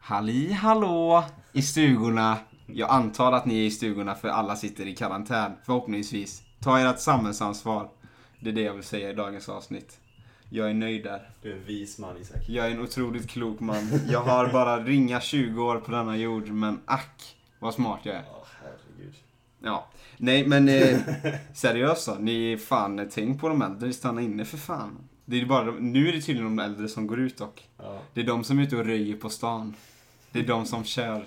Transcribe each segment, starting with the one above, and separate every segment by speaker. Speaker 1: Halli hallå! I stugorna. Jag antar att ni är i stugorna för alla sitter i karantän, förhoppningsvis. Ta ert samhällsansvar. Det är det jag vill säga i dagens avsnitt. Jag är nöjd där.
Speaker 2: Du är en vis man Isak.
Speaker 1: Jag är en otroligt klok man. Jag har bara ringa 20 år på denna jord, men ack vad smart jag är.
Speaker 2: Ja, herregud.
Speaker 1: Ja. Nej men eh, seriöst då, ni fan eh, tänk på de äldre, stanna inne för fan. Det är bara, de- nu är det tydligen de äldre som går ut dock.
Speaker 2: Ja.
Speaker 1: Det är de som är ute och röjer på stan. Det är de som kör.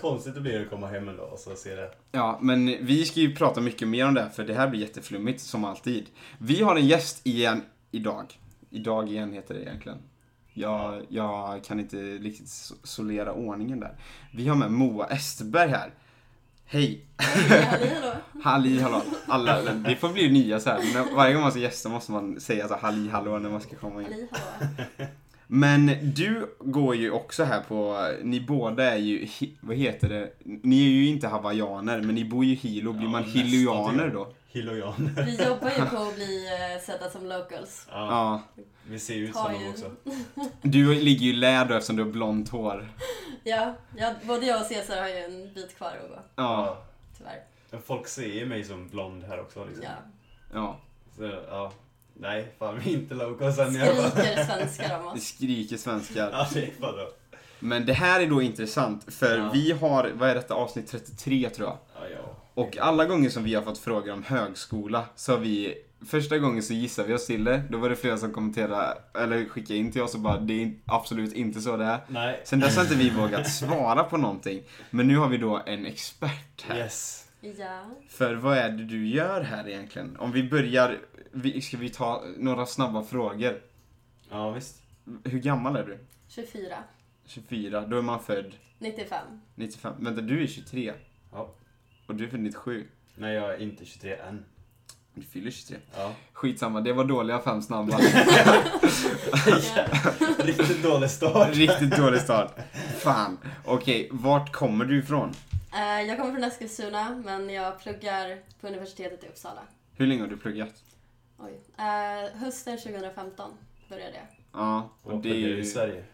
Speaker 2: Konstigt det blir att komma hem en dag och så se det.
Speaker 1: Ja, men vi ska ju prata mycket mer om det här för det här blir jätteflummigt som alltid. Vi har en gäst igen idag. Idag igen heter det egentligen. Jag, jag kan inte riktigt so- solera ordningen där. Vi har med Moa Estberg här. Hej! Halli hallå! Alla, det får bli nya så här. När- Varje gång man ska gästa måste man säga så här, halli hallå när man ska komma in. Men du går ju också här på, ni båda är ju, hi- vad heter det, ni är ju inte hawaiianer men ni bor ju i Hilo, blir
Speaker 2: Ja,
Speaker 1: man
Speaker 2: nästan typ.
Speaker 1: hiloaner
Speaker 2: det.
Speaker 1: då?
Speaker 2: Hilojan.
Speaker 3: Vi jobbar ju på att bli eh, sedda som locals.
Speaker 2: Ja,
Speaker 1: Ja.
Speaker 2: Vi ser ju ut
Speaker 3: Har
Speaker 2: som
Speaker 3: ju-
Speaker 2: dem också.
Speaker 1: Du ligger ju i lä då eftersom du har blont hår.
Speaker 3: Ja, ja, både jag och Cesar har ju en bit kvar att gå,
Speaker 1: Ja.
Speaker 3: tyvärr.
Speaker 2: Men folk ser ju mig som blond här också liksom.
Speaker 3: Ja.
Speaker 1: Ja.
Speaker 2: Så, ja. Nej, fan vi är inte locals än. Jag bara...
Speaker 3: Skriker svenskar om
Speaker 1: Det
Speaker 3: oss.
Speaker 1: skriker svenskar.
Speaker 2: Ja, det är fan då.
Speaker 1: Men det här är då intressant för
Speaker 2: Ja.
Speaker 1: vi har, vad är detta, avsnitt 33 tror jag.
Speaker 2: Ja, ja.
Speaker 1: Och alla gånger som vi har fått frågor om högskola så har vi Första gången så gissade vi oss till det, då var det flera som kommenterade, eller skickade in till oss och bara det är absolut inte så det är.
Speaker 2: Nej.
Speaker 1: Sen dess har inte vi vågat svara på någonting. Men nu har vi då en expert här.
Speaker 2: Yes.
Speaker 3: Ja.
Speaker 1: För vad är det du gör här egentligen? Om vi börjar, vi, ska vi ta några snabba frågor?
Speaker 2: Ja, visst.
Speaker 1: Hur gammal är du?
Speaker 3: 24.
Speaker 1: 24, då är man född
Speaker 3: 95.
Speaker 1: 95. Vänta, du är 23
Speaker 2: Ja.
Speaker 1: och du är född 97.
Speaker 2: Nej, jag är inte 23 än.
Speaker 1: Du fyller 23.
Speaker 2: Ja.
Speaker 1: Skitsamma, det var dåliga fem snabba.
Speaker 2: Riktigt dålig start.
Speaker 1: Riktigt dålig start. Fan. Okej, vart kommer du ifrån?
Speaker 3: Eh, Jag kommer från Eskilstuna, men jag pluggar på universitetet i Uppsala.
Speaker 1: Hur länge har du pluggat?
Speaker 3: Oj. Eh, Hösten 2015 började jag.
Speaker 1: Ja, och
Speaker 2: Och
Speaker 1: det är
Speaker 2: i
Speaker 1: ju...
Speaker 2: Sverige.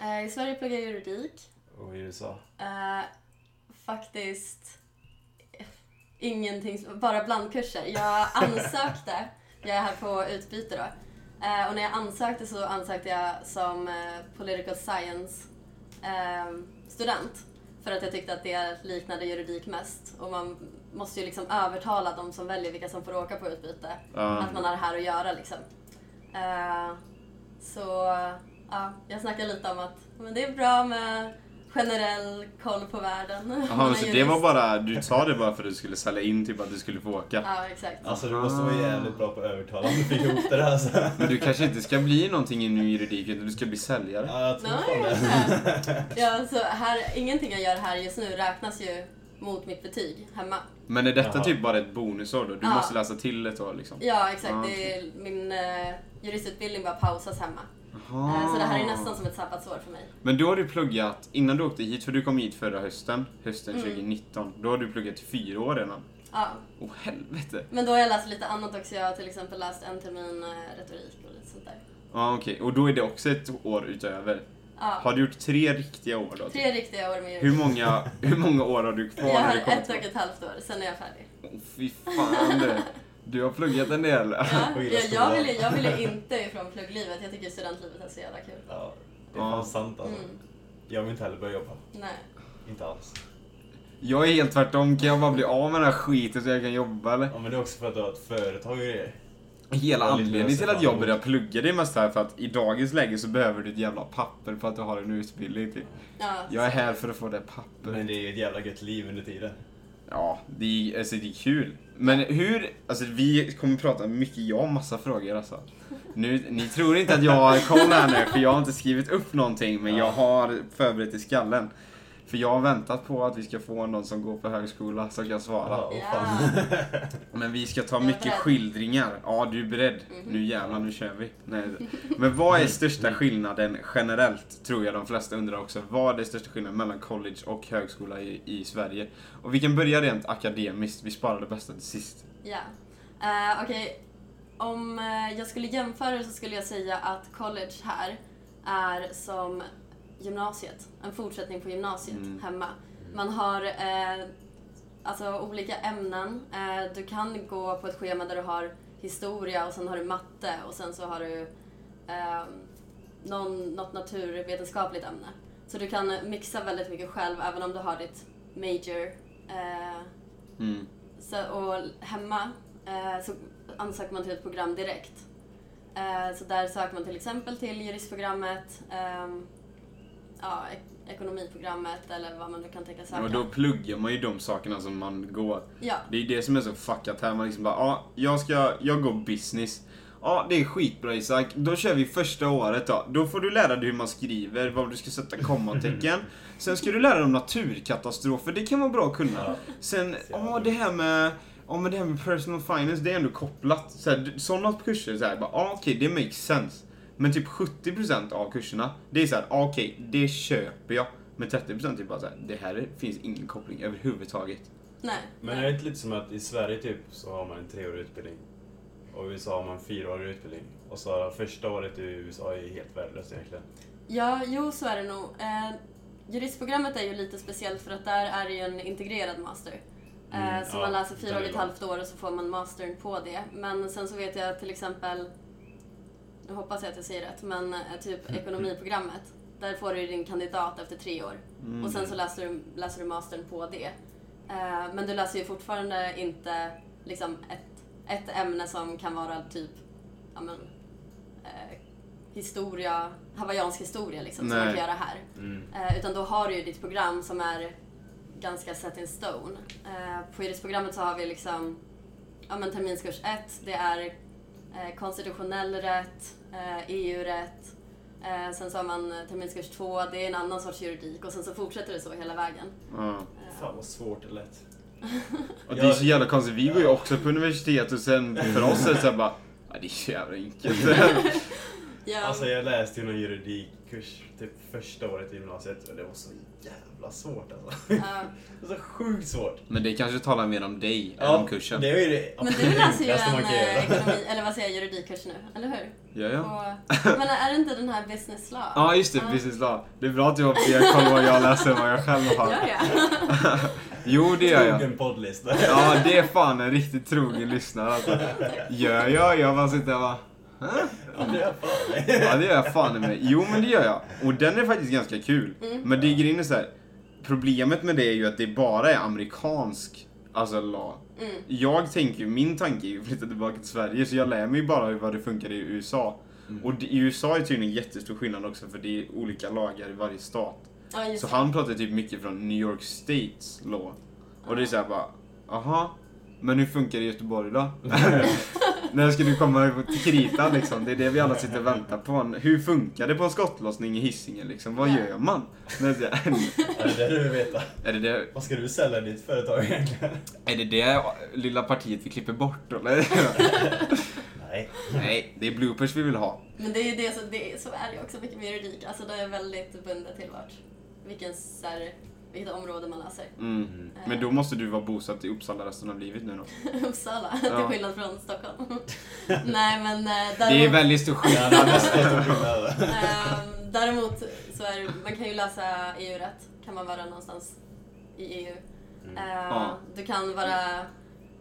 Speaker 3: Eh, I Sverige pluggar jag juridik.
Speaker 2: Och i USA.
Speaker 3: Eh, Faktiskt eh, ingenting, bara blandkurser. Jag ansökte, jag är här på utbyte då. Eh, Och när jag ansökte så ansökte jag som eh, political science eh, student. För att jag tyckte att det liknade juridik mest. Och man måste ju liksom övertala de som väljer vilka som får åka på utbyte.
Speaker 1: Ja.
Speaker 3: Att man har det här att göra liksom. Eh, Så ja, jag snackar lite om att men det är bra med generell koll på världen. Man
Speaker 1: Jaha,
Speaker 3: är
Speaker 1: så det
Speaker 3: jurist.
Speaker 1: var bara, du sa det bara för att du skulle sälja in, typ att du skulle få åka.
Speaker 3: Ja, exakt.
Speaker 2: Alltså, du måste vara jävligt bra på att övertala om du fick ihop det där alltså.
Speaker 1: Men du kanske inte ska bli någonting inom juridik utan du ska bli säljare.
Speaker 2: Ja, jag tror fan
Speaker 3: Nej,
Speaker 2: det.
Speaker 3: kanske. ja, så här, ingenting jag gör här just nu räknas ju mot mitt betyg hemma.
Speaker 1: Men är detta
Speaker 2: Jaha.
Speaker 1: typ bara ett bonusår då? Du
Speaker 3: Ja.
Speaker 1: måste läsa till ett år liksom?
Speaker 3: Ja, exakt.
Speaker 1: Ah,
Speaker 3: Det är, min eh, juristutbildning bara pausas hemma.
Speaker 1: Jaha.
Speaker 3: Eh, så det här är nästan som ett sabbatsår för mig.
Speaker 1: Men då har du pluggat, innan du åkte hit, för du kom hit förra hösten, hösten
Speaker 3: Mm.
Speaker 1: 2019, då har du pluggat i fyra år redan.
Speaker 3: Ja.
Speaker 1: Åh helvete!
Speaker 3: Men då har jag läst lite annat också. Jag har till exempel läst en termin eh, retorik och lite sånt där.
Speaker 1: Ja okej, och då är det också ett år utöver.
Speaker 3: Ja.
Speaker 1: Har du gjort tre riktiga år då? typ?
Speaker 3: Tre riktiga år med jurist.
Speaker 1: Hur många, hur många år har du kvar?
Speaker 3: Jag
Speaker 1: när
Speaker 3: har
Speaker 1: du kommer
Speaker 3: ett och
Speaker 1: tillbaka?
Speaker 3: ett halvt år, sen är jag färdig.
Speaker 1: Åh, Fy fan du! Du har pluggat en del.
Speaker 3: Ja,
Speaker 2: Och gillar
Speaker 3: jag, jag, vill, ju-
Speaker 2: skolan.
Speaker 3: jag vill ju inte ifrån plugglivet. Jag tycker studentlivet är så jävla kul.
Speaker 2: Ja, det är
Speaker 1: Ja.
Speaker 2: fan sant alltså.
Speaker 3: Mm,
Speaker 2: Jag vill inte heller börja jobba.
Speaker 3: nej.
Speaker 2: Inte alls.
Speaker 1: Jag är helt tvärtom, kan jag bara bli av med den här skiten så jag kan jobba eller?
Speaker 2: Ja, men det är också för att du har ett företag och grejer.
Speaker 1: Hela
Speaker 2: Ja, lite
Speaker 1: anledningen
Speaker 2: lösa
Speaker 1: till att jag
Speaker 2: fram.
Speaker 1: började plugga det är mest här för att i dagens läge så behöver du ett jävla papper på att du har en utbildning. Typ.
Speaker 3: Ja,
Speaker 1: Jag är här för att få det pappret.
Speaker 2: Men det är ju ett jävla gött liv under tiden.
Speaker 1: Ja, det är, alltså, det är kul. Men hur, alltså vi kommer prata mycket, jag har massa frågor alltså. Nu, ni tror inte att jag har koll här nu för jag har inte skrivit upp någonting men jag har förberett i skallen. För jag har väntat på att vi ska få någon som går på högskola som kan svara.
Speaker 2: Ja, och
Speaker 3: Ja.
Speaker 2: fan.
Speaker 1: Men vi ska ta
Speaker 3: Jag är
Speaker 1: mycket
Speaker 3: beredd. Mhm.
Speaker 1: skildringar. Ja, du är beredd. Nu jävlar, nu kör vi. Nej. Men vad är största skillnaden generellt? Tror jag de flesta undrar också. Vad är största skillnaden mellan college och högskola i, i Sverige? Och vi kan börja rent akademiskt. Vi sparar det bästa till sist.
Speaker 3: Ja. Eh, Okej, om eh, jag skulle jämföra så skulle jag säga att college här är som gymnasiet, en fortsättning på gymnasiet
Speaker 1: Mm.
Speaker 3: hemma. Man har eh, alltså olika ämnen. Eh, du kan gå på ett schema där du har historia och sen har du matte och sen så har du eh, någon, något naturvetenskapligt ämne. Så du kan mixa väldigt mycket själv även om du har ditt major. Eh,
Speaker 1: Mm.
Speaker 3: så, och hemma eh, så ansöker man till ett program direkt. Eh, så där söker man till exempel till juristprogrammet, ehm, ja, ek- ekonomiprogrammet eller vad man nu kan tänka söka.
Speaker 1: Och då pluggar man ju de sakerna som man går.
Speaker 3: Ja,
Speaker 1: Det är ju det som är så fuckat här. Man liksom bara, ja, jag ska, jag går business. Ja, det är skitbra Isak. Då kör vi första året då. Då får du lära dig hur man skriver, var du ska sätta kommatecken. Sen ska du lära dig om naturkatastrofer, det kan vara bra att kunna.
Speaker 2: Ja.
Speaker 1: Sen, ja det här med, ja men det här med personal finance, det är ändå kopplat. Så här, sådana kurser, så här, bara, ja okej, det makes sense. Men typ 70% av kurserna, det är så här, ja, okej, det köper jag. Men 30% är bara så här, det här är- finns ingen koppling överhuvudtaget.
Speaker 3: nej.
Speaker 2: Men är det inte lite som att i Sverige typ så har man en treårig utbildning och i USA har man en fyraårig utbildning och så första året i USA är helt värdelöst egentligen.
Speaker 3: Ja, jo så är det nog. Eh, juristprogrammet är ju lite speciellt för att där är det ju en integrerad master. Eh,
Speaker 2: Mm,
Speaker 3: så
Speaker 2: ja,
Speaker 3: man läser
Speaker 2: där
Speaker 3: fyra
Speaker 2: är
Speaker 3: och ett
Speaker 2: det.
Speaker 3: halvt år och så får man mastern på det. Men sen så vet jag till exempel, nu hoppas jag att jag säger rätt, men eh,
Speaker 2: Mm,
Speaker 3: typ ekonomiprogrammet. Där får du din kandidat efter tre år
Speaker 1: Mm,
Speaker 3: och sen så läser du, läser du mastern på det. Eh, men du läser ju fortfarande inte liksom ett, ett ämne som kan vara typ ja, men, eh, historia, hawaiiansk historia liksom, som man
Speaker 1: Nej.
Speaker 3: kan göra här.
Speaker 2: Mm.
Speaker 3: Eh, utan då har du ju ditt program som är ganska set in stone. Eh, på juristprogrammet så har vi liksom ja, men terminskurs 1, det är eh, konstitutionell rätt, eh, EU-rätt. Eh, sen så har man eh, terminskurs 2, det är en annan sorts juridik och sen så fortsätter det så hela vägen.
Speaker 1: Ja.
Speaker 3: Eh,
Speaker 2: Fan vad svårt det lät.
Speaker 1: Och det är så jävla konstigt, vi går ju också på universitet och sen för oss är det såhär bara Ja, det är så jävla enkelt.
Speaker 3: ja,
Speaker 2: Alltså jag läste ju någon juridikkurs typ första året i gymnasiet och det var så jävla svårt alltså.
Speaker 3: ja.
Speaker 2: Det var så sjukt svårt.
Speaker 1: Men det kanske talar mer om dig än om kursen.
Speaker 2: det är ju det
Speaker 3: men du
Speaker 2: absolut
Speaker 3: läser ju
Speaker 2: enklaste
Speaker 3: en
Speaker 2: man kan
Speaker 3: eh,
Speaker 2: göra.
Speaker 3: ekonomi, eller vad säger jag, juridikkurs nu, eller hur?
Speaker 1: Ja, ja.
Speaker 3: Och, men är det inte den här business law?
Speaker 1: Ja, just det. Business law. Det är bra att du har fler koll vad jag läser än vad jag själv
Speaker 3: Gör
Speaker 1: har.
Speaker 3: jag?
Speaker 1: Jo, det gör jag.
Speaker 2: Trogen poddlista.
Speaker 1: Ja, det är fan en riktigt trogen lyssnare alltså. Gör jag? Jag bara sitter och bara...
Speaker 2: Ja, det är fan det.
Speaker 1: Ja, det gör jag fan i mig. Jo, men det gör jag. Och den är faktiskt ganska kul. Men det grejen är så här. Problemet med det är ju att det bara är amerikansk, alltså law.
Speaker 3: Mm.
Speaker 1: Jag tänker ju, min tanke är ju att flytta tillbaka till Sverige, så jag lär mig ju bara hur det funkar i USA. Och det- i USA är tydligen jättestor skillnad också, för det är olika lagar i varje stat.
Speaker 3: Ja, just
Speaker 1: Så
Speaker 3: det.
Speaker 1: han pratar typ mycket från New York States law. Och det är såhär bara, aha, men hur funkar det i Göteborg då? När ska du komma till kritan liksom? Det är det vi alla sitter och väntar på. Hur funkar det på en skottlossning i Hisingen liksom? Vad gör man? Men så här,
Speaker 2: Ja, det är det du vill veta.
Speaker 1: Är det det,
Speaker 2: Vad ska du sälja ditt företag egentligen?
Speaker 1: är det det lilla partiet vi klipper bort eller?
Speaker 2: Nej.
Speaker 1: Nej, det är bloopers vi vill ha.
Speaker 3: Men det är ju det, så, det, så är det ju också mycket med juridik. Alltså det är väldigt bundet till vart, vilken, så här, vilket område man läser.
Speaker 1: Mm.
Speaker 3: Eh.
Speaker 1: Men då måste du vara bosatt i Uppsala resten av livet nu då.
Speaker 3: Uppsala,
Speaker 1: Ja.
Speaker 3: till skillnad från Stockholm. Nej men eh,
Speaker 1: Det är
Speaker 3: däremot,
Speaker 1: väldigt stor
Speaker 2: Ja, det är
Speaker 1: skillnad.
Speaker 2: mest stor skillnad.
Speaker 3: ehm, däremot så är det, man kan ju läsa EU-rätt, kan man vara någonstans i EU. Eh,
Speaker 1: Ja.
Speaker 3: Du kan vara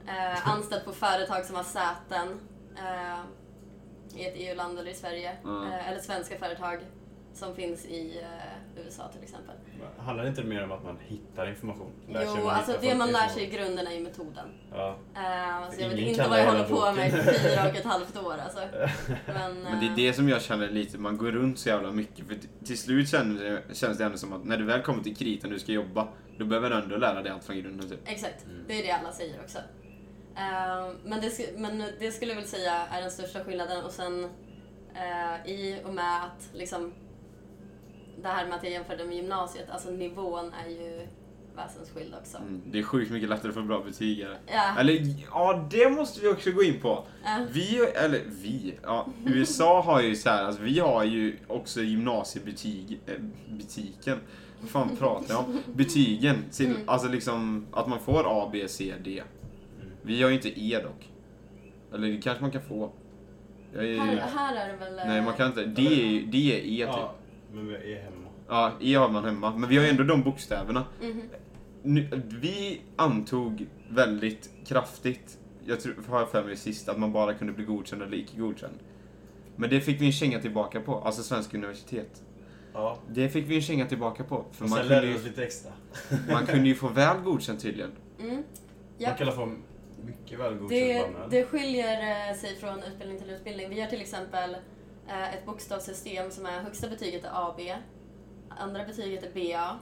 Speaker 3: eh, anställd på företag som har säten eh, i ett EU-land eller i Sverige.
Speaker 1: Ja.
Speaker 3: Eh, eller svenska företag som finns i eh, USA till exempel.
Speaker 2: Handlar det inte mer om att man hittar information? Lär sig
Speaker 3: jo,
Speaker 2: man
Speaker 3: alltså
Speaker 2: hittar
Speaker 3: det man lär
Speaker 2: information?
Speaker 3: sig i grunden är ju metoden.
Speaker 2: Ja.
Speaker 3: Eh, så jag vet
Speaker 2: Ingen
Speaker 3: inte
Speaker 2: kan
Speaker 3: vad jag
Speaker 2: lära
Speaker 3: håller på med i
Speaker 2: boken.
Speaker 3: fyra och ett halvt år alltså. Men,
Speaker 1: Men det är det som jag känner lite, man går runt så jävla mycket. För t- till slut känns det, känns det ändå som att när du väl kommer till kritan och du ska jobba, då behöver du ändå lära dig allt från grunden typ.
Speaker 3: eh, Exakt, det är det alla säger också. Eh, men, det, sk- men det skulle jag väl säga är den största skillnaden och sen eh, i och med att liksom det här med att jag jämförde med gymnasiet, alltså nivån är ju väsensskild också.
Speaker 1: Mm. Det är sjukt mycket lättare att få bra betyg här.
Speaker 3: Ja,
Speaker 1: Eller ja, det måste vi också gå in på.
Speaker 3: eh,
Speaker 1: Vi, eller vi, ja, USA har ju så här, alltså vi har ju också gymnasiebetyg, eh, butiken. Vad fan pratar jag om? Betygen, sin,
Speaker 3: Mm.
Speaker 1: alltså liksom att man får A, B, C, D. Vi har ju inte E dock. Eller det kanske man kan få. Jag är,
Speaker 3: här, här är det väl... eh,
Speaker 1: Nej, man kan inte. Det är, ju- det är E typ.
Speaker 2: ja. Men vi är hemma.
Speaker 1: Ja, E har man hemma. Men vi har ju ändå de bokstäverna.
Speaker 3: Mhm.
Speaker 1: Nu, vi antog väldigt kraftigt, jag tror, har jag för mig sist, att man bara kunde bli godkänd eller icke godkänd. Men det fick vi en känga tillbaka på, alltså svenska universitet.
Speaker 2: Ja.
Speaker 1: Det fick vi en känga tillbaka på. För
Speaker 2: Och
Speaker 1: man
Speaker 2: sen lärde
Speaker 1: kunde,
Speaker 2: vi
Speaker 1: ju,
Speaker 2: oss lite extra.
Speaker 1: man kunde ju få väl godkänd tydligen.
Speaker 3: Mm.
Speaker 2: Man
Speaker 3: Ja.
Speaker 2: kan få mycket väl godkänd
Speaker 3: Det,
Speaker 2: bara med.
Speaker 3: det skiljer eh, sig från utbildning till utbildning. Vi har till exempel eh, ett bokstavssystem som är högsta betyget är AB, andra betyget är BA,
Speaker 2: Jaha.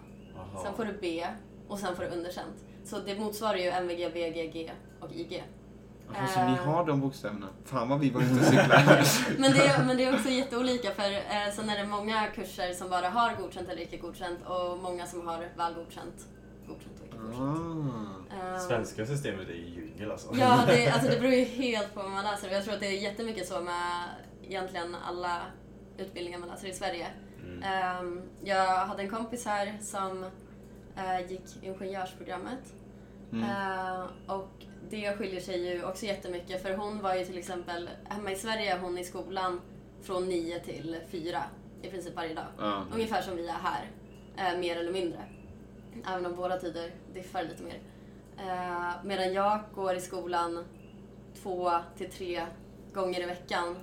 Speaker 3: sen får du B och sen får du underkänt. Så det motsvarar ju MVG, VGG och IG.
Speaker 1: Jaha, så
Speaker 3: Eh.
Speaker 1: ni har de bokstäverna? Fan vad vi var ute och cyklade.
Speaker 3: Men det, är- men det är också jätteolika för eh, sen är det många kurser som bara har godkänt eller icke godkänt och många som har väl godkänt, godkänt och icke godkänt.
Speaker 1: ah.
Speaker 3: Eh,
Speaker 2: Svenska systemet är ju djungel alltså.
Speaker 3: Ja, det, alltså det beror ju helt på vad man läser. Jag tror att det är jättemycket så med egentligen alla utbildningar man läser i Sverige.
Speaker 2: Mm.
Speaker 3: Ehm, jag hade en kompis här som eh, gick ingenjörsprogrammet.
Speaker 1: Mm.
Speaker 3: Eh, och det skiljer sig ju också jättemycket för hon var ju till exempel, hemma i Sverige är hon i skolan från 9 till 4 i princip varje dag.
Speaker 1: Ja.
Speaker 3: Ungefär som vi är här, eh, mer eller mindre. Även om våra tider diffar lite mer. Eh, medan jag går i skolan två till tre gånger i veckan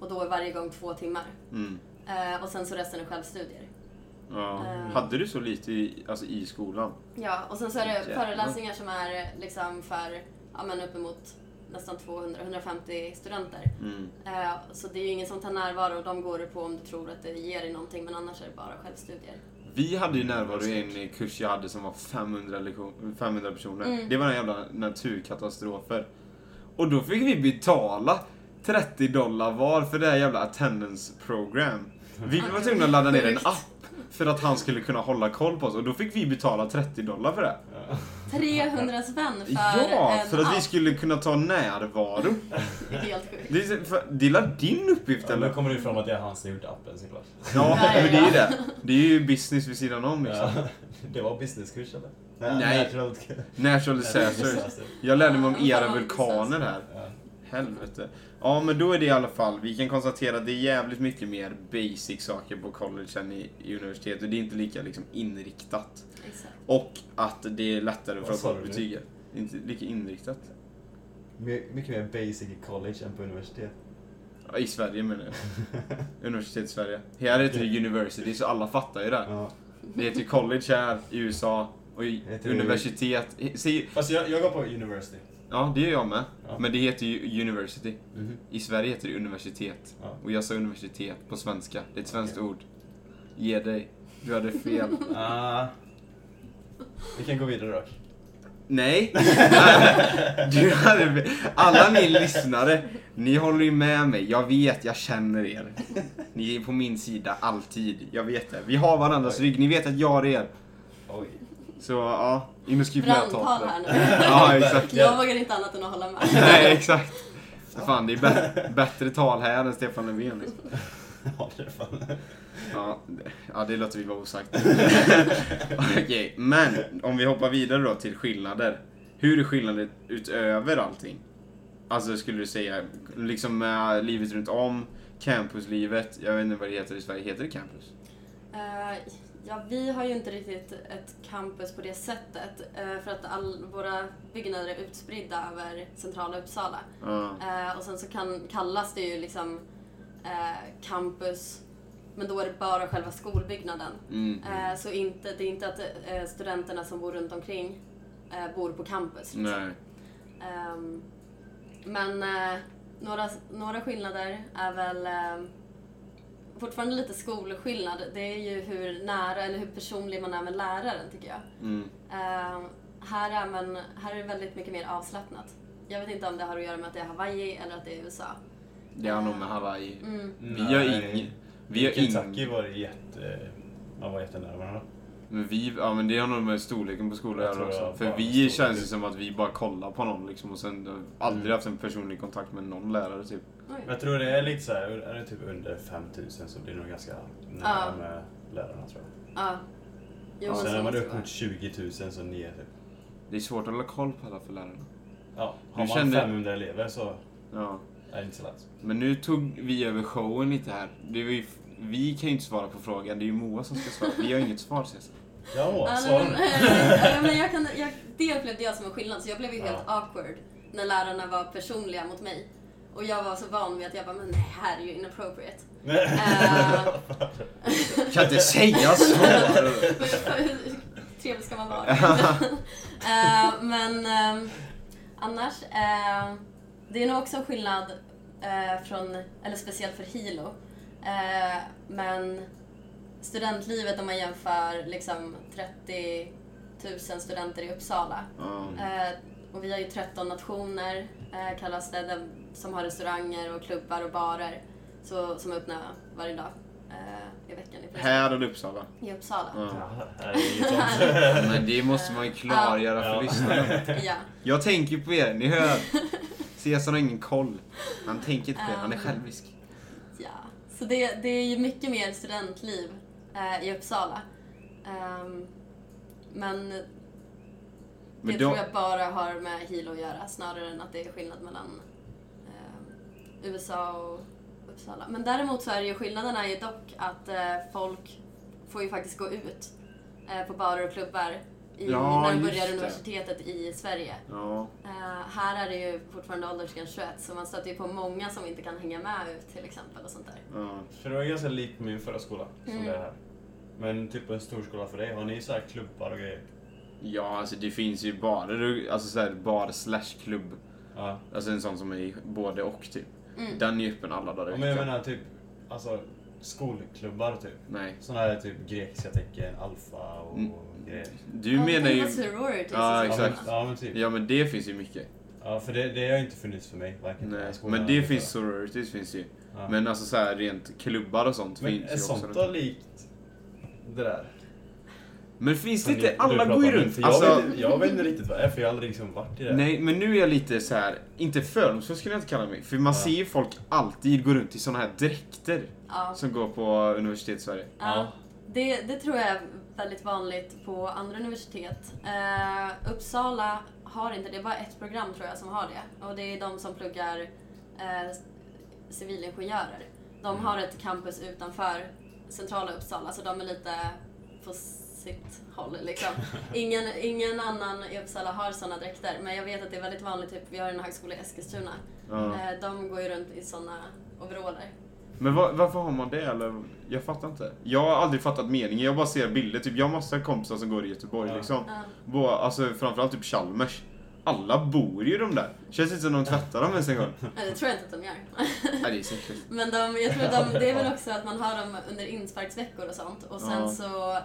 Speaker 3: och då är varje gång två timmar.
Speaker 1: Mm.
Speaker 3: Eh, och sen så resten är självstudier.
Speaker 1: Ja.
Speaker 3: Eh.
Speaker 1: Hade du så lite i, alltså, i skolan?
Speaker 3: Ja, och sen så är det
Speaker 1: Jävlar.
Speaker 3: föreläsningar som är liksom för ja, men uppemot nästan 200-150 studenter.
Speaker 1: Mm.
Speaker 3: Eh, så det är ju ingen som tar närvaro och de går du på om du tror att det ger dig någonting men annars är det bara självstudier.
Speaker 1: Vi hade ju
Speaker 2: Mm,
Speaker 1: närvaro i en kurs jag hade som var 500, lektion, 500 personer.
Speaker 3: Mm.
Speaker 1: Det var en jävla naturkatastrofer. Och då fick vi betala 30 dollar var för det här jävla attendance program. Vi var tvungna att ladda ner en
Speaker 3: Sjukt.
Speaker 1: app för att han skulle kunna hålla koll på oss och då fick vi betala 30 dollar för det.
Speaker 3: 300 spänn för
Speaker 1: ja,
Speaker 3: en
Speaker 1: för att vi
Speaker 3: app.
Speaker 1: skulle kunna ta närvaro.
Speaker 3: Det är helt sjukt.
Speaker 1: Det är, för, det är la din uppgift
Speaker 2: Ja,
Speaker 1: eller?
Speaker 2: nu kommer det fram att det är han som gjort appen såklart.
Speaker 1: Ja,
Speaker 3: Ja, ja,
Speaker 1: men det är ju
Speaker 3: ja.
Speaker 1: det. Det är ju business vid sidan om liksom.
Speaker 2: Ja. Det var businesskurs eller?
Speaker 1: Nej.
Speaker 2: Natural
Speaker 1: Natural disasters. Jag lärde mig om
Speaker 3: Ja,
Speaker 1: era
Speaker 3: fan, alltså.
Speaker 1: vulkaner här.
Speaker 2: Ja.
Speaker 1: Helvete. Ja, men då är det i alla fall. Vi kan konstatera att det är jävligt mycket mer basic saker på college än i, i universitet. Och det är inte lika liksom, inriktat.
Speaker 3: Exakt.
Speaker 1: Och att det är lättare för
Speaker 2: Vad
Speaker 1: att
Speaker 2: sa
Speaker 1: få
Speaker 2: du nu?
Speaker 1: betyg. Inte lika inriktat.
Speaker 2: My- Mycket mer basic i college än på universitet.
Speaker 1: Ja, I Sverige menar jag. Universitet Sverige. Här heter det university, så alla fattar ju det.
Speaker 2: Ja.
Speaker 1: Det heter ju college här i USA. Och i
Speaker 2: Heter det-
Speaker 1: universitet. Se,
Speaker 2: Fast jag, jag går på university.
Speaker 1: ja, det gör jag med.
Speaker 2: Ja.
Speaker 1: Men det heter ju university.
Speaker 2: Mhm.
Speaker 1: I Sverige heter det universitet.
Speaker 2: Ja.
Speaker 1: Och jag sa universitet på svenska. Det är ett svenskt ord. Ge dig. Du hade fel.
Speaker 2: Ah. Vi kan gå vidare dock.
Speaker 1: Nej! Nej. Du hade fel. Alla ni lyssnare, ni håller ju med mig. Jag vet, jag känner er. Ni är på min sida alltid. Jag vet det. Vi har varandras rygg. Ni vet att jag har er.
Speaker 2: Oj.
Speaker 1: Så ja, in och skriv
Speaker 3: Brandtal här nu.
Speaker 1: Ja, exakt.
Speaker 3: Jag vågar inte annat än att hålla med.
Speaker 1: Nej, exakt. Fan, det är bä- bättre tal här än Stefan Löfven. Liksom.
Speaker 2: Ja, det är fan.
Speaker 1: Ja, det- ja, det låter vi vara osagt. Okej, men om vi hoppar vidare då till skillnader. Hur är skillnaden utöver allting? Alltså skulle du säga, liksom med livet runt om, campuslivet, jag vet inte vad det heter i Sverige, heter det campus?
Speaker 3: Eh, ja, vi har ju inte riktigt ett campus på det sättet eh, för att all, våra byggnader är utspridda över centrala Uppsala.
Speaker 1: Ja.
Speaker 3: Eh, och sen så kan, kallas det ju liksom eh, campus, men då är det bara själva skolbyggnaden.
Speaker 1: Mm.
Speaker 3: Eh, så inte, det är inte att eh, studenterna som bor runt omkring eh, bor på campus. liksom.
Speaker 1: Nej.
Speaker 3: Ehm, men eh, några, några skillnader är väl ehm, fortfarande lite skolskillnad. Det är ju hur nära eller hur personlig man är med läraren tycker jag.
Speaker 1: Mm.
Speaker 3: Ehm, här, är man, här är det väldigt mycket mer avslappnat. Jag vet inte om det har att göra med att det är Hawaii eller att det är USA.
Speaker 1: Det har nog med Hawaii.
Speaker 3: Mm.
Speaker 1: Vi har ing... Vi har
Speaker 2: Kentucky
Speaker 1: ing...
Speaker 2: var det jätte... Man var jättenära varandra.
Speaker 1: Men vi, ja men det har nog med storleken på skolan
Speaker 2: Jag
Speaker 1: att göra
Speaker 2: tror jag
Speaker 1: också. För
Speaker 2: bara
Speaker 1: vi
Speaker 2: storlek.
Speaker 1: känns ju som att vi bara kollar på någon liksom och sen har vi aldrig
Speaker 2: Mm.
Speaker 1: haft en personlig kontakt med någon lärare typ.
Speaker 2: Men
Speaker 3: Oj.
Speaker 2: Jag tror det är lite så här, är det typ under 5000 så blir det nog ganska nära
Speaker 3: Ja.
Speaker 2: med lärarna tror jag.
Speaker 3: Ja. Jo, men
Speaker 2: Sen
Speaker 3: så
Speaker 2: när man
Speaker 3: måste
Speaker 2: är
Speaker 3: det
Speaker 2: upp
Speaker 3: vara.
Speaker 2: mot 20 000 så ner typ.
Speaker 1: Det är svårt att hålla koll på alla för lärarna.
Speaker 2: Ja,
Speaker 1: Du
Speaker 2: har man
Speaker 1: kände-
Speaker 2: 500 elever så
Speaker 1: Ja.
Speaker 2: är det inte så lätt.
Speaker 1: Men nu tog vi över showen lite här. Det var ju, vi kan ju inte svara på frågan, det är ju Moa som ska svara. Vi har ju inget svar ses.
Speaker 2: Ja,
Speaker 3: Ja,
Speaker 2: så
Speaker 3: nej,
Speaker 2: har
Speaker 3: men,
Speaker 2: du.
Speaker 3: eh, men jag kan, jag, det upplevde jag som en skillnad, så jag blev ju helt awkward när lärarna var personliga mot mig. Och jag var så van vid att jag bara, men det här är ju inappropriate.
Speaker 2: Nej.
Speaker 3: Eh,
Speaker 1: Kan inte säga så!
Speaker 3: hur trevlig ska man vara? Eh, men ehm, annars, eh, det är nog också en skillnad eh, från, eller speciellt för Hilo. Eh, men studentlivet om man jämför liksom 30 000 studenter i Uppsala.
Speaker 1: Ja.
Speaker 3: Eh, och vi har ju 13 nationer, eh, kallas det, där, som har restauranger och klubbar och barer så, som är öppna varje dag eh, i veckan i, princip,
Speaker 1: Här eller Uppsala?
Speaker 3: i Uppsala.
Speaker 1: Ja.
Speaker 2: Ja, här är inget sånt.
Speaker 1: Men det måste man ju klargöra för
Speaker 2: Ja.
Speaker 1: lyssnarna.
Speaker 3: Ja.
Speaker 1: Jag tänker på er, ni hör. Cesar har ingen koll. Han tänker inte på er, han är självisk.
Speaker 3: Ja, så det, det är ju mycket mer studentliv eh, i Uppsala. Ehm, men det
Speaker 1: Men
Speaker 3: tror
Speaker 1: då,
Speaker 3: jag bara har med Hilo att göra snarare än att det är skillnad mellan ehm, USA och Uppsala. Men däremot så är det ju skillnaderna är ju dock att eh, folk får ju faktiskt gå ut eh, på barer och klubbar i,
Speaker 1: Ja,
Speaker 3: när de
Speaker 1: just
Speaker 3: börjar
Speaker 1: det.
Speaker 3: universitetet i Sverige.
Speaker 1: ja,
Speaker 3: Eh, här är det ju fortfarande åldersgräns 21 så man stöter ju på många som inte kan hänga med ut till exempel och sånt där.
Speaker 1: ja.
Speaker 2: För det var ganska likt min förra skola som
Speaker 3: Mm.
Speaker 2: det är här. Men typ en stor skola för dig, har ni så här klubbar och grejer?
Speaker 1: ja, alltså det finns ju barer, alltså såhär bar slash klubb.
Speaker 2: Ja.
Speaker 1: Alltså en sån som är i både och typ.
Speaker 3: Mm.
Speaker 1: Den är ju öppen alla dagar i
Speaker 2: Men jag
Speaker 1: veckan.
Speaker 2: menar typ, alltså skolklubbar typ.
Speaker 1: Nej.
Speaker 2: Såna här typ grekiska tecken, alfa och
Speaker 1: Mm.
Speaker 2: grejer.
Speaker 1: Du
Speaker 3: Ja, det
Speaker 1: menar
Speaker 3: kan
Speaker 1: ju...
Speaker 3: vara sororities och
Speaker 1: Ja,
Speaker 3: sånt.
Speaker 1: exakt.
Speaker 2: Ja men typ.
Speaker 1: Ja men det finns ju mycket.
Speaker 2: Ja, för det, det har inte funnits för mig. Varken på
Speaker 1: Nej.
Speaker 2: skolan
Speaker 1: Men
Speaker 2: eller
Speaker 1: det
Speaker 2: så.
Speaker 1: finns sororities finns ju.
Speaker 2: Ja.
Speaker 1: Men alltså så här rent klubbar och sånt
Speaker 2: Men
Speaker 1: finns
Speaker 2: är
Speaker 1: ju också.
Speaker 2: sånt då likt det där?
Speaker 1: Men finns det
Speaker 2: Som
Speaker 1: inte?
Speaker 2: ni- du
Speaker 1: Alla
Speaker 2: pratar
Speaker 1: går ju
Speaker 2: om nu,
Speaker 1: runt.
Speaker 2: för
Speaker 1: Alltså,
Speaker 2: Jag vet, jag vet inte riktigt vad det är, för jag har aldrig liksom varit i det.
Speaker 1: nej men nu är jag lite så här inte fördomsfull skulle jag inte kalla mig. För man
Speaker 2: Ja.
Speaker 1: ser ju folk alltid gå runt i såna här dräkter
Speaker 3: Ja.
Speaker 1: som går på universitetssverige.
Speaker 3: Ja. Det, det tror jag är väldigt vanligt på andra universitet. Eh, Uppsala har inte det, det är bara ett program tror jag som har det. Och det är de som pluggar eh, civilingenjörer. De
Speaker 2: Mm.
Speaker 3: har ett campus utanför centrala Uppsala, så de är lite på sitt håll liksom. Ingen, ingen annan i Uppsala har sådana dräkter, men jag vet att det är väldigt vanligt. Typ, vi har en högskola i Eskilstuna.
Speaker 2: Mm.
Speaker 1: Ja.
Speaker 3: Eh, de går ju runt i sådana overaller.
Speaker 1: Men va- varför har man det eller? Jag fattar inte. Jag har aldrig fattat meningen. Jag bara ser bilder. Typ, jag har massa kompisar som går i Göteborg
Speaker 2: Ja.
Speaker 1: liksom.
Speaker 3: Ja.
Speaker 1: Bo, alltså framförallt typ Chalmers. Alla bor ju i de där. Känns inte som de tvättar dem ens en gång.
Speaker 3: Nej, det tror jag inte att de gör.
Speaker 1: Nej, det är säkert.
Speaker 3: Men de, jag tror de, det är väl också att man har dem under insparksveckor och sånt. Och sen
Speaker 1: Ja.
Speaker 3: så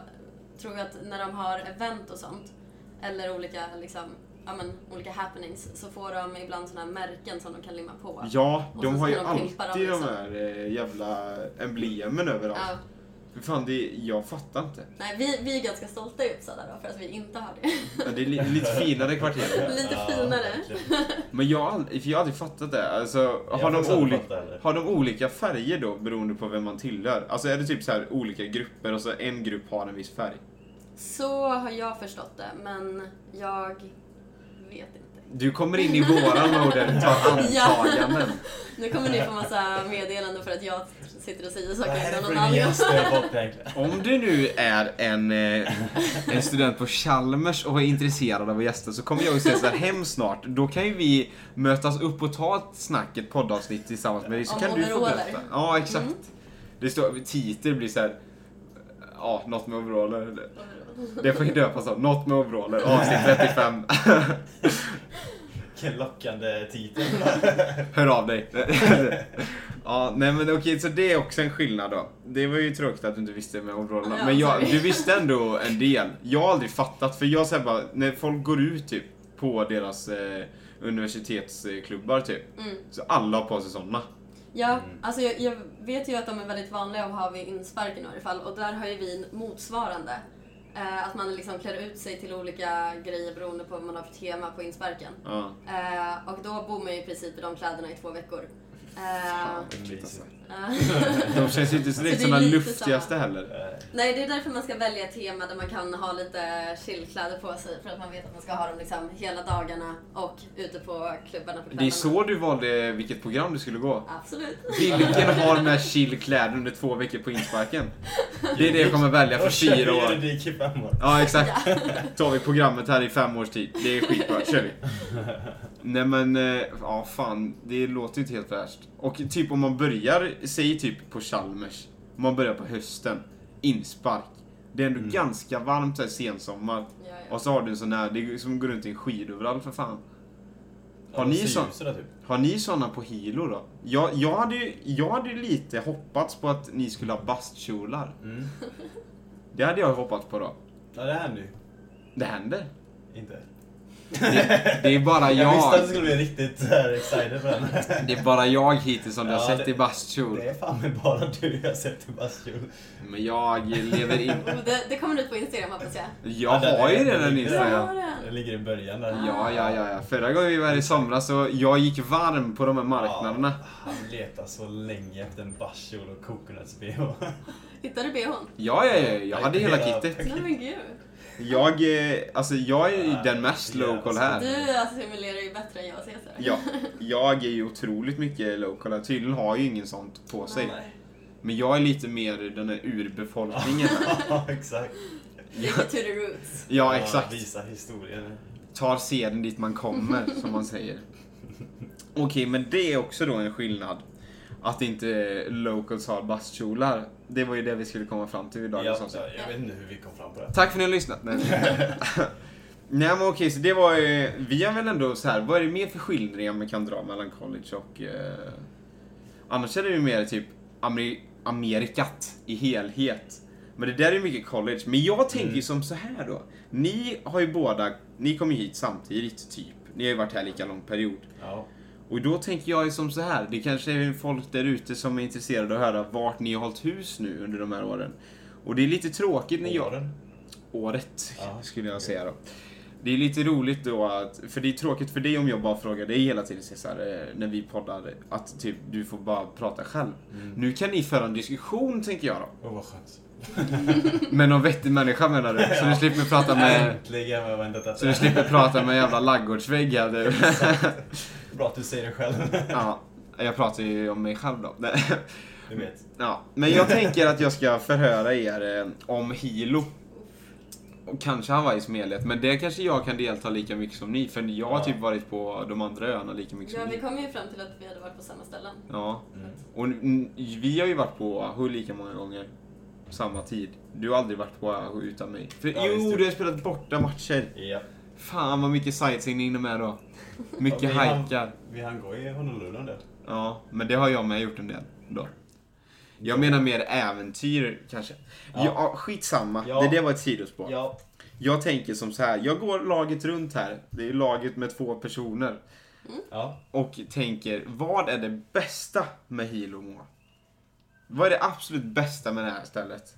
Speaker 3: tror jag att när de har event och sånt, eller olika, liksom, ja, men, olika happenings, så får de ibland sådana här märken som de kan limma på.
Speaker 1: Ja,
Speaker 3: Och
Speaker 1: de
Speaker 3: så
Speaker 1: har ju
Speaker 3: ska de
Speaker 1: alltid
Speaker 3: pimpa dem,
Speaker 1: de
Speaker 3: liksom.
Speaker 1: här eh, jävla emblemen överallt.
Speaker 3: Ja.
Speaker 1: För fan, det, jag fattar inte.
Speaker 3: nej, vi, vi är ganska stolta i Uppsala då för att vi inte har det.
Speaker 1: Men Det är li, lite finare kvarter.
Speaker 3: Lite
Speaker 2: Ja,
Speaker 3: finare.
Speaker 2: verkligen.
Speaker 1: Men jag har aldrig, för jag har aldrig fattat det. Alltså,
Speaker 2: Jag
Speaker 1: har, de
Speaker 2: faktiskt aldrig
Speaker 1: oli,
Speaker 2: fattat det heller.
Speaker 1: har de olika färger då beroende på vem man tillhör? Alltså är det typ så här olika grupper och så en grupp har en viss färg?
Speaker 3: Så har jag förstått det, men jag vet inte.
Speaker 1: Du kommer in i våran mode och tar
Speaker 3: Ja.
Speaker 1: antaganden.
Speaker 3: Nu kommer ni få massa meddelanden för att jag sitter och säger
Speaker 2: Vad
Speaker 3: saker
Speaker 2: är det
Speaker 3: utan
Speaker 2: för
Speaker 3: någon annan.
Speaker 2: gäst jag har fått egentligen?
Speaker 1: Om du nu är en, eh, en student på Chalmers och är intresserad av att gästa så kommer jag och Cesar hem snart. Då kan ju vi mötas upp och ta ett snack, ett poddavsnitt tillsammans med dig. Så
Speaker 3: Om
Speaker 1: kan du få
Speaker 3: overaller.
Speaker 1: berätta. Ja, exakt.
Speaker 3: Mm.
Speaker 1: Det står, titel blir såhär, ja, något med overaller. Det får ju döpas av, något med overaller, avsnitt 35.
Speaker 2: Vilken lockande titel.
Speaker 1: Hör av dig. ja, nej men okej, så det är också en skillnad då. Det var ju tråkigt att du inte visste med overallerna.
Speaker 3: Ja, alltså.
Speaker 1: men jag,
Speaker 3: sorry.
Speaker 1: du visste ändå en del. Jag har aldrig fattat, för jag säger bara, när folk går ut typ på deras eh, universitetsklubbar typ.
Speaker 3: Mm.
Speaker 1: Så alla har på sig sådana.
Speaker 3: Ja,
Speaker 1: Mm.
Speaker 3: alltså jag, jag vet ju att de är väldigt vanliga att ha vid inspark i några fall och där har ju vi motsvarande. Eh, att man liksom klär ut sig till olika grejer beroende på vad man har för tema på insparken.
Speaker 1: Ja.
Speaker 3: Eh, och då bor man ju i princip i de kläderna i två veckor. Eh,
Speaker 1: Fan, äckligt, alltså.
Speaker 3: eh,
Speaker 1: De känns ju inte så
Speaker 3: Så Alltså,
Speaker 1: likt som
Speaker 3: det är
Speaker 1: de
Speaker 3: lite
Speaker 1: luftigaste heller.
Speaker 2: Eh,
Speaker 3: Nej, det är därför man ska välja ett tema där man kan ha lite chillkläder på sig. För att man vet att man ska ha dem liksom hela dagarna och ute på klubbarna på kvällarna.
Speaker 1: Det är så du valde vilket program du skulle gå.
Speaker 3: Absolut.
Speaker 1: Vilken har med chill kläder under två veckor på insparken? Det är det jag kommer välja för
Speaker 2: och kör
Speaker 1: fyra år.
Speaker 2: juridik i fem år.
Speaker 1: Ja, exakt. Tar vi programmet här i fem års tid. Det är skitbra, kör vi. Nej men, eh, ja fan. Det låter ju inte helt värst. Och typ om man börjar, säg typ på Chalmers. Om man börjar på hösten. Inspark. Det är ändå
Speaker 2: Mm.
Speaker 1: ganska varmt så här sensommar.
Speaker 3: Ja, ja.
Speaker 1: Och så har du en sån här, det är som går runt i en skidoverall för fan. Har ni sån-
Speaker 2: Sådär, typ.
Speaker 1: Har ni såna på Hilo då? Jag, jag, hade ju, jag hade ju lite hoppats på att ni skulle ha bastkjolar.
Speaker 2: mm.
Speaker 1: Det hade jag hoppats på då.
Speaker 2: Ja, det händer ju.
Speaker 1: Det händer.
Speaker 2: Inte.
Speaker 1: Det är bara
Speaker 2: Jag visste att du
Speaker 1: jag.
Speaker 2: skulle bli riktigt så här excited för den.
Speaker 1: Det är bara jag hittills som du har
Speaker 2: Ja,
Speaker 1: sett
Speaker 2: det-
Speaker 1: i bastkjol.
Speaker 2: Det är fan mig bara du jag har sett i bastkjol.
Speaker 1: Men jag lever in...
Speaker 3: Oh, det, det kommer ut på Instagram hoppas
Speaker 1: Jag
Speaker 3: jag.
Speaker 2: Ja, den
Speaker 1: har ju
Speaker 2: är-
Speaker 1: redan
Speaker 2: den är-
Speaker 3: Jag
Speaker 1: Instagram.
Speaker 3: har
Speaker 2: Det
Speaker 3: den.
Speaker 2: ligger i början där.
Speaker 1: Ja, ja, ja, ja. Förra gången vi var här i somras så jag gick varm på de här marknaderna.
Speaker 2: Ja, han letar så länge efter en bastkjol och coconuts-bh.
Speaker 3: Hittade du bhn?
Speaker 1: Ja, ja, ja. Eh, Jag hade hela kittet.
Speaker 3: Nej men gud.
Speaker 1: Jag, eh, alltså jag är ju den mest local
Speaker 2: alltså
Speaker 1: här.
Speaker 3: Du assimilerar ju bättre än jag och Cesar.
Speaker 1: Ja, jag är ju otroligt mycket local. här. Tydligen har ju ingen sånt på sig.
Speaker 2: Nej.
Speaker 1: Men jag är lite mer den där urbefolkningen.
Speaker 2: Ja, exakt.
Speaker 3: Lite to the roots.
Speaker 1: Ja, exakt.
Speaker 2: Visa historien.
Speaker 1: Tar seden dit man kommer, som man säger. Okej, men det är också då en skillnad. Att inte locals har bastkjolar. Det var ju det vi skulle komma fram till i
Speaker 2: jag,
Speaker 1: dagens avsnitt.
Speaker 2: jag vet inte hur vi kom fram på det.
Speaker 1: Tack för att ni har lyssnat. Nej, Nej men okej, så det var ju... Vi har väl ändå så här, vad är det mer för skildringar man kan dra mellan college och... Eh, annars är det ju mer typ Ameri- Amerikat i helhet. Men det där är ju mycket college. Men jag tänker ju som så här då. Ni har ju båda, ni kom ju hit samtidigt typ. Ni har ju varit här lika lång period.
Speaker 2: Ja.
Speaker 1: Och då tänker jag ju som så här, det kanske är folk där ute som är intresserade av att höra vart ni har hållit hus nu under de här åren. Och det är lite
Speaker 2: Typ
Speaker 1: tråkigt när jag
Speaker 2: Åren.
Speaker 1: året,
Speaker 2: Ja,
Speaker 1: skulle jag
Speaker 2: okej.
Speaker 1: säga då. Det är lite roligt då att, för det är tråkigt för dig om jag bara frågar dig hela tiden Cesar, eh, när vi poddar, att typ du får bara prata själv.
Speaker 2: Mm.
Speaker 1: Nu kan ni föra en diskussion tänker jag då.
Speaker 2: Åh, vad skönt.
Speaker 1: Men någon vettig människa menar du? Så du slipper prata med,
Speaker 2: Äntligen har jag väntat Alltså,
Speaker 1: så du
Speaker 2: efter.
Speaker 1: slipper prata med en jävla laggårdsvägg här du.
Speaker 2: Bra att du säger det själv.
Speaker 1: Ja, jag pratar ju om mig själv då. Nej,
Speaker 2: Du vet.
Speaker 1: Ja, men jag tänker att jag ska förhöra er eh, om Hilo. Och kanske Hawaii som helhet, men det kanske jag kan delta lika mycket som ni, för jag har
Speaker 2: Ja.
Speaker 1: typ varit på de andra öarna lika mycket
Speaker 3: Ja,
Speaker 1: som
Speaker 3: vi
Speaker 1: ni.
Speaker 3: kom ju fram till att vi hade varit på samma ställen.
Speaker 1: Ja,
Speaker 2: Mm.
Speaker 1: och n- vi har ju varit på Oahu lika många gånger. Samma tid. Du har aldrig varit på Oahu utan mig. För,
Speaker 2: Ja, visst,
Speaker 1: jo,
Speaker 2: du-
Speaker 1: du har spelat borta matcher.
Speaker 2: Ja.
Speaker 1: Fan vad mycket sightseeing de är då. Mycket
Speaker 2: Ja, vi har-
Speaker 1: hajkar.
Speaker 2: Vi hann gå i Honolulu en del.
Speaker 1: Ja, men det har jag med gjort en del då. Jag menar mer äventyr kanske. Ja,
Speaker 2: Ja.
Speaker 1: skitsamma.
Speaker 2: Ja.
Speaker 1: Det där var ett sidospår.
Speaker 2: Ja.
Speaker 1: Jag tänker som så här. Jag går laget runt här. Det är laget med två personer.
Speaker 2: Ja.
Speaker 1: Och tänker, vad är det bästa med Hilomo? Vad är det absolut bästa med det här stället?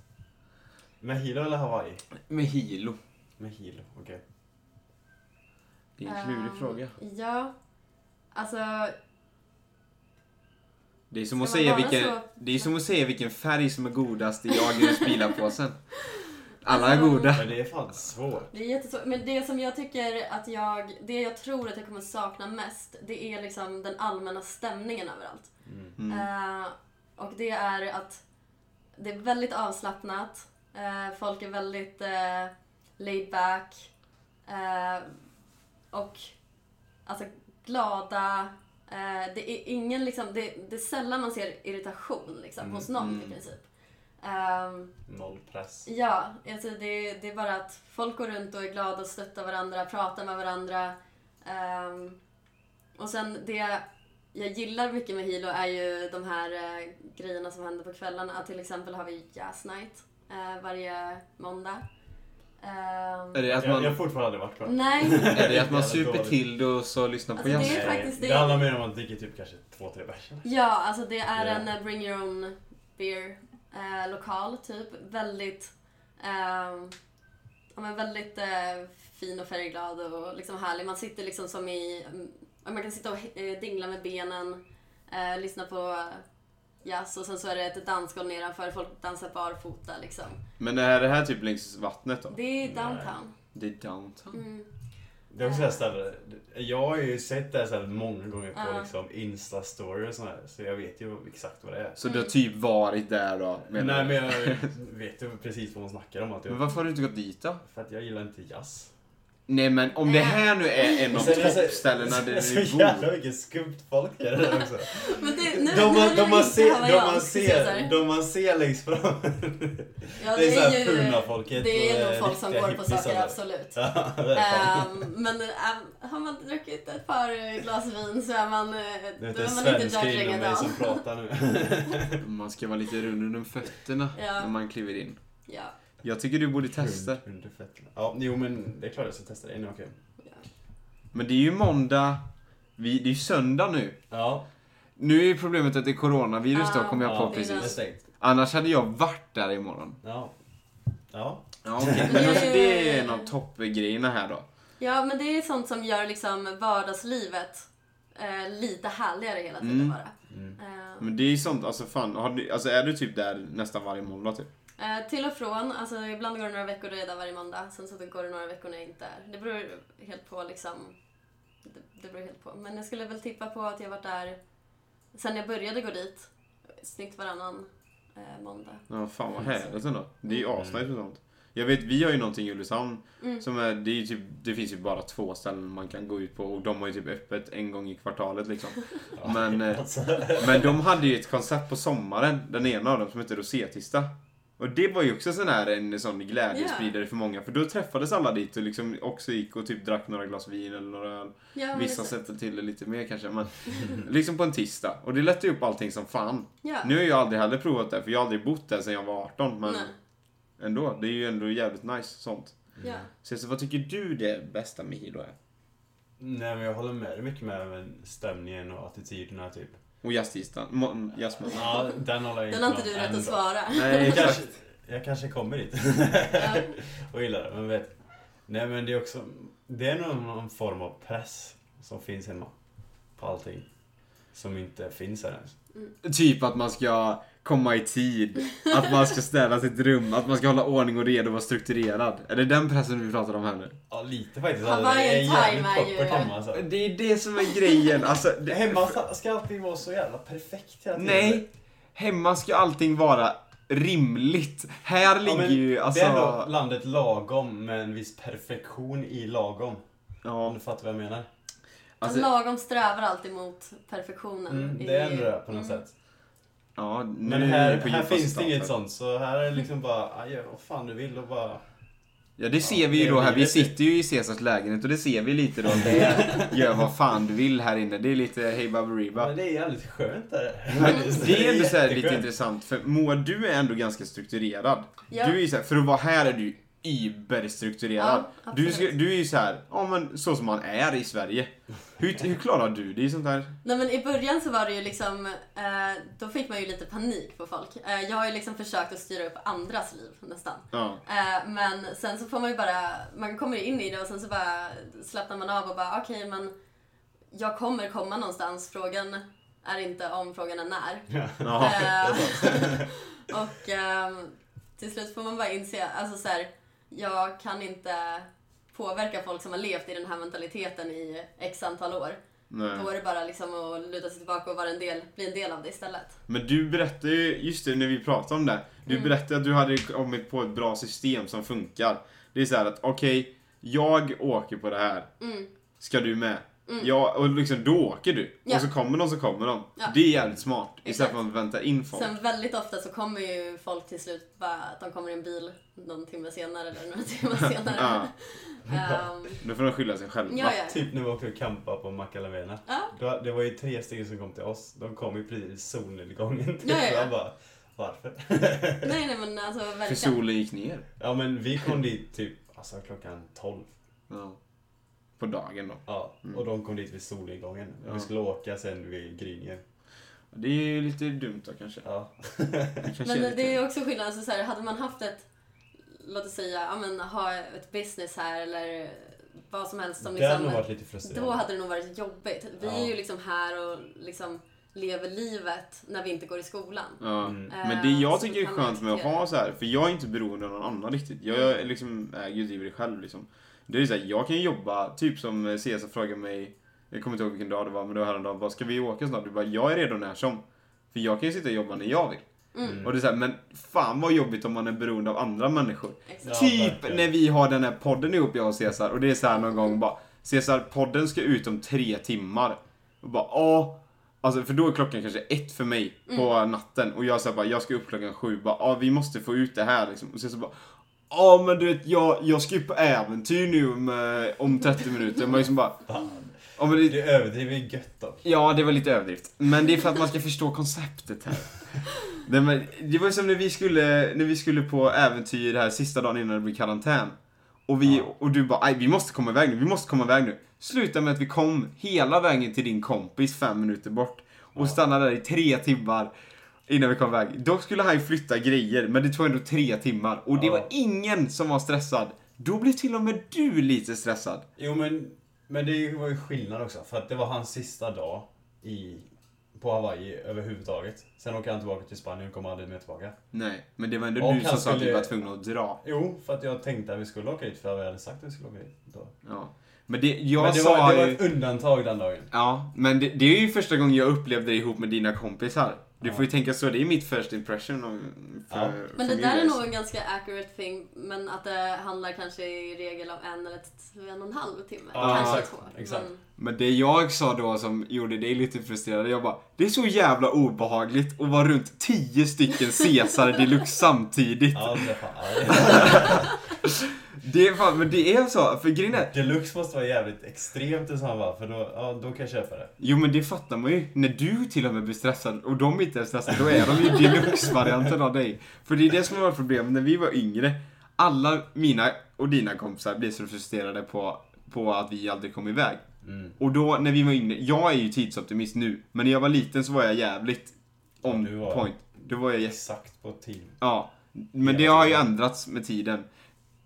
Speaker 2: Med Hilo eller Hawaii?
Speaker 1: Med Hilo?
Speaker 2: Med Hilo, okej.
Speaker 1: Det är en klurig
Speaker 3: Ehm,
Speaker 1: fråga.
Speaker 3: Ja. Alltså,
Speaker 1: Det är, som att
Speaker 3: ska man
Speaker 1: säga
Speaker 3: vara
Speaker 1: vilken,
Speaker 3: så-
Speaker 1: det är som att säga vilken färg som är godast i Ahlgrens bilapåsen. Alla är
Speaker 3: Alltså,
Speaker 1: goda.
Speaker 2: Men det är fan svårt.
Speaker 3: det är jättesvårt. Men det som jag tycker att jag, det jag tror att jag kommer sakna mest, det är liksom den allmänna stämningen överallt.
Speaker 1: Mm.
Speaker 3: Eh, och det är att det är väldigt avslappnat. Eh, folk är väldigt eh, laid back. Eh, och alltså glada. Eh, det är ingen liksom, det, det är sällan man ser irritation liksom,
Speaker 2: Mm,
Speaker 3: hos någon
Speaker 1: mm.
Speaker 3: i princip. Ehm,
Speaker 2: Noll press.
Speaker 3: Ja, alltså det, det är bara att folk går runt och är glada och stöttar varandra, pratar med varandra. Ehm, och sen det jag gillar mycket med Hilo är ju de här eh, grejerna som händer på kvällarna. Att till exempel har vi Jazz Night eh, varje måndag. Ehm,
Speaker 1: Är det att
Speaker 2: Jag, jag har
Speaker 1: man,
Speaker 2: fortfarande aldrig varit på det.
Speaker 3: Nej,
Speaker 1: är det att man
Speaker 2: Jävla
Speaker 1: super
Speaker 2: dåligt.
Speaker 1: till det och så lyssnar på
Speaker 3: Alltså,
Speaker 1: jazz?
Speaker 3: det är faktiskt
Speaker 2: det.
Speaker 3: det.
Speaker 2: Det handlar mer om att man dricker typ kanske två, tre bärs. eller?
Speaker 3: ja, alltså det är
Speaker 2: Ja.
Speaker 3: en eh, bring your own beer eh, lokal typ. Väldigt, ehm, ja, men väldigt eh, fin och färgglad och liksom härlig. Man sitter liksom som i, mm, man kan sitta och eh, dingla med benen. Eh, lyssna på jazz och sen så är det ett dansgolv nedanför. Folk dansar barfota liksom.
Speaker 1: Men är det här typ längs vattnet då?
Speaker 3: Det är downtown.
Speaker 1: Det är downtown.
Speaker 3: Mm.
Speaker 2: Det är också det här stället. Jag har ju sett det här stället många gånger på
Speaker 3: Ja.
Speaker 2: liksom Insta-story och sånt här. Så jag vet ju exakt vad det är.
Speaker 1: Så du har typ varit där då? menar
Speaker 2: Nej
Speaker 1: du?
Speaker 2: men jag vet ju precis vad hon snackar om. Att
Speaker 1: Men
Speaker 2: jag,
Speaker 1: varför har du inte gått dit då?
Speaker 2: för att jag gillar inte jazz.
Speaker 1: Nej men om det här nu är en av
Speaker 2: Sen är det så-
Speaker 1: toppställena där
Speaker 2: Så
Speaker 1: du
Speaker 2: jävla
Speaker 1: bor.
Speaker 2: mycket skumt folk är det där också.
Speaker 3: Men det, nu,
Speaker 2: De
Speaker 3: nu
Speaker 2: man,
Speaker 3: är
Speaker 2: de, man
Speaker 3: inte
Speaker 2: ser, de,
Speaker 3: hawaiiansk,
Speaker 2: man
Speaker 3: ska jag säga så här.
Speaker 2: ser, de man ser längst fram.
Speaker 3: Ja,
Speaker 2: det är så här
Speaker 3: ju-
Speaker 2: punafolket
Speaker 3: Det är
Speaker 2: och,
Speaker 3: nog
Speaker 2: eh,
Speaker 3: folk som
Speaker 2: riktiga
Speaker 3: går på
Speaker 2: hippies
Speaker 3: saker,
Speaker 2: alltså.
Speaker 3: absolut.
Speaker 2: Ja, det är fan.
Speaker 3: Ehm, men eh, har man druckit ett par glas vin så är man, eh,
Speaker 2: Det
Speaker 3: då
Speaker 2: är inte
Speaker 3: är man inte
Speaker 2: svenska
Speaker 3: judging
Speaker 2: inom
Speaker 3: at
Speaker 2: mig
Speaker 3: all.
Speaker 2: som pratar nu.
Speaker 1: Man ska vara lite rund under fötterna
Speaker 3: Ja.
Speaker 1: när man kliver in.
Speaker 3: Ja,
Speaker 1: Jag tycker du borde testa.
Speaker 2: Under- under fötterna. Ja, jo men det är klart jag ska testa det innan jag åker hem.
Speaker 1: Men det är ju måndag. Vi, det är ju söndag nu.
Speaker 2: Ja,
Speaker 1: Nu är problemet att det är coronavirus då,
Speaker 3: Ah,
Speaker 1: kom jag
Speaker 2: ja,
Speaker 1: på
Speaker 3: det är
Speaker 1: precis.
Speaker 2: det är stängt.
Speaker 1: Annars hade jag varit där imorgon.
Speaker 2: Ja. Ja.
Speaker 1: Ja, okej.
Speaker 3: Ja,
Speaker 1: Men
Speaker 3: ja,
Speaker 1: alltså,
Speaker 3: ja,
Speaker 1: det
Speaker 3: ja,
Speaker 1: är
Speaker 3: ja.
Speaker 1: en av toppgrejerna här då.
Speaker 3: ja, men det är sånt som gör liksom vardagslivet eh, lite härligare hela tiden
Speaker 1: Mm.
Speaker 3: bara.
Speaker 2: Mm.
Speaker 3: Ehm,
Speaker 1: Men det är ju sånt, alltså fan, har du, alltså är du typ där nästan varje måndag typ?
Speaker 3: Eh, till och från. Alltså, ibland går det några veckor då jag är där varje måndag. Sen så går det några veckor när jag inte är. Det beror helt på liksom. Det, det beror helt på. Men jag skulle väl tippa på att jag varit där sen jag började gå dit. Snitt varannan eh, måndag.
Speaker 1: Ja, fan vad härligt ändå. Det är ju asnice med sånt. Jag vet, vi har ju någonting i Ulricehamn
Speaker 3: Mm.
Speaker 1: som är, det är ju typ, det finns ju bara två ställen man kan gå ut på och de har ju typ öppet en gång i kvartalet liksom. Men, eh,
Speaker 2: Alltså,
Speaker 1: men de hade ju ett koncept på sommaren, den ena av dem som hette Rosétista. Och det var ju också sån här, en sån glädjespridare för många, för då träffades alla dit och liksom också gick och typ drack några glas vin eller några öl.
Speaker 3: Ja, men
Speaker 1: Vissa
Speaker 3: det-
Speaker 1: sätter till det lite mer kanske, men liksom på en tisdag. Och det lättar ju upp allting som fan.
Speaker 3: Ja.
Speaker 1: Nu har jag aldrig heller provat det, för jag har aldrig bott där sedan jag var 18, men
Speaker 3: Nej.
Speaker 1: ändå. Det är ju ändå jävligt nice sånt.
Speaker 3: Ja.
Speaker 2: Mm.
Speaker 1: Så, så vad tycker du det bästa med Hilo är?
Speaker 2: Nej men jag håller med dig mycket med men stämningen och attityderna typ.
Speaker 1: Och jazztisdagen? Må- Jazzmåndagen?
Speaker 2: Ja, den håller jag
Speaker 3: Den har inte
Speaker 2: med
Speaker 3: du
Speaker 2: om
Speaker 3: rätt
Speaker 2: än
Speaker 3: att
Speaker 2: då.
Speaker 3: svara.
Speaker 1: Nej,
Speaker 2: Jag
Speaker 1: exakt.
Speaker 2: kanske, jag kanske kommer dit
Speaker 3: Ja.
Speaker 2: och gillar det, men vet. Nej men det är också, det är nog någon form av press som finns hemma. På allting. Som inte finns här ens.
Speaker 1: Typ att man ska komma i tid, att man ska städa sitt rum, att man ska hålla ordning och reda och vara strukturerad. Är det den pressen vi pratar om här nu?
Speaker 2: Ja lite faktiskt. Alltså,
Speaker 3: Hawaiian
Speaker 2: det är jävligt
Speaker 3: time är ju-
Speaker 2: poppert hemma alltså.
Speaker 1: Det är det som är grejen, alltså. det-
Speaker 2: Hemma ska- ska allting vara så jävla perfekt hela tiden.
Speaker 1: Nej! Hemma ska allting vara rimligt. Här
Speaker 2: Ja,
Speaker 1: ligger
Speaker 2: men
Speaker 1: ju alltså...
Speaker 2: Det är ändå landet lagom med en viss perfektion i lagom. Om
Speaker 1: ja,
Speaker 2: du fattar vad jag menar.
Speaker 3: Alltså,
Speaker 1: alltså,
Speaker 3: lagom strävar alltid mot perfektionen.
Speaker 2: Mm,
Speaker 3: i-
Speaker 2: det är ändå det på något
Speaker 3: mm.
Speaker 2: sätt.
Speaker 1: ja, nu
Speaker 2: Men
Speaker 1: är
Speaker 2: här,
Speaker 1: vi på
Speaker 2: här
Speaker 1: djupa
Speaker 2: finns det
Speaker 1: staten.
Speaker 2: inget sånt. Så här är det liksom bara, "Ah, gör vad fan du vill och bara...
Speaker 1: Ja, det ser
Speaker 2: Ja,
Speaker 1: vi ju
Speaker 2: det
Speaker 1: då
Speaker 2: är
Speaker 1: här. Vi
Speaker 2: livet.
Speaker 1: sitter ju i Caesars lägenhet och det ser vi lite då. Det är, gör vad fan du vill här inne. Det är lite hej baberiba.
Speaker 2: Men det är jävligt skönt där.
Speaker 1: Men det är ändå så här lite
Speaker 2: Jätteskönt.
Speaker 1: intressant för Moa, du är ändå ganska strukturerad.
Speaker 3: Ja.
Speaker 1: Du är ju så här, för att vara här är du überstrukturerad.
Speaker 3: Ja,
Speaker 1: du,
Speaker 3: absolut.
Speaker 1: ska- du är ju så här, ja men så som man är i Sverige. Hur, hur klarar du det i sånt här?
Speaker 3: Nej men i början så var det ju liksom, eh, då fick man ju lite panik på folk. Eh, jag har ju liksom försökt att styra upp andras liv nästan.
Speaker 1: Ja.
Speaker 3: Eh, men sen så får man ju bara, man kommer in i det och sen så bara slappnar man av och bara okej men jag kommer komma någonstans. Frågan är inte om, frågan är när.
Speaker 1: Ja.
Speaker 3: Eh, och ehm, till slut får man bara inse, alltså så här, jag kan inte påverka folk som har levt i den här mentaliteten i x antal år.
Speaker 1: Nej.
Speaker 3: Då är det bara liksom att luta sig tillbaka och vara en del, bli en del av det istället.
Speaker 1: Men du berättade ju, just det när vi pratade om det. Du
Speaker 3: Mm.
Speaker 1: berättade att du hade kommit på ett bra system som funkar. Det är så här att okej, jag åker på det här.
Speaker 3: Mm.
Speaker 1: Ska du med? Ja, och liksom då åker du.
Speaker 3: Ja.
Speaker 1: Och så kommer de så kommer de.
Speaker 3: Ja.
Speaker 1: Det är jävligt smart. Istället
Speaker 3: Exakt.
Speaker 1: för att vänta in folk.
Speaker 3: Sen väldigt ofta så kommer ju folk till slut bara att de kommer i en bil någon timme senare eller några timmar senare.
Speaker 1: Ja,
Speaker 3: Ehm,
Speaker 1: då får de skylla sig själva.
Speaker 3: ja, ja.
Speaker 2: Typ när vi åkte och campade på Macalavena.
Speaker 3: Ja.
Speaker 2: Då- Det var ju tre stycken som kom till oss. De kom ju precis i solnedgången.
Speaker 3: Ja, ja, ja.
Speaker 2: Så jag bara, varför?
Speaker 3: Nej, nej men alltså
Speaker 1: För
Speaker 3: verkligen.
Speaker 1: solen gick ner.
Speaker 2: Ja men vi kom dit typ alltså, klockan 12.
Speaker 1: Ja. På dagen då.
Speaker 2: Ja, och de kom dit vid solnedgången.
Speaker 1: Mm. Ja.
Speaker 2: Vi skulle åka sen vid gryningen.
Speaker 1: Det är ju lite dumt då kanske.
Speaker 2: Ja.
Speaker 1: Det kanske
Speaker 3: Men
Speaker 1: är
Speaker 3: det
Speaker 1: lite...
Speaker 3: är ju också skillnad, alltså, så här, hade man haft ett, låt oss säga, ja, men, ha ett business här eller vad som helst som
Speaker 2: det hade nog
Speaker 3: liksom,
Speaker 2: varit lite frustrerande.
Speaker 3: då hade det nog varit jobbigt. Vi
Speaker 2: Ja.
Speaker 3: är ju liksom här och liksom lever livet när vi inte går i skolan.
Speaker 1: Ja.
Speaker 2: Mm.
Speaker 1: Men det jag tycker är
Speaker 3: Eh, kan
Speaker 1: skönt med att
Speaker 3: acceptera.
Speaker 1: ha så här, för jag är inte beroende av någon annan riktigt. Jag
Speaker 3: Mm.
Speaker 1: är liksom äger ju driver det själv liksom. Det är ju så här, jag kan ju jobba, typ som eh, Cesar frågade mig, jag kommer inte ihåg vilken dag det var, men det var häromdagen, vad ska vi åka snart? Du bara, jag är redo när som. För jag kan ju sitta och jobba när jag vill.
Speaker 2: Mm.
Speaker 1: Och det är så här, men fan vad jobbigt om man är beroende av andra människor.
Speaker 3: Exakt.
Speaker 2: Ja,
Speaker 1: typ
Speaker 2: verkligen.
Speaker 1: när vi har den här podden ihop, jag och Cesar, och det är så här någon gång bara, Cesar, podden ska ut om tre timmar. Och bara, ja. Alltså för då är klockan kanske ett för mig på natten och jag säger bara, jag ska upp klockan sju, bara, ja vi måste få ut det här liksom. Och Cesar bara, ja men du vet, jag, jag ska ju på äventyr nu om, eh, om 30 minuter. Man liksom bara,
Speaker 2: Fan.
Speaker 1: ja men det,
Speaker 2: Det överdriver ju gött dock.
Speaker 1: Ja, det var lite överdrift. Men det är för att man ska förstå konceptet här. Nej, men det var ju som när vi skulle, när vi skulle på äventyr här sista dagen innan det blev karantän. Och, vi,
Speaker 2: Ja.
Speaker 1: och du bara, "Aj, vi måste komma iväg nu, vi måste komma iväg nu. Sluta med att vi kom hela vägen till din kompis fem minuter bort och stannade där i tre timmar innan vi kom iväg. Dock skulle han ju flytta grejer, men det tog ändå tre timmar. Och det
Speaker 2: Ja.
Speaker 1: var ingen som var stressad. Då blev till och med du lite stressad.
Speaker 2: Jo men, men det var ju skillnad också för att det var hans sista dag i, på Hawaii överhuvudtaget. Sen åker han tillbaka till Spanien och kommer aldrig mer tillbaka.
Speaker 1: Nej, men det var ändå
Speaker 2: Och
Speaker 1: du
Speaker 2: han
Speaker 1: som sa att vi
Speaker 2: skulle-
Speaker 1: var tvungna att dra.
Speaker 2: Jo, för att jag tänkte att vi skulle åka dit för jag hade sagt att vi skulle åka dit då.
Speaker 1: Ja. Men det, jag
Speaker 2: men det
Speaker 1: sa
Speaker 2: var, det var
Speaker 1: ju...
Speaker 2: ett undantag den dagen.
Speaker 1: Ja, men det, det är ju första gången jag upplevde det ihop med dina kompisar. Du får ju tänka så, det är mitt first impression om, för,
Speaker 2: Ja.
Speaker 3: Men det
Speaker 1: för
Speaker 3: där
Speaker 1: mig,
Speaker 3: är
Speaker 1: alltså.
Speaker 3: nog en ganska accurate thing, men att det handlar kanske i regel om en eller t- en och en halv timme.
Speaker 2: Ja,
Speaker 3: kanske
Speaker 2: exakt,
Speaker 3: två. Mm.
Speaker 2: exakt.
Speaker 3: Men,
Speaker 1: Men det jag sa då som gjorde dig lite frustrerad, jag bara Det är så jävla obehagligt att vara runt 10 stycken Caesar deluxe samtidigt.
Speaker 2: Ja, det är fan. ja.
Speaker 1: Det är fan, men det är så, för grejen är,
Speaker 2: Deluxe måste vara jävligt extremt i sådana fall för då, ja, då kan jag köpa det.
Speaker 1: Jo men det fattar man ju. När du till och med blir stressad och de inte är stressade, då är de ju deluxe-varianten av dig. För det är det som var problemet när vi var yngre. Alla mina och dina kompisar blev så frustrerade på, på att vi aldrig kom iväg.
Speaker 2: Mm.
Speaker 1: Och då när vi var yngre, jag är ju tidsoptimist nu, men när jag var liten så var jag jävligt on
Speaker 2: Ja, du var-
Speaker 1: point. Då var jag jätte-
Speaker 2: Exakt på tid.
Speaker 1: Ja, men det
Speaker 2: Hela
Speaker 1: har ju
Speaker 2: tiden.
Speaker 1: ändrats med tiden.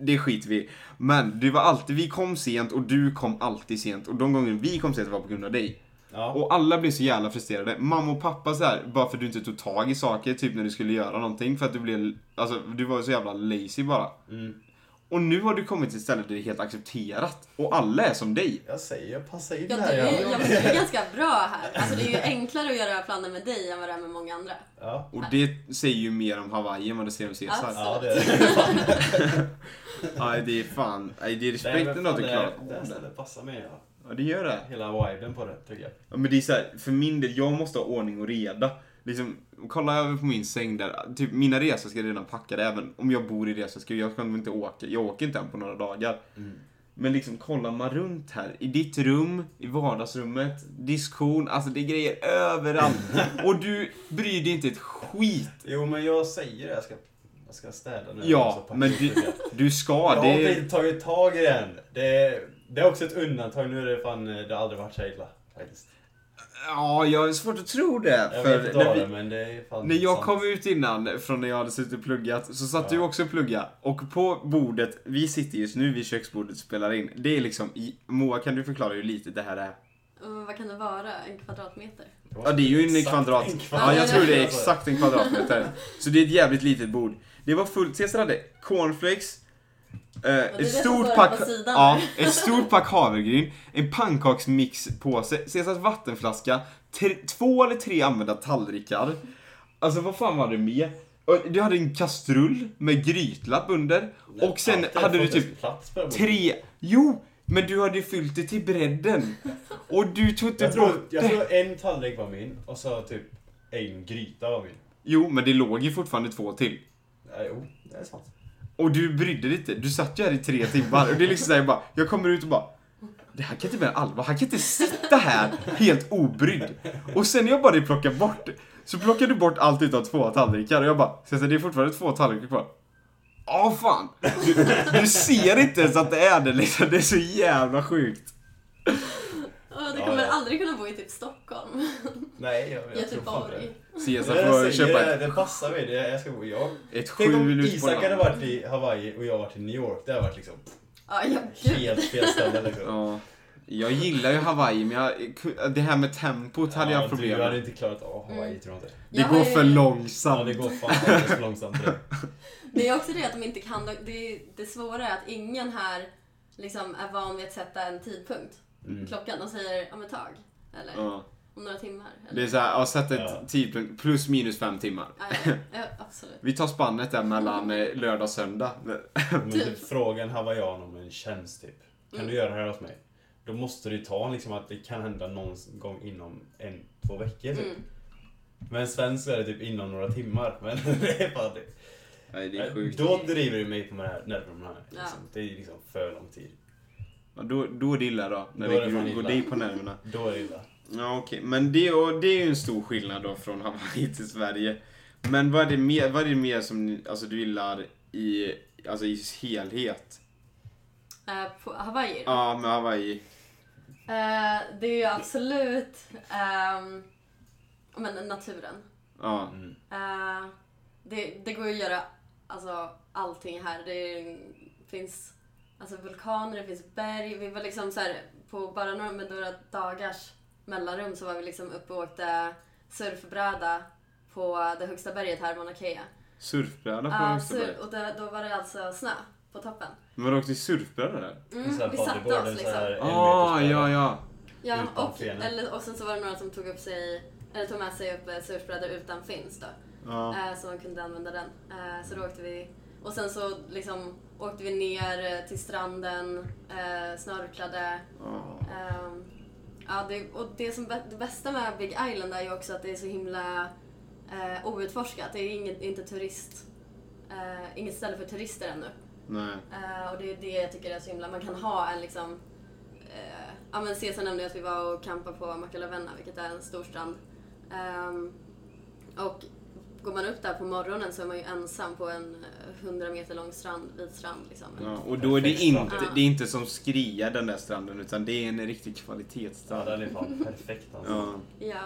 Speaker 1: Det skit vi i. Men det var alltid, vi kom sent och du kom alltid sent och de gånger vi kom sent var på grund av dig.
Speaker 2: Ja.
Speaker 1: Och alla blev så jävla frustrerade. Mamma och pappa så här, bara för att du inte tog tag i saker, typ när du skulle göra någonting. För att du blev, alltså du var så jävla lazy bara.
Speaker 2: Mm.
Speaker 1: Och nu har du kommit till ett ställe där det är helt accepterat. Och alla är som dig.
Speaker 2: Jag säger, passa in
Speaker 3: ja, du,
Speaker 2: här.
Speaker 3: är, jag
Speaker 2: Ja.
Speaker 3: menar, du är ganska bra här. Alltså, det är ju enklare att göra planer med dig än vad det är med många andra.
Speaker 2: Ja.
Speaker 1: Och det säger ju mer om Hawaii än vad det säger om Caesar.
Speaker 3: Alltså.
Speaker 2: ja, det är det.
Speaker 1: Nej, det är fan, nej det är
Speaker 2: Nej, men
Speaker 1: respekten
Speaker 2: fan,
Speaker 1: att du
Speaker 2: det-
Speaker 1: klarar
Speaker 2: Det här
Speaker 1: av det.
Speaker 2: stället passar mig. Ja.
Speaker 1: Ja, det gör det.
Speaker 2: Hela viben på det tycker jag.
Speaker 1: Ja, men det är så här, för min del, jag måste ha ordning och reda. Liksom, kolla över på min säng där. Typ, mina resor ska redan packade, även om jag bor i resor. Ska jag, jag kommer inte åka, jag åker inte än på några dagar.
Speaker 2: Mm.
Speaker 1: Men liksom kollar man runt här, i ditt rum, i vardagsrummet, diskon, alltså det är grejer överallt. och du bryr dig inte ett skit.
Speaker 2: Jo men jag säger det, jag ska, jag ska städa nu. Jag ska
Speaker 1: Ja,
Speaker 2: packa
Speaker 1: men
Speaker 2: upp
Speaker 1: du,
Speaker 2: det.
Speaker 1: du ska.
Speaker 2: Jag har
Speaker 1: Det,
Speaker 2: inte tagit tag i den. Det, det är också ett undantag, nu är det fan, det har aldrig varit så illa. Faktiskt.
Speaker 1: ja, jag har svårt att tro det.
Speaker 2: Jag
Speaker 1: för
Speaker 2: vet
Speaker 1: när
Speaker 2: inte
Speaker 1: vi-
Speaker 2: vi, det men det är fan
Speaker 1: När jag
Speaker 2: sant.
Speaker 1: kom ut innan, från när jag hade suttit och pluggat, så satt
Speaker 2: Ja.
Speaker 1: du också och plugga. Och på bordet, vi sitter just nu vid köksbordet och spelar in. Det är liksom, i- Moa kan du förklara hur litet det här är?
Speaker 3: Mm, vad kan det vara? En kvadratmeter?
Speaker 2: var
Speaker 1: Ja det är ju en
Speaker 2: exakt
Speaker 1: kvadrat.
Speaker 2: en
Speaker 1: Ja jag tror det är
Speaker 2: alltså.
Speaker 1: exakt en kvadratmeter. Så det är ett jävligt litet bord. Det var fullt, Cesar hade cornflakes, eh,
Speaker 3: det
Speaker 1: ett,
Speaker 3: som
Speaker 1: stort
Speaker 3: står
Speaker 1: pack,
Speaker 3: på sidan.
Speaker 1: ja, ett stort pack havregryn, en pannkaksmixpåse, Cesars vattenflaska, tre, två eller tre använda tallrikar. Alltså vad fan var det med? Och Du hade en kastrull med grytlapp under
Speaker 2: Nej,
Speaker 1: och sen
Speaker 2: allt har
Speaker 1: hade du
Speaker 2: fått
Speaker 1: typ
Speaker 2: ens plats på det bordet.
Speaker 1: tre, jo! Men du hade ju fyllt det till bredden. Och du tog inte
Speaker 2: jag tror,
Speaker 1: bort
Speaker 2: jag
Speaker 1: det.
Speaker 2: tror en tallrik var min och så typ en gryta var min.
Speaker 1: Jo, men det låg ju fortfarande två till.
Speaker 2: Ja, jo, det är sant.
Speaker 1: Och du brydde dig inte. Du satt ju här i tre timmar. Och det är liksom såhär bara, jag kommer ut och bara det här kan inte vara allvar. Han kan inte sitta här helt obrydd. Och sen när jag bara plockar bort, så plockar du bort allt utan två tallrikar. Och jag bara, så det är fortfarande två tallrikar kvar. Ja, fan. Du, du ser inte ens att det är det liksom. Det är så jävla sjukt.
Speaker 3: Åh, det
Speaker 2: Ja,
Speaker 3: kommer
Speaker 2: ja.
Speaker 3: aldrig kunna bo i typ Stockholm.
Speaker 2: Nej, jag, jag tror
Speaker 3: typ
Speaker 2: fan det.
Speaker 3: Göteborg.
Speaker 1: Cesar
Speaker 2: Det
Speaker 1: får
Speaker 2: jag säger,
Speaker 1: köpa
Speaker 2: det,
Speaker 1: ett,
Speaker 2: det passar mig. Det, jag ska bo. Jag,
Speaker 1: ett
Speaker 2: tänk om
Speaker 1: skjul ut på
Speaker 2: Isak hade
Speaker 1: landet.
Speaker 2: varit i Hawaii och jag varit i New York. Det hade varit liksom
Speaker 3: Ja, ja, gud.
Speaker 2: helt fel ställe liksom.
Speaker 1: Ja. Jag gillar ju Hawaii, men jag, det här med tempot hade
Speaker 2: Ja,
Speaker 1: jag problem
Speaker 2: Du hade
Speaker 1: med.
Speaker 2: inte klarat av Hawaii
Speaker 3: Mm.
Speaker 2: tror jag inte.
Speaker 1: Det
Speaker 3: Jag
Speaker 1: går
Speaker 3: har ju-
Speaker 1: för
Speaker 2: Ja,
Speaker 1: långsamt.
Speaker 2: det går fan alldeles för långsamt. tror jag.
Speaker 3: Det är också det att de inte kan. Det, det svåra är att ingen här liksom är van vid att sätta en tidpunkt.
Speaker 2: Mm.
Speaker 3: Klockan. De säger om ett tag. Eller
Speaker 1: Ja.
Speaker 3: om några timmar. Eller,
Speaker 1: Det är såhär, jag sätter ett
Speaker 2: Ja.
Speaker 1: tidpunkt, plus minus fem timmar.
Speaker 3: ja, ja, ja, absolut.
Speaker 1: Vi tar spannet där mellan eh, lördag och söndag.
Speaker 2: Men typ fråga en hawaiian om en tjänst typ. Kan
Speaker 3: Mm.
Speaker 2: du göra det här åt mig? Då måste du ta liksom att det kan hända någon gång inom en, två veckor typ.
Speaker 3: Mm.
Speaker 2: Men sen så är det typ inom några timmar. Men det är fan det.
Speaker 1: Nej, det är
Speaker 2: Nej,
Speaker 1: sjukt.
Speaker 2: Då driver du mig på det här, när de här
Speaker 3: Ja.
Speaker 2: liksom. Det är ju liksom för lång tid.
Speaker 1: Ja, då, då är det illa då, när
Speaker 2: Då är det fan
Speaker 1: det går
Speaker 2: illa.
Speaker 1: dig på nerverna.
Speaker 2: Då är det illa.
Speaker 1: Ja, okej. Men det, och det är ju en stor skillnad då från Hawaii till Sverige. Men vad är det mer, vad är det mer som ni, alltså, du gillar i, alltså, i helhet?
Speaker 3: Eh, på Hawaii då.
Speaker 1: Ja, med Hawaii.
Speaker 3: Eh, det är ju absolut ehm, ja, men naturen.
Speaker 1: Ja.
Speaker 2: Mm.
Speaker 3: Eh, det, det går ju att göra alltså, allting här. Det är, finns alltså, vulkaner, det finns berg. Vi var liksom så här, på bara några, med några dagars mellanrum så var vi liksom uppe och åkte surfbräda på det högsta berget här, Mauna Kea.
Speaker 1: Surfbräda på
Speaker 3: Ja,
Speaker 1: högsta berget.
Speaker 3: sur- och det, då var det alltså snö på toppen.
Speaker 1: Men vadå, åkte ni surfbräda där?
Speaker 3: Mm,
Speaker 2: Så här
Speaker 3: vi satte
Speaker 2: bodyboarden
Speaker 3: oss
Speaker 2: så här
Speaker 3: liksom.
Speaker 2: en
Speaker 1: Ah,
Speaker 2: meters
Speaker 1: ja,
Speaker 2: bredd.
Speaker 1: ja.
Speaker 3: Ja,
Speaker 2: utan
Speaker 3: och,
Speaker 2: fenor.
Speaker 3: eller, och sen så var det några som tog, upp sig, eller tog med sig upp eh, surfbrädor utan fins då.
Speaker 1: ja.
Speaker 3: Eh, Så de kunde använda den. Eh, Så då åkte vi. Och sen så liksom åkte vi ner eh, till stranden, eh, snorklade.
Speaker 1: ja.
Speaker 3: Ehm, Ja, det, och det, som, bä- det bästa med Big Island är ju också att det är så himla eh, outforskat. Det är inget, inte turist, eh, inget ställe för turister ännu.
Speaker 1: Nej.
Speaker 3: Eh, och det är det jag tycker är så himla, man kan ha en liksom, eh, ja men Cesar nämnde ju att vi var och campade på Makalavena, vilket är en stor strand. Ehm, och går man upp där på morgonen så är man ju ensam på en eh, 100 meter lång strand, vit strand liksom.
Speaker 1: Ja, och då är det
Speaker 2: Perfekt
Speaker 1: inte,
Speaker 3: strand.
Speaker 1: det är inte som Skria den där stranden utan det är en riktig
Speaker 2: Ja,
Speaker 1: kvalitetsstrand.
Speaker 2: den är fan perfekt alltså.
Speaker 1: Ja.
Speaker 3: Ja.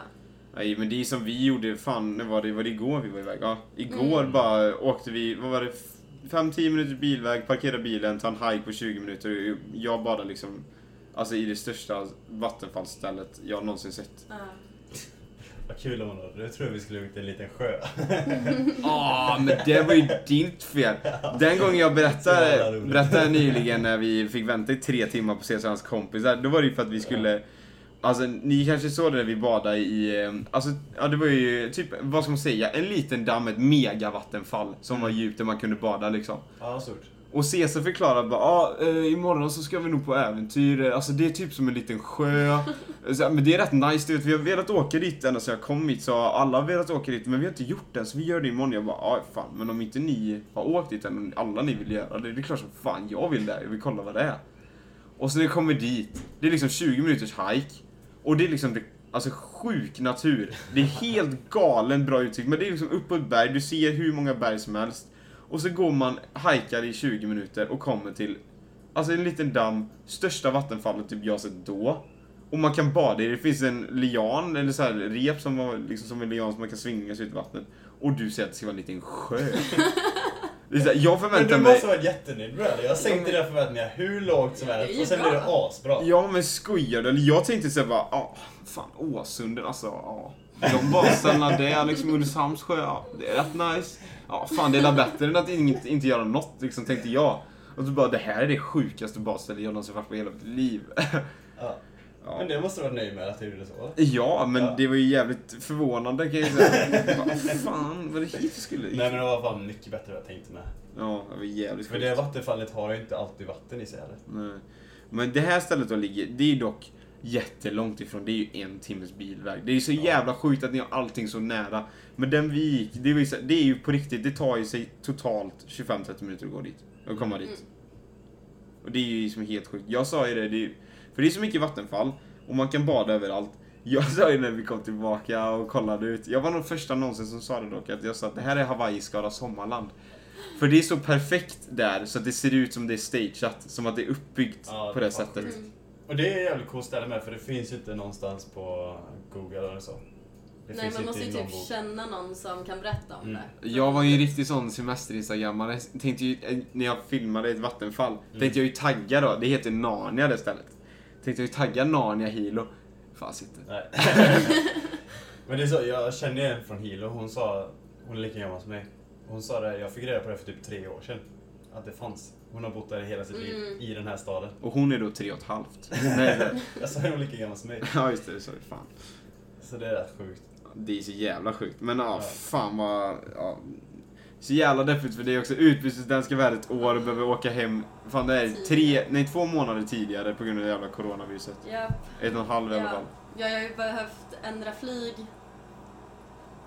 Speaker 1: Nej men det är som vi gjorde, fan när var det, var det igår vi var iväg? Ja, igår bara åkte vi, vad var det, 5-10 minuter bilväg, parkera bilen, ta en hike på 20 minuter. Jag badade liksom, alltså i det största vattenfallsstället jag någonsin sett.
Speaker 3: Ja.
Speaker 2: Vad kul om man hade. Jag tror vi skulle ut i en liten sjö.
Speaker 1: Ah, men det var ju ditt fel! Den gången jag
Speaker 2: Så jävla
Speaker 1: berättade,
Speaker 2: roligt.
Speaker 1: berättade nyligen när vi fick vänta i tre timmar på Cesar och hans kompisar, då var det ju för att vi skulle Alltså ni kanske såg det när vi badade i, eh, alltså ja, det var ju typ, vad ska man säga, en liten damm, ett megavattenfall
Speaker 2: Mm.
Speaker 1: som var djupt där man kunde bada liksom.
Speaker 2: ja, stort.
Speaker 1: Och Cesar förklarade bara, ah, eh, imorgon så ska vi nog på äventyr, alltså det är typ som en liten sjö. så, här, men det är rätt nice, du vet, vi har velat åka dit ända sedan jag kom hit, så alla har velat åka dit men vi har inte gjort det så vi gör det imorgon. Jag bara, ah, fan men om inte ni har åkt dit än, om alla ni vill göra det, det är klart som fan jag vill det, jag vill kolla vad det är. Och så när vi kommer dit, det är liksom 20 minuters hike. Och det är liksom, det- alltså sjuk natur. Det är helt galen bra utsikt. Men det är liksom upp på ett berg, du ser hur många berg som helst. Och så går man, hajkar i 20 minuter och kommer till, alltså en liten damm, största vattenfallet typ jag sett då. Och man kan bada i det, det finns en lian, eller så här rep som var liksom som en lian som man kan svinga sig ut i vattnet. Och du säger att det ska vara en liten sjö. Det är så här, jag
Speaker 2: Men
Speaker 1: förväntar
Speaker 2: du
Speaker 1: mig...
Speaker 2: måste varit jättenöjd med det. Jag sänkte dina förväntningar hur lågt som
Speaker 3: Ja, det är
Speaker 2: helst
Speaker 3: ju
Speaker 2: och sen
Speaker 3: bra.
Speaker 2: blev det asbra.
Speaker 1: Ja men skojar du? Eller Jag tänkte såhär bara, ah, fan Åsunden alltså, ja. De badställena där, liksom Ulricehamns sjö, ja, det är rätt nice. Ja, fan det är väl bättre än att inget, inte göra något liksom, tänkte jag. Och så bara, det här är det sjukaste badstället jag någonsin varit på i hela mitt liv.
Speaker 2: Ja.
Speaker 1: Ja.
Speaker 2: Men det måste du varit nöjd med att du gjorde så.
Speaker 1: Ja, men
Speaker 2: Ja.
Speaker 1: det var ju jävligt förvånande kan jag ju säga. Bara, fan, var det hit vi skulle?
Speaker 2: Nej men det var fan mycket bättre än jag tänkte med.
Speaker 1: Ja, det var jävligt
Speaker 2: För
Speaker 1: sjukt.
Speaker 2: det vattenfallet har ju inte alltid vatten i sig heller.
Speaker 1: Nej. Men det här stället då ligger, det är ju dock jättelångt ifrån. Det är ju en timmes bilväg. Det är ju så jävla sjukt att ni har allting så nära. Men den vi gick, det, var ju så, det är ju på riktigt, det tar ju sig totalt 25-30 minuter att gå dit. Att komma
Speaker 2: Mm.
Speaker 1: dit. Och det är ju som helt sjukt. Jag sa ju det, det är, ju- för det är så mycket vattenfall och man kan bada överallt. Jag sa ju när vi kom tillbaka och kollade ut, jag var nog första någonsin som sa det dock, att jag sa att det här är Hawaii Skara Sommarland. För det är så perfekt där så att det ser ut som det är stageat, som att det är uppbyggt
Speaker 2: Ja,
Speaker 1: på
Speaker 2: det
Speaker 1: det
Speaker 2: är fan
Speaker 1: sättet.
Speaker 3: sjukt.
Speaker 2: Och det är ett jävligt coolt ställe med för det finns ju inte någonstans på Google eller så. Det
Speaker 3: Nej,
Speaker 2: finns
Speaker 3: man måste
Speaker 2: i
Speaker 3: ju
Speaker 2: någon
Speaker 3: typ
Speaker 2: bok.
Speaker 3: känna någon som kan berätta om
Speaker 2: Mm.
Speaker 3: det.
Speaker 1: Jag var ju en riktig sån semesterinstagrammare. Tänkte ju, eh, när jag filmade ett vattenfall, tänkte jag ju tagga då. Det heter Narnia det stället. Tänkte jag tagga Narnia Hilo. Fanns inte.
Speaker 2: Nej. Men det är så, jag känner en från Hilo, hon sa, hon är lika gammal som mig. Hon sa det, jag fick reda på det för typ tre år sedan. Att det fanns. Hon har bott där hela sitt liv,
Speaker 3: Mm.
Speaker 2: i den här staden.
Speaker 1: Och hon är då tre och ett halvt. Nej, det-
Speaker 2: Jag sa hon är lika gammal som mig.
Speaker 1: ja just det, sorry. Fan.
Speaker 2: Så det är rätt sjukt.
Speaker 1: Det är så jävla sjukt. Men ja,
Speaker 2: Ja.
Speaker 1: fan vad... Ja. Så jävla deppigt för det är också utbytesdanska värdet ett år och behöver åka hem, fan det är tre, nej två månader tidigare på grund av det jävla coronaviruset.
Speaker 3: Ja,
Speaker 1: Ett och en halv i alla
Speaker 3: ja,
Speaker 1: fall.
Speaker 3: jag har ju behövt ändra flyg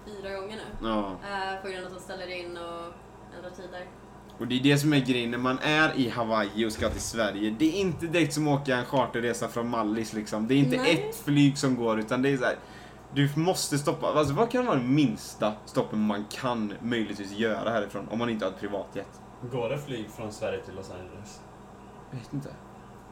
Speaker 3: fyra gånger nu.
Speaker 1: Ja.
Speaker 3: Eh, på grund av att de ställer in och ändrar tider.
Speaker 1: Och det är det som är grejen när man är i Hawaii och ska till Sverige. Det är inte direkt som att åka en charterresa från Mallis liksom. Det är inte
Speaker 3: Nej.
Speaker 1: ett flyg som går utan det är så här. Du måste stoppa, alltså vad kan vara det minsta stoppen man kan möjligtvis göra härifrån om man inte har ett privatjet?
Speaker 2: Går det flyg från Sverige till Los Angeles?
Speaker 1: Jag vet inte.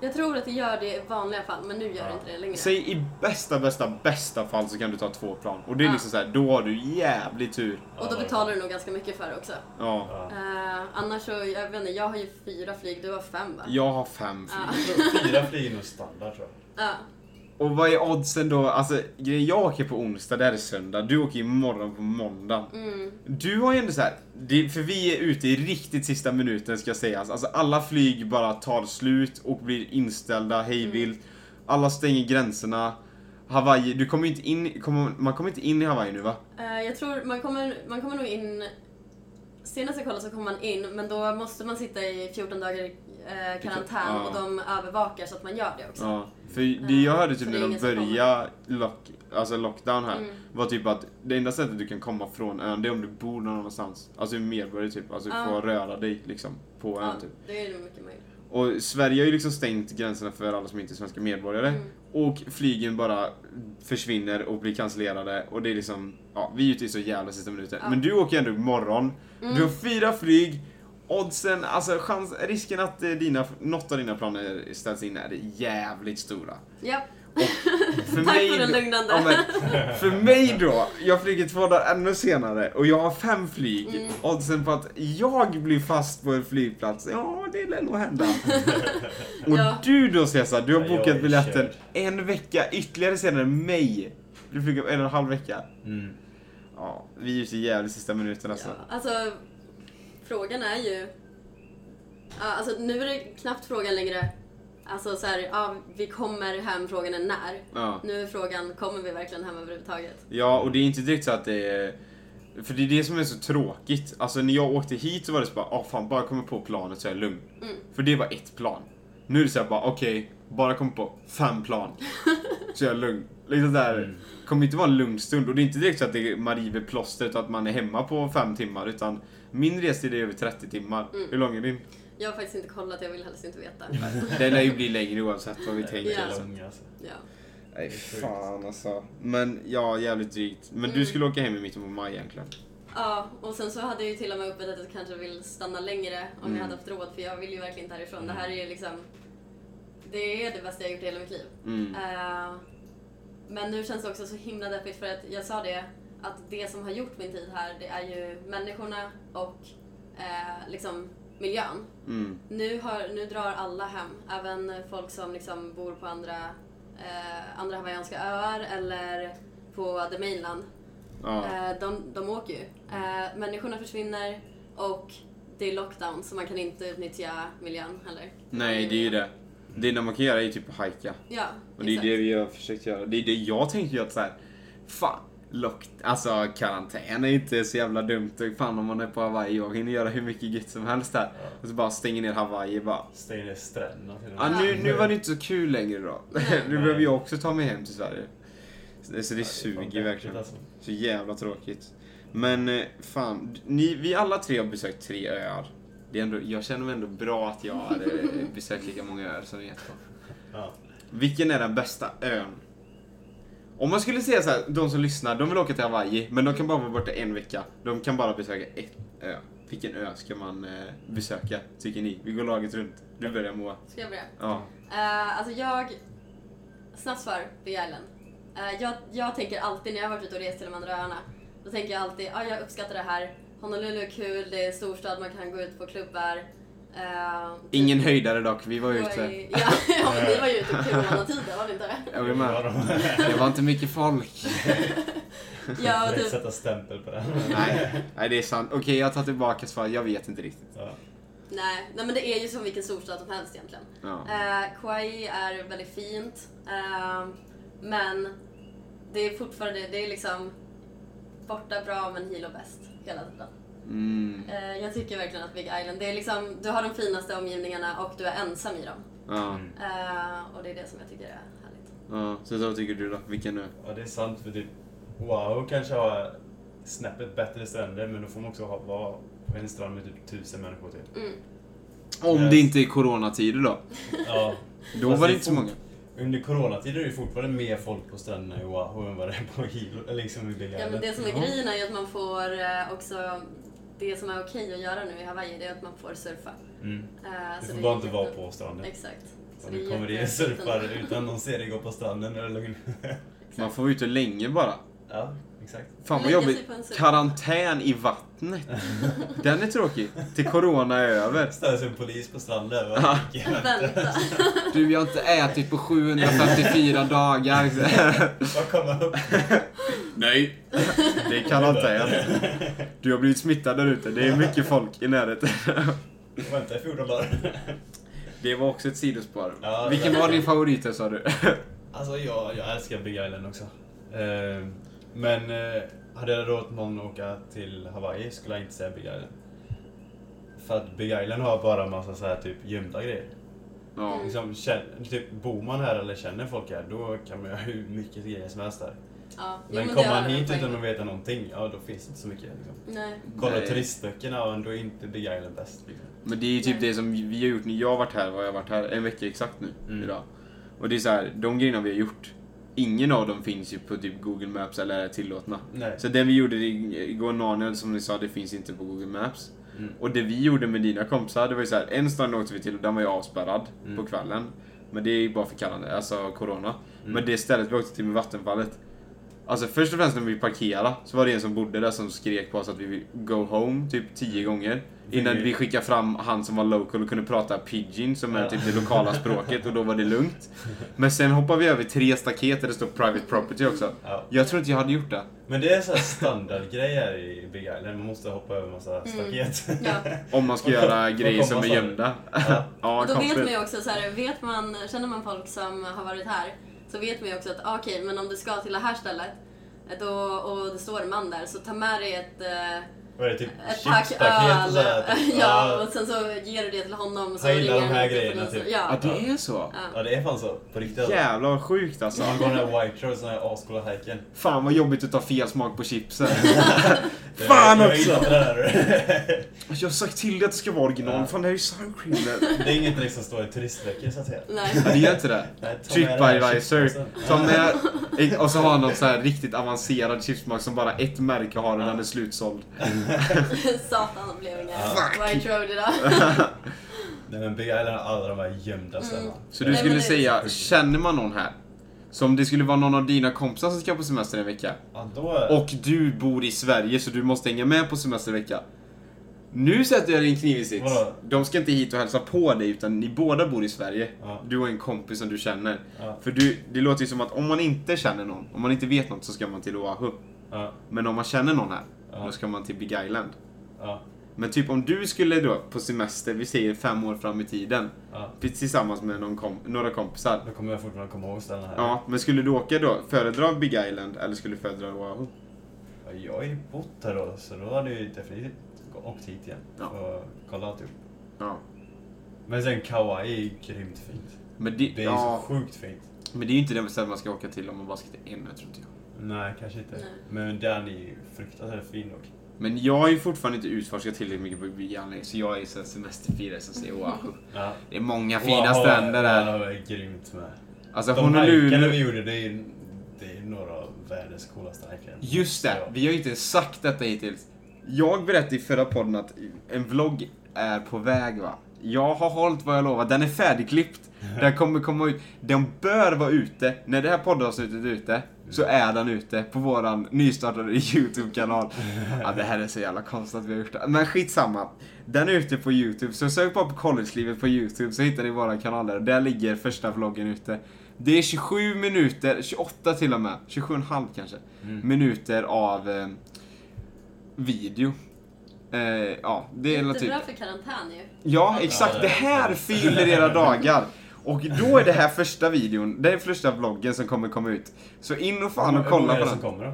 Speaker 3: Jag tror att det gör det i vanliga fall, men nu gör det inte det längre.
Speaker 1: Säg i bästa, bästa, bästa fall så kan du ta två plan. Och det är
Speaker 3: Ja.
Speaker 1: liksom så här, då har du jävligt tur.
Speaker 3: Och då betalar du nog ganska mycket för det också.
Speaker 1: Ja.
Speaker 2: Ja.
Speaker 3: Eh, annars så, jag vet inte, jag har ju fyra flyg, du har fem va?
Speaker 1: Jag har fem flyg.
Speaker 3: Ja.
Speaker 2: Fyra flyg är nog standard tror jag.
Speaker 3: Ja.
Speaker 1: Och vad är oddsen då? Alltså, grejen, jag åker på onsdag, det här är söndag. Du åker imorgon på måndag.
Speaker 3: Mm.
Speaker 1: Du har ju ändå så här, det, för vi är ute i riktigt sista minuten ska sägas. Alltså alla flyg bara tar slut och blir inställda hejvilt.
Speaker 3: Mm.
Speaker 1: Alla stänger gränserna. Hawaii, du kommer ju inte in, kommer, man kommer inte in i Hawaii nu va?
Speaker 3: Eh, jag tror man kommer, man kommer nog in... Senast jag kollade så kommer man in, men då måste man sitta i 14 dagar i eh, karantän
Speaker 1: Ja.
Speaker 3: och de övervakar så att man gör det också.
Speaker 1: Ja, för det jag hörde
Speaker 3: Så
Speaker 1: typ
Speaker 3: det
Speaker 1: när
Speaker 3: är
Speaker 1: de
Speaker 3: ingen som
Speaker 1: började lock, alltså lockdown här
Speaker 3: Mm.
Speaker 1: var typ att det enda sättet du kan komma från ön det är om du bor någon annanstans. Alltså medborgare typ, alltså
Speaker 3: Ja.
Speaker 1: få röra dig liksom på ön
Speaker 3: Ja,
Speaker 1: typ.
Speaker 3: det är nog mycket möjligt.
Speaker 1: Och Sverige har ju liksom stängt gränserna för alla som inte är svenska medborgare
Speaker 3: Mm.
Speaker 1: och flygen bara försvinner och blir cancellerade och det är liksom, ja vi är ute i så jävla sista minuter.
Speaker 3: Ja.
Speaker 1: Men du åker ändå imorgon,
Speaker 3: Mm.
Speaker 1: du har fyra flyg Oddsen, alltså chans, risken att eh, dina, något av dina planer ställs in är jävligt stora.
Speaker 3: Ja,
Speaker 1: För
Speaker 3: tack
Speaker 1: mig
Speaker 3: för den
Speaker 1: då-
Speaker 3: lugnande.
Speaker 1: Ja, men, för mig då, jag flyger två dagar ännu senare och jag har fem flyg.
Speaker 3: Mm.
Speaker 1: Oddsen på att jag blir fast på en flygplats, ja det lär nog hända. och
Speaker 3: Ja.
Speaker 1: du då Cesar, du har
Speaker 2: Ja, jag
Speaker 1: bokat
Speaker 2: är
Speaker 1: biljetten
Speaker 2: körd.
Speaker 1: en vecka ytterligare senare än mig. Du flyger en och en halv vecka.
Speaker 2: Mm.
Speaker 1: Ja, vi är ju så jävligt sista minuten alltså.
Speaker 3: Ja, alltså, frågan är ju... Ja, alltså, nu är det knappt frågan längre. Alltså så här, ja, vi kommer hem, frågan är när.
Speaker 1: Ja.
Speaker 3: Nu är frågan, kommer vi verkligen hem överhuvudtaget?
Speaker 1: Ja, och det är inte direkt så att det är... För det är det som är så tråkigt. Alltså när jag åkte hit så var det så bara, ah fan, bara komma på planet så är jag lugn.
Speaker 3: Mm.
Speaker 1: För det var ett plan. Nu är det så här bara, okej, bara komma på fem plan. så är jag lugn. Liksom där.
Speaker 2: Mm.
Speaker 1: kommer inte vara en lugn stund. Och det är inte direkt så att det är man river plåstret och att man är hemma på fem timmar. Utan min restid är över 30 timmar.
Speaker 3: Mm.
Speaker 1: Hur lång är din?
Speaker 3: Jag har faktiskt inte kollat, jag vill helst inte veta.
Speaker 1: Den lär ju bli längre oavsett vad vi tänker.
Speaker 3: Ja.
Speaker 1: alltså.
Speaker 2: Långa, alltså.
Speaker 3: ja.
Speaker 1: Nej,
Speaker 2: Det är sjukt.
Speaker 1: fan alltså. Men ja, jävligt drygt. Men du
Speaker 3: Mm.
Speaker 1: skulle åka hem i mitten på maj egentligen.
Speaker 3: ja, och sen så hade jag ju till och med uppe att jag kanske vill stanna längre om
Speaker 1: Mm.
Speaker 3: jag hade haft råd, för jag vill ju verkligen inte härifrån. Det här är ju liksom... Det är det bästa jag gjort i hela mitt liv.
Speaker 1: Mm.
Speaker 3: Eh, men nu känns det också så himla deppigt för att jag sa det att det som har gjort min tid här det är ju människorna och eh, liksom miljön.
Speaker 1: Mm.
Speaker 3: Nu, har, nu drar alla hem, även folk som liksom bor på andra, eh, andra hawaiianska öar eller på the mainland.
Speaker 1: Ja.
Speaker 3: Eh, de, de åker ju. Eh, människorna försvinner och det är lockdown så man kan inte utnyttja miljön heller.
Speaker 1: Nej, det är ju det. Det enda man kan göra är ju typ att hajka.
Speaker 3: Ja,
Speaker 1: Och det är det vi har försökt göra. Det är det jag tänkte göra att så här, fan, lock, alltså karantän är inte så jävla dumt. Och Fan om man är på Hawaii, jag hinner göra hur mycket gött som helst där.
Speaker 2: Ja.
Speaker 1: Och så bara stänger ner Hawaii bara.
Speaker 2: Stänger ner stränderna till och
Speaker 1: Ah, nu, nu var det inte så kul längre då. nu behöver jag också ta mig hem till Sverige. Så det, så det
Speaker 2: Ja, fan
Speaker 1: suger
Speaker 2: deppigt,
Speaker 1: verkligen.
Speaker 2: Alltså.
Speaker 1: Så jävla tråkigt. Men eh, fan, ni, vi alla tre har besökt tre öar. Det är ändå, jag känner mig ändå bra att jag har eh, besökt lika många öar som ni har.
Speaker 2: Ja.
Speaker 1: Vilken är den bästa ön? Om man skulle säga så här, de som lyssnar, de vill åka till Hawaii, men de kan bara vara borta en vecka. De kan bara besöka ett ö. Vilken ö ska man eh, besöka, tycker ni? Vi går laget runt. Du börjar Moa.
Speaker 3: Ska jag börja?
Speaker 1: Ja.
Speaker 3: Eh, alltså jag... Snabbt svar, Big Island. Eh, jag, jag tänker alltid när jag har varit ute och rest till de andra öarna, då tänker jag alltid ah, jag uppskattar det här. Honolulu är kul, det är en storstad, man kan gå ut på klubbar. Eh, typ-
Speaker 1: Ingen höjdare dock, vi var
Speaker 3: det
Speaker 1: ute.
Speaker 3: ju- Ja, ja, men ni var ju ute i coronatider, var ni inte det?
Speaker 1: Jag var med.
Speaker 2: Jag
Speaker 1: Det var inte mycket folk.
Speaker 3: Ja, och
Speaker 2: vill
Speaker 3: typ,
Speaker 2: sätta stämpel på det.
Speaker 1: Nej, nej det är sant. Okej, jag tar tillbaka svaret. Jag vet inte riktigt.
Speaker 2: Ja.
Speaker 3: nej, nej, men det är ju som vilken storstad som helst egentligen.
Speaker 1: Ja.
Speaker 3: Eh, Kauai är väldigt fint, eh, men det är fortfarande, det är liksom borta bra men Hilo bäst hela tiden.
Speaker 1: Mm.
Speaker 3: Eh, jag tycker verkligen att Big Island, det är liksom, du har de finaste omgivningarna och du är ensam i dem.
Speaker 1: Ja.
Speaker 3: Eh, och det är det som jag tycker är härligt.
Speaker 1: ja. Så vad tycker du då? Vilken nu?
Speaker 2: Ja, det är sant för typ Wow kanske har snäppet bättre stränder men då får man också ha, vara på en strand med typ tusen människor till.
Speaker 3: Mm.
Speaker 1: Om
Speaker 2: Yes.
Speaker 1: det inte är coronatider då.
Speaker 2: Ja.
Speaker 1: Då
Speaker 2: Fast
Speaker 1: var
Speaker 2: det
Speaker 1: det
Speaker 2: är
Speaker 1: inte så många.
Speaker 2: Under coronatider är det fortfarande mer folk på stränderna i Oahu än vad det är på Hilo, eller liksom i Big
Speaker 3: Ja, men
Speaker 2: Island.
Speaker 3: det som är
Speaker 1: Ja.
Speaker 3: grejen är ju att man får eh, också, det som är okej att göra nu i Hawaii, det är att man får surfa.
Speaker 2: Mm.
Speaker 3: Eh,
Speaker 2: Du får
Speaker 3: så det är
Speaker 2: bara inte vara
Speaker 3: jätte-
Speaker 2: på stranden.
Speaker 3: Exakt. Så
Speaker 2: Om
Speaker 3: det
Speaker 2: du
Speaker 3: är
Speaker 2: kommer det en
Speaker 3: jätte-
Speaker 2: surfare utan någon ser dig gå på stranden eller lugn.
Speaker 1: Man får vara ute länge bara.
Speaker 2: Ja, exakt.
Speaker 1: Fan vad
Speaker 3: Lägga sig
Speaker 1: jobbigt.
Speaker 3: på en surf.
Speaker 1: Karantän i vattnet. Den är tråkig. Till corona är över.
Speaker 2: Ställer sig en polis på stranden och
Speaker 1: Ja.
Speaker 3: Vänta.
Speaker 1: Du, jag har inte ätit på 754 dagar.
Speaker 2: bara komma upp.
Speaker 1: Nej. Det är karantän. Du har blivit smittad där ute. Det är mycket folk i närheten.
Speaker 2: Vänta i 14 dagar.
Speaker 1: Det var också ett sidospår.
Speaker 2: Ja,
Speaker 1: Vilken
Speaker 2: det-
Speaker 1: var din favorit här, sa du?
Speaker 2: Alltså jag, jag älskar Big Island också. Eh, men eh, hade jag råd någon att åka till Hawaii skulle jag inte säga Big Island. För att Big Island har bara massa så här typ gömda grejer.
Speaker 1: Ja.
Speaker 2: Liksom, känn, typ, bor man här eller känner folk här då kan man göra hur mycket grejer som helst där.
Speaker 3: Ja, jo,
Speaker 2: Men
Speaker 3: det
Speaker 2: kommer
Speaker 3: har
Speaker 2: man
Speaker 3: jag
Speaker 2: hit
Speaker 3: en poäng.
Speaker 2: utan att veta någonting, ja då finns det inte så mycket. Liksom.
Speaker 3: Nej.
Speaker 2: Kolla
Speaker 1: Nej.
Speaker 2: turistböckerna, och då är inte Big Island bäst. Liksom.
Speaker 1: Men det är ju typ det som vi har gjort när jag har varit här, vad jag har varit här, en vecka exakt nu
Speaker 2: Mm.
Speaker 1: idag. Och det är så här, de grejerna vi har gjort, ingen av dem finns ju på typ Google Maps eller är tillåtna.
Speaker 2: Nej.
Speaker 1: Så den vi gjorde i- igår, Narnia, som ni sa, det finns inte på Google Maps.
Speaker 2: Mm.
Speaker 1: Och det vi gjorde med dina kompisar, det var ju så här, en strand åkte vi till och den var ju avspärrad
Speaker 2: Mm.
Speaker 1: på kvällen. Men det är ju bara för kallande, alltså corona.
Speaker 2: Mm.
Speaker 1: Men det stället vi åkte till med vattenfallet. Alltså först och främst när vi parkerade så var det en som bodde där som skrek på oss att vi vill go home typ tio gånger. Innan
Speaker 2: Mm. Vi-
Speaker 1: vi skickade fram han som var local och kunde prata pidgin som är
Speaker 2: Ja.
Speaker 1: typ det lokala språket och då var det lugnt. Men sen hoppar vi över tre staket där det står private property också.
Speaker 2: Ja.
Speaker 1: Jag tror inte jag hade gjort det.
Speaker 2: Men det är så här standardgrej här i Big Island, man måste hoppa över
Speaker 3: Mm.
Speaker 2: massa staket.
Speaker 3: Ja.
Speaker 1: Om man ska
Speaker 2: Och kom-
Speaker 1: göra
Speaker 2: och
Speaker 1: grejer
Speaker 2: komma
Speaker 1: som är
Speaker 2: så.
Speaker 1: gömda.
Speaker 2: Ja.
Speaker 1: Ja,
Speaker 3: Och då vet
Speaker 1: konstigt.
Speaker 3: man ju också så här, vet man, känner man folk som har varit här så vet man ju också att ah, okej, men om du ska till det här stället eh, då, och det står en man där så ta med dig ett, eh,
Speaker 2: Vad är det, typ
Speaker 3: ett pack
Speaker 2: chipspaket
Speaker 3: öl.
Speaker 2: och så här, typ.
Speaker 3: ja, och sen så ger du det till honom. Och så
Speaker 2: Jag gillar
Speaker 3: ringer
Speaker 2: de här
Speaker 3: han till
Speaker 2: grejerna,
Speaker 3: polisen.
Speaker 2: typ.
Speaker 1: Ja,
Speaker 3: Ja.
Speaker 1: det är så.
Speaker 3: Ja.
Speaker 2: Ja, det är fan så. På riktigt. alltså.
Speaker 1: Jävlar vad sjukt alltså.
Speaker 2: Så man går den här White Shorts, den här ascoola hajken.
Speaker 1: Fan vad jobbigt att ta fel smak på chipsen.
Speaker 2: Det-
Speaker 1: Fan
Speaker 2: jag
Speaker 1: också!
Speaker 2: gillar inte Det, där.
Speaker 1: Jag har sagt till dig att det ska vara original.
Speaker 2: Ja.
Speaker 1: Fan, det här är ju sour cream.
Speaker 2: det är inget liksom står i turistböcker så att säga.
Speaker 1: Ja,
Speaker 3: Nej.
Speaker 1: det gör inte det.
Speaker 2: Nej, ta med den här
Speaker 1: Tripadvisor.
Speaker 2: chipspåsen.
Speaker 1: Ta med... Och så har han någon så här riktigt avancerad chipsmak som bara ett märke har och den är slutsåld.
Speaker 3: Satan, det blev inga
Speaker 1: Fuck.
Speaker 3: White Road idag.
Speaker 2: Nej men Big Island har alla de här gömda ställena.
Speaker 1: Så du
Speaker 3: Nej, men
Speaker 1: skulle
Speaker 3: det-
Speaker 1: säga, känner man någon här? Som det skulle vara någon av dina kompisar som ska på semester en vecka.
Speaker 2: Ja, då...
Speaker 1: Och du bor i Sverige så du måste hänga med på semestervecka. Nu sätter jag dig i en knivig sits.
Speaker 2: Vadå?
Speaker 1: De ska inte hit och hälsa på dig utan ni båda bor i Sverige.
Speaker 2: Ja.
Speaker 1: Du och en kompis som du känner.
Speaker 2: Ja.
Speaker 1: För du, det låter ju som att om man inte känner någon, om man inte vet något så ska man till Oahu.
Speaker 2: Ja,
Speaker 1: Men om man känner någon här,
Speaker 2: Ja.
Speaker 1: då ska man till Big Island.
Speaker 2: ja,
Speaker 1: Men typ om du skulle då på semester, vi säger fem år fram i tiden,
Speaker 2: ja.
Speaker 1: tillsammans med någon kom, några kompisar.
Speaker 2: Då kommer jag fortfarande komma ihåg ställena här.
Speaker 1: Ja, men skulle du åka då? Föredra Big Island eller skulle du föredra Oahu?
Speaker 2: Ja, Jag har ju bott här då, så då hade jag ju definitivt åkt hit igen
Speaker 1: Ja.
Speaker 2: och kollat upp.
Speaker 1: Ja.
Speaker 2: typ. Men sen Kauai är ju grymt fint.
Speaker 1: Men det,
Speaker 2: Det är ju
Speaker 1: ja,
Speaker 2: så sjukt fint.
Speaker 1: men det är ju inte det stället man ska åka till om man bara ska till en, jag tror inte jag.
Speaker 2: Nej, kanske inte.
Speaker 3: Nej.
Speaker 2: Men den är ju fruktansvärt fin dock.
Speaker 1: Men jag har ju fortfarande inte utforskat tillräckligt mycket på Big Island, så jag är så här semesterfirare som säger Oahu.
Speaker 2: Ja.
Speaker 1: Det är många fina
Speaker 2: Wow,
Speaker 1: stränder där.
Speaker 2: Ja, det är grymt med.
Speaker 1: Alltså
Speaker 2: De hajkarna
Speaker 1: Honolulu.
Speaker 2: vi gjorde, det är ju det är ju några av världens coolaste hajkar.
Speaker 1: Just det,
Speaker 2: Ja.
Speaker 1: vi har ju inte sagt detta hittills. Jag berättade i förra podden att en vlogg är på väg va? Jag har hållit vad jag lovat, den är färdigklippt. Den kommer komma ut. Den bör vara ute. När det här poddavsnittet är ute så
Speaker 2: Mm.
Speaker 1: är den ute på våran nystartade YouTube-kanal. Ja, det här är så jävla konstigt att vi har gjort det. Men skitsamma. Den är ute på YouTube, så sök bara på collegelivet på YouTube så hittar ni våran kanal där. Där ligger första vloggen ute. Det är 27 minuter, 28 till och med, 27,5 kanske,
Speaker 2: Mm.
Speaker 1: minuter av eh, video. Eh, ja, det är typ...
Speaker 3: Jättebra för karantän ju.
Speaker 1: Ja, exakt.
Speaker 2: Ja,
Speaker 1: Det
Speaker 2: det-
Speaker 1: här fyller era dagar. Och då är det här första videon, det är första vloggen som kommer komma ut. Så in och fan och kolla på
Speaker 2: Hur många är det som
Speaker 1: den.
Speaker 2: kommer då?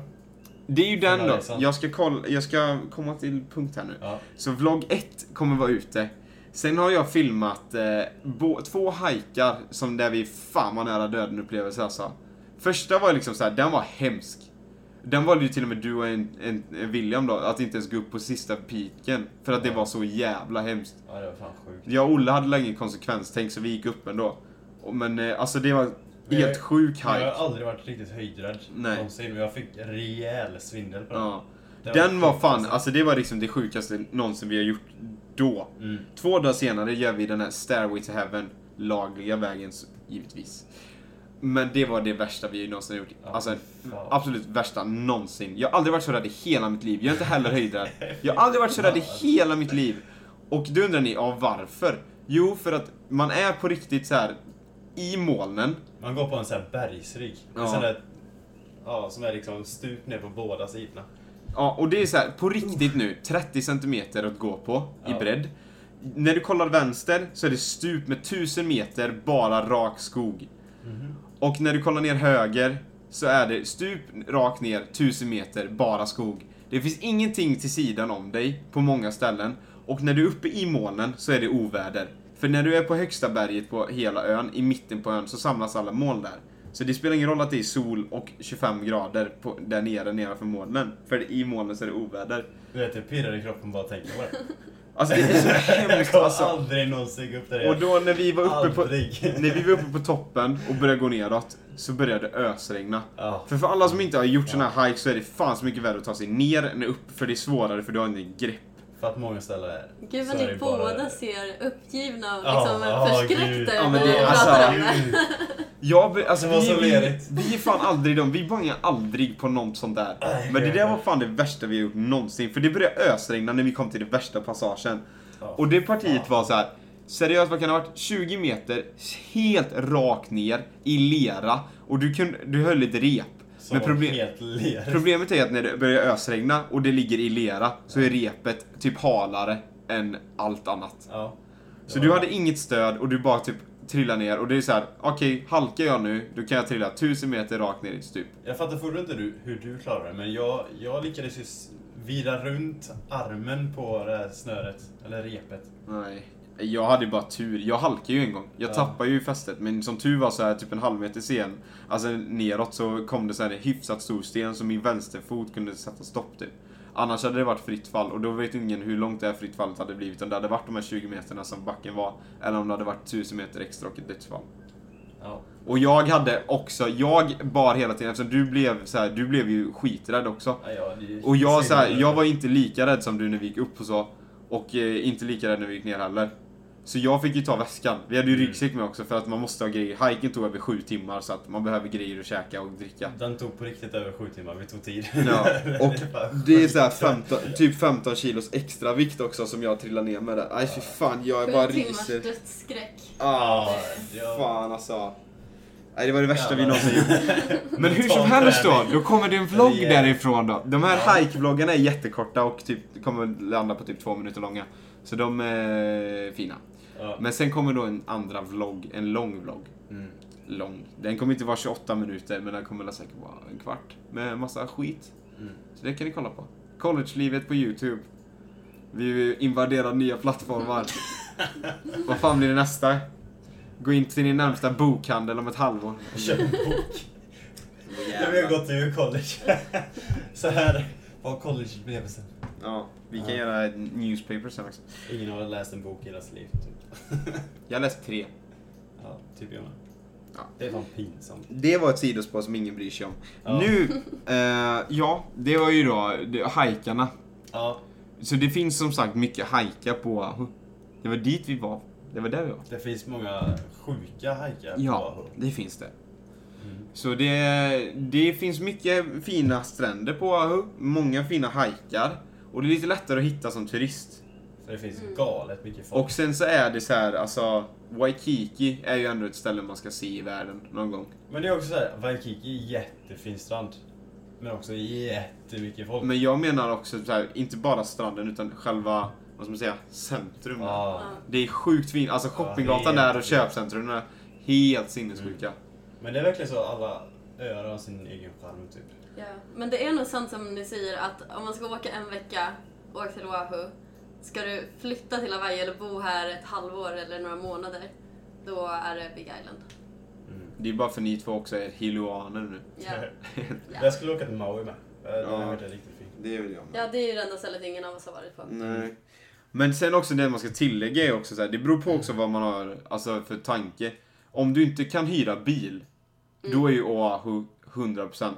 Speaker 1: Det är ju den då.
Speaker 2: resan?
Speaker 1: Jag ska, kolla, jag ska komma till punkt här nu.
Speaker 2: Ja.
Speaker 1: Så vlogg 1 kommer vara ute. Sen har jag filmat eh, bo, två hajkar som där vi fan var nära döden upplevelse alltså. Första var liksom så här, den var hemsk. Den valde ju till och med du och en, en, en William då, att inte ens gå upp på sista piken. För att det var så jävla hemskt.
Speaker 2: ja, det var fan sjukt.
Speaker 1: Jag och Olle hade länge konsekvenstänk så vi gick upp ändå. Och- Men eh, alltså det var
Speaker 2: Men jag-
Speaker 1: helt sjuk
Speaker 2: Jag har
Speaker 1: hajk.
Speaker 2: aldrig varit riktigt höjdrädd
Speaker 1: Nej.
Speaker 2: någonsin, men jag fick rejäl svindel på den.
Speaker 1: Ja.
Speaker 2: Det
Speaker 1: Den var fan,
Speaker 2: sjukt,
Speaker 1: alltså det var liksom det sjukaste någonsin vi har gjort då.
Speaker 2: Mm.
Speaker 1: Två dagar senare gör vi den här Stairway to Heaven, lagliga vägen så- givetvis. Men det var det värsta vi någonsin har gjort.
Speaker 2: Ja,
Speaker 1: Alltså
Speaker 2: fy fan.
Speaker 1: absolut värsta någonsin. Jag har aldrig varit så rädd i hela mitt liv. Jag är inte heller höjdrädd. Jag har aldrig varit så rädd i hela mitt liv. Och då undrar ni, ja varför? Jo, för att man är på riktigt så här i molnen.
Speaker 2: Man går på en sån här bergsrygg.
Speaker 1: Ja.
Speaker 2: En sån där, ja, som är liksom stup ner på båda sidorna.
Speaker 1: Ja, och det är så här, på riktigt nu, 30 centimeter att gå på i
Speaker 2: Ja.
Speaker 1: bredd. När du kollar vänster så är det stup med 1000 meter bara rak skog. Och när du kollar ner höger så är det stup rakt ner 1000 meter bara skog. Det finns ingenting till sidan om dig på många ställen. Och när du är uppe i molnen så är det oväder. För när du är på högsta berget på hela ön, i mitten på ön, så samlas alla moln där. Så det spelar ingen roll att det är sol och 25 grader på, där nere nedanför molnen. För i molnen så är det oväder.
Speaker 2: Du vet, det pirrar i kroppen bara att tänka på det.
Speaker 1: Alltså det är så
Speaker 2: Jag
Speaker 1: hemskt
Speaker 2: kommer
Speaker 1: alltså.
Speaker 2: aldrig någonsin gå upp där
Speaker 1: Och
Speaker 2: igen.
Speaker 1: då när vi var uppe på,
Speaker 2: Aldrig.
Speaker 1: när vi var uppe på toppen och började gå neråt så började det ösregna.
Speaker 2: Ja.
Speaker 1: För för alla som inte har gjort såna här hikes så är det fan så mycket värre att ta sig ner än upp för det är svårare för du har ingen grepp.
Speaker 2: För att många ställen är...
Speaker 3: Gud vad
Speaker 2: så är
Speaker 3: ni
Speaker 2: det
Speaker 3: båda
Speaker 2: bara-
Speaker 3: ser uppgivna och
Speaker 2: Ja,
Speaker 3: liksom
Speaker 2: ja, gud.
Speaker 3: förskräckta
Speaker 1: Ja, men
Speaker 3: ut när
Speaker 1: det-
Speaker 3: ni
Speaker 1: alltså,
Speaker 3: pratar om det.
Speaker 2: Gud.
Speaker 1: Jag, be- alltså,
Speaker 2: Det var
Speaker 1: vi,
Speaker 2: så
Speaker 1: vi,
Speaker 2: lerigt.
Speaker 1: vi är fan aldrig de, vi bangar aldrig på något sånt där.
Speaker 2: Nej,
Speaker 1: Men det där
Speaker 2: nej.
Speaker 1: var fan det värsta vi har gjort någonsin för det började ösregna när vi kom till den värsta passagen.
Speaker 2: Ja.
Speaker 1: Och det partiet var så här. Seriöst, vad kan det ha varit? 20 meter helt rakt ner i lera och du, kunde, du höll ett rep.
Speaker 2: Som men problem... helt ler.
Speaker 1: Problemet är att när det börjar ösregna och det ligger i lera så är repet typ halare än allt annat.
Speaker 2: Ja.
Speaker 1: Så
Speaker 2: Ja.
Speaker 1: du hade inget stöd och du bara typ trillar ner och det är så här: okej, halkar jag nu, då kan jag trilla 1000 meter rakt ner i typ. ett stup.
Speaker 2: Jag fattar fortfarande inte du, hur du klarar det, men jag, jag lyckades ju s- vira runt armen på det här snöret, eller repet.
Speaker 1: Nej. Jag hade ju bara tur. Jag halkade ju en gång. Jag
Speaker 2: Ja.
Speaker 1: tappade ju fästet, men som tur var så här typ en halv meter sen, alltså neråt, så kom det så här en hyfsat stor sten så min vänsterfot kunde sätta stopp typ. Annars hade det varit fritt fall och då vet ingen hur långt det här fritt fallet hade blivit. Om det hade varit de här 20 meterna som backen var, eller om det hade varit 1000 meter extra och ett dödsfall.
Speaker 2: Ja.
Speaker 1: Och jag hade också, jag bar hela tiden, eftersom du blev så här, du blev ju skiträdd också.
Speaker 2: Ja, ja, det-
Speaker 1: Och jag, så här, jag var inte lika rädd som du när vi gick upp och så. Och eh, inte lika rädd när vi gick ner heller. Så jag fick ju ta väskan. Vi hade ju
Speaker 2: Mm.
Speaker 1: ryggsäck med också för att man måste ha grejer. Hiken tog över sju timmar så att man behöver grejer att käka och dricka.
Speaker 2: Den tog på riktigt över sju timmar, vi tog tid.
Speaker 1: Ja, och
Speaker 2: Det är fan
Speaker 1: det är
Speaker 2: sjukt.
Speaker 1: så här 15, typ 15 kilos extra vikt också som jag trillade ner med där. Nej fy fan, jag bara
Speaker 3: Sju timmars
Speaker 1: ryser.
Speaker 3: dödsskräck.
Speaker 1: Ah,
Speaker 2: Ja.
Speaker 1: fan alltså. Nej, det var det värsta vi
Speaker 2: Jävlar.
Speaker 1: någonsin gjort. Men hur som
Speaker 2: Mental
Speaker 1: helst då,
Speaker 2: träning.
Speaker 1: då kommer det en vlogg
Speaker 2: Rejäl.
Speaker 1: därifrån då. De här
Speaker 2: Ja.
Speaker 1: hike-vloggarna är jättekorta och typ, kommer landa på typ två minuter långa. Så de är fina.
Speaker 2: Ja.
Speaker 1: Men sen kommer då en andra vlogg, en lång vlogg.
Speaker 2: Mm.
Speaker 1: Lång. Den kommer inte vara 28 minuter, men den kommer väl säkert vara en kvart. Med massa skit.
Speaker 2: Mm.
Speaker 1: Så det kan ni kolla på. Collegelivet på YouTube. Vi invaderar nya plattformar. Vad fan blir det nästa? Gå in till din närmsta bokhandel om ett halvår.
Speaker 2: Köp en bok. Jag vill gå till college. så här var collegeupplevelsen.
Speaker 1: Ja, vi kan
Speaker 2: Ja.
Speaker 1: göra ett newspaper sen också.
Speaker 2: Ingen har läst en bok i hela sitt liv. Typ.
Speaker 1: Jag har läst tre.
Speaker 2: Ja, typ jag med.
Speaker 1: Ja.
Speaker 2: Det är fan pinsamt.
Speaker 1: Det var ett sidospår som ingen bryr sig om.
Speaker 2: Ja.
Speaker 1: Nu, eh, ja, det var ju då det- hajkarna.
Speaker 2: Ja,
Speaker 1: Så det finns som sagt mycket hajkar på Oahu. Det var dit vi var Det var där vi var.
Speaker 2: Det finns många sjuka hajkar på
Speaker 1: Ja,
Speaker 2: Oahu.
Speaker 1: det finns det.
Speaker 2: Mm.
Speaker 1: Så det, det finns mycket fina stränder på Oahu, många fina hajkar. Och det är lite lättare att hitta som turist.
Speaker 2: Så det finns
Speaker 3: Mm.
Speaker 2: galet mycket folk.
Speaker 1: Och sen så är det så här, alltså Waikiki är ju ändå ett ställe man ska se i världen någon gång.
Speaker 2: Men det är också såhär, Waikiki är jättefin strand. Men också jättemycket folk.
Speaker 1: Men jag menar också så här, inte bara stranden utan själva, vad ska man säga, centrum.
Speaker 2: Ja.
Speaker 1: Det är sjukt fint, alltså shoppinggatan
Speaker 2: Ja, helt
Speaker 1: där och
Speaker 2: fint.
Speaker 1: köpcentrum är helt sinnessjuka.
Speaker 2: Men det är verkligen så alla öar har sin egen charm typ.
Speaker 3: Ja, men det är nog sant som ni säger att om man ska åka en vecka, åk till Oahu. Ska du flytta till Hawaii eller bo här ett halvår eller några månader, då är det Big Island.
Speaker 1: Det är bara för ni två också är hiloaner nu.
Speaker 3: Ja, Ja.
Speaker 2: Jag skulle åka till Maui med. Eh, Den
Speaker 1: Ja.
Speaker 2: har varit riktigt fin.
Speaker 1: Det vill jag
Speaker 3: ja det är ju det enda stället ingen av oss har varit på.
Speaker 1: Nej. Mm. Men sen också det man ska tillägga är också så här, det beror på också vad man har alltså för tanke. Om du inte kan hyra bil, då är ju Oahu 100%.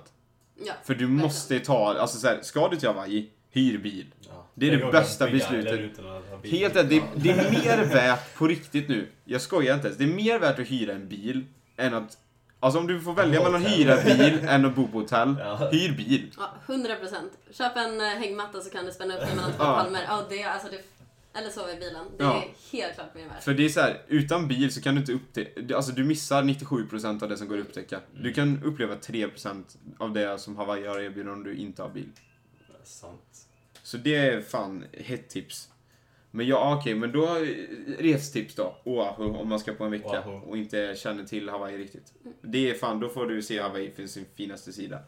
Speaker 3: Ja,
Speaker 1: För du måste ta, alltså så här, ska du till Hawaii, hyr bil.
Speaker 2: Ja.
Speaker 1: Det är det
Speaker 2: Jag åker
Speaker 1: bästa
Speaker 2: till Big Island
Speaker 1: beslutet.
Speaker 2: utan att ha bil.
Speaker 1: Helt rätt, det, det är mer värt, på riktigt nu, jag skojar inte ens, det är mer värt att hyra en bil än att Alltså om du får välja mellan att hyra bil än att bo på hotell,
Speaker 2: Ja.
Speaker 1: hyr bil.
Speaker 3: Ja, 100 procent. Köp en eh, hängmatta så kan du spänna upp dig mellan två
Speaker 1: Ja.
Speaker 3: palmer. Ja, det, alltså det, eller sova i bilen. Det
Speaker 1: Ja.
Speaker 3: är helt klart mer värt.
Speaker 1: För det är så här, utan bil så kan du inte upptäcka, alltså du missar 97% av det som går att upptäcka. Du kan uppleva 3% av det som Hawaii har att erbjuda om du inte har bil.
Speaker 2: Ja, Sant.
Speaker 1: Så det är fan hett tips. Men ja, okej, men då eh, restips då. Oahu, om man ska på en vecka
Speaker 2: Oahu.
Speaker 1: och inte känner till Hawaii riktigt. Det är fan, då får du se Hawaii för sin finaste sida.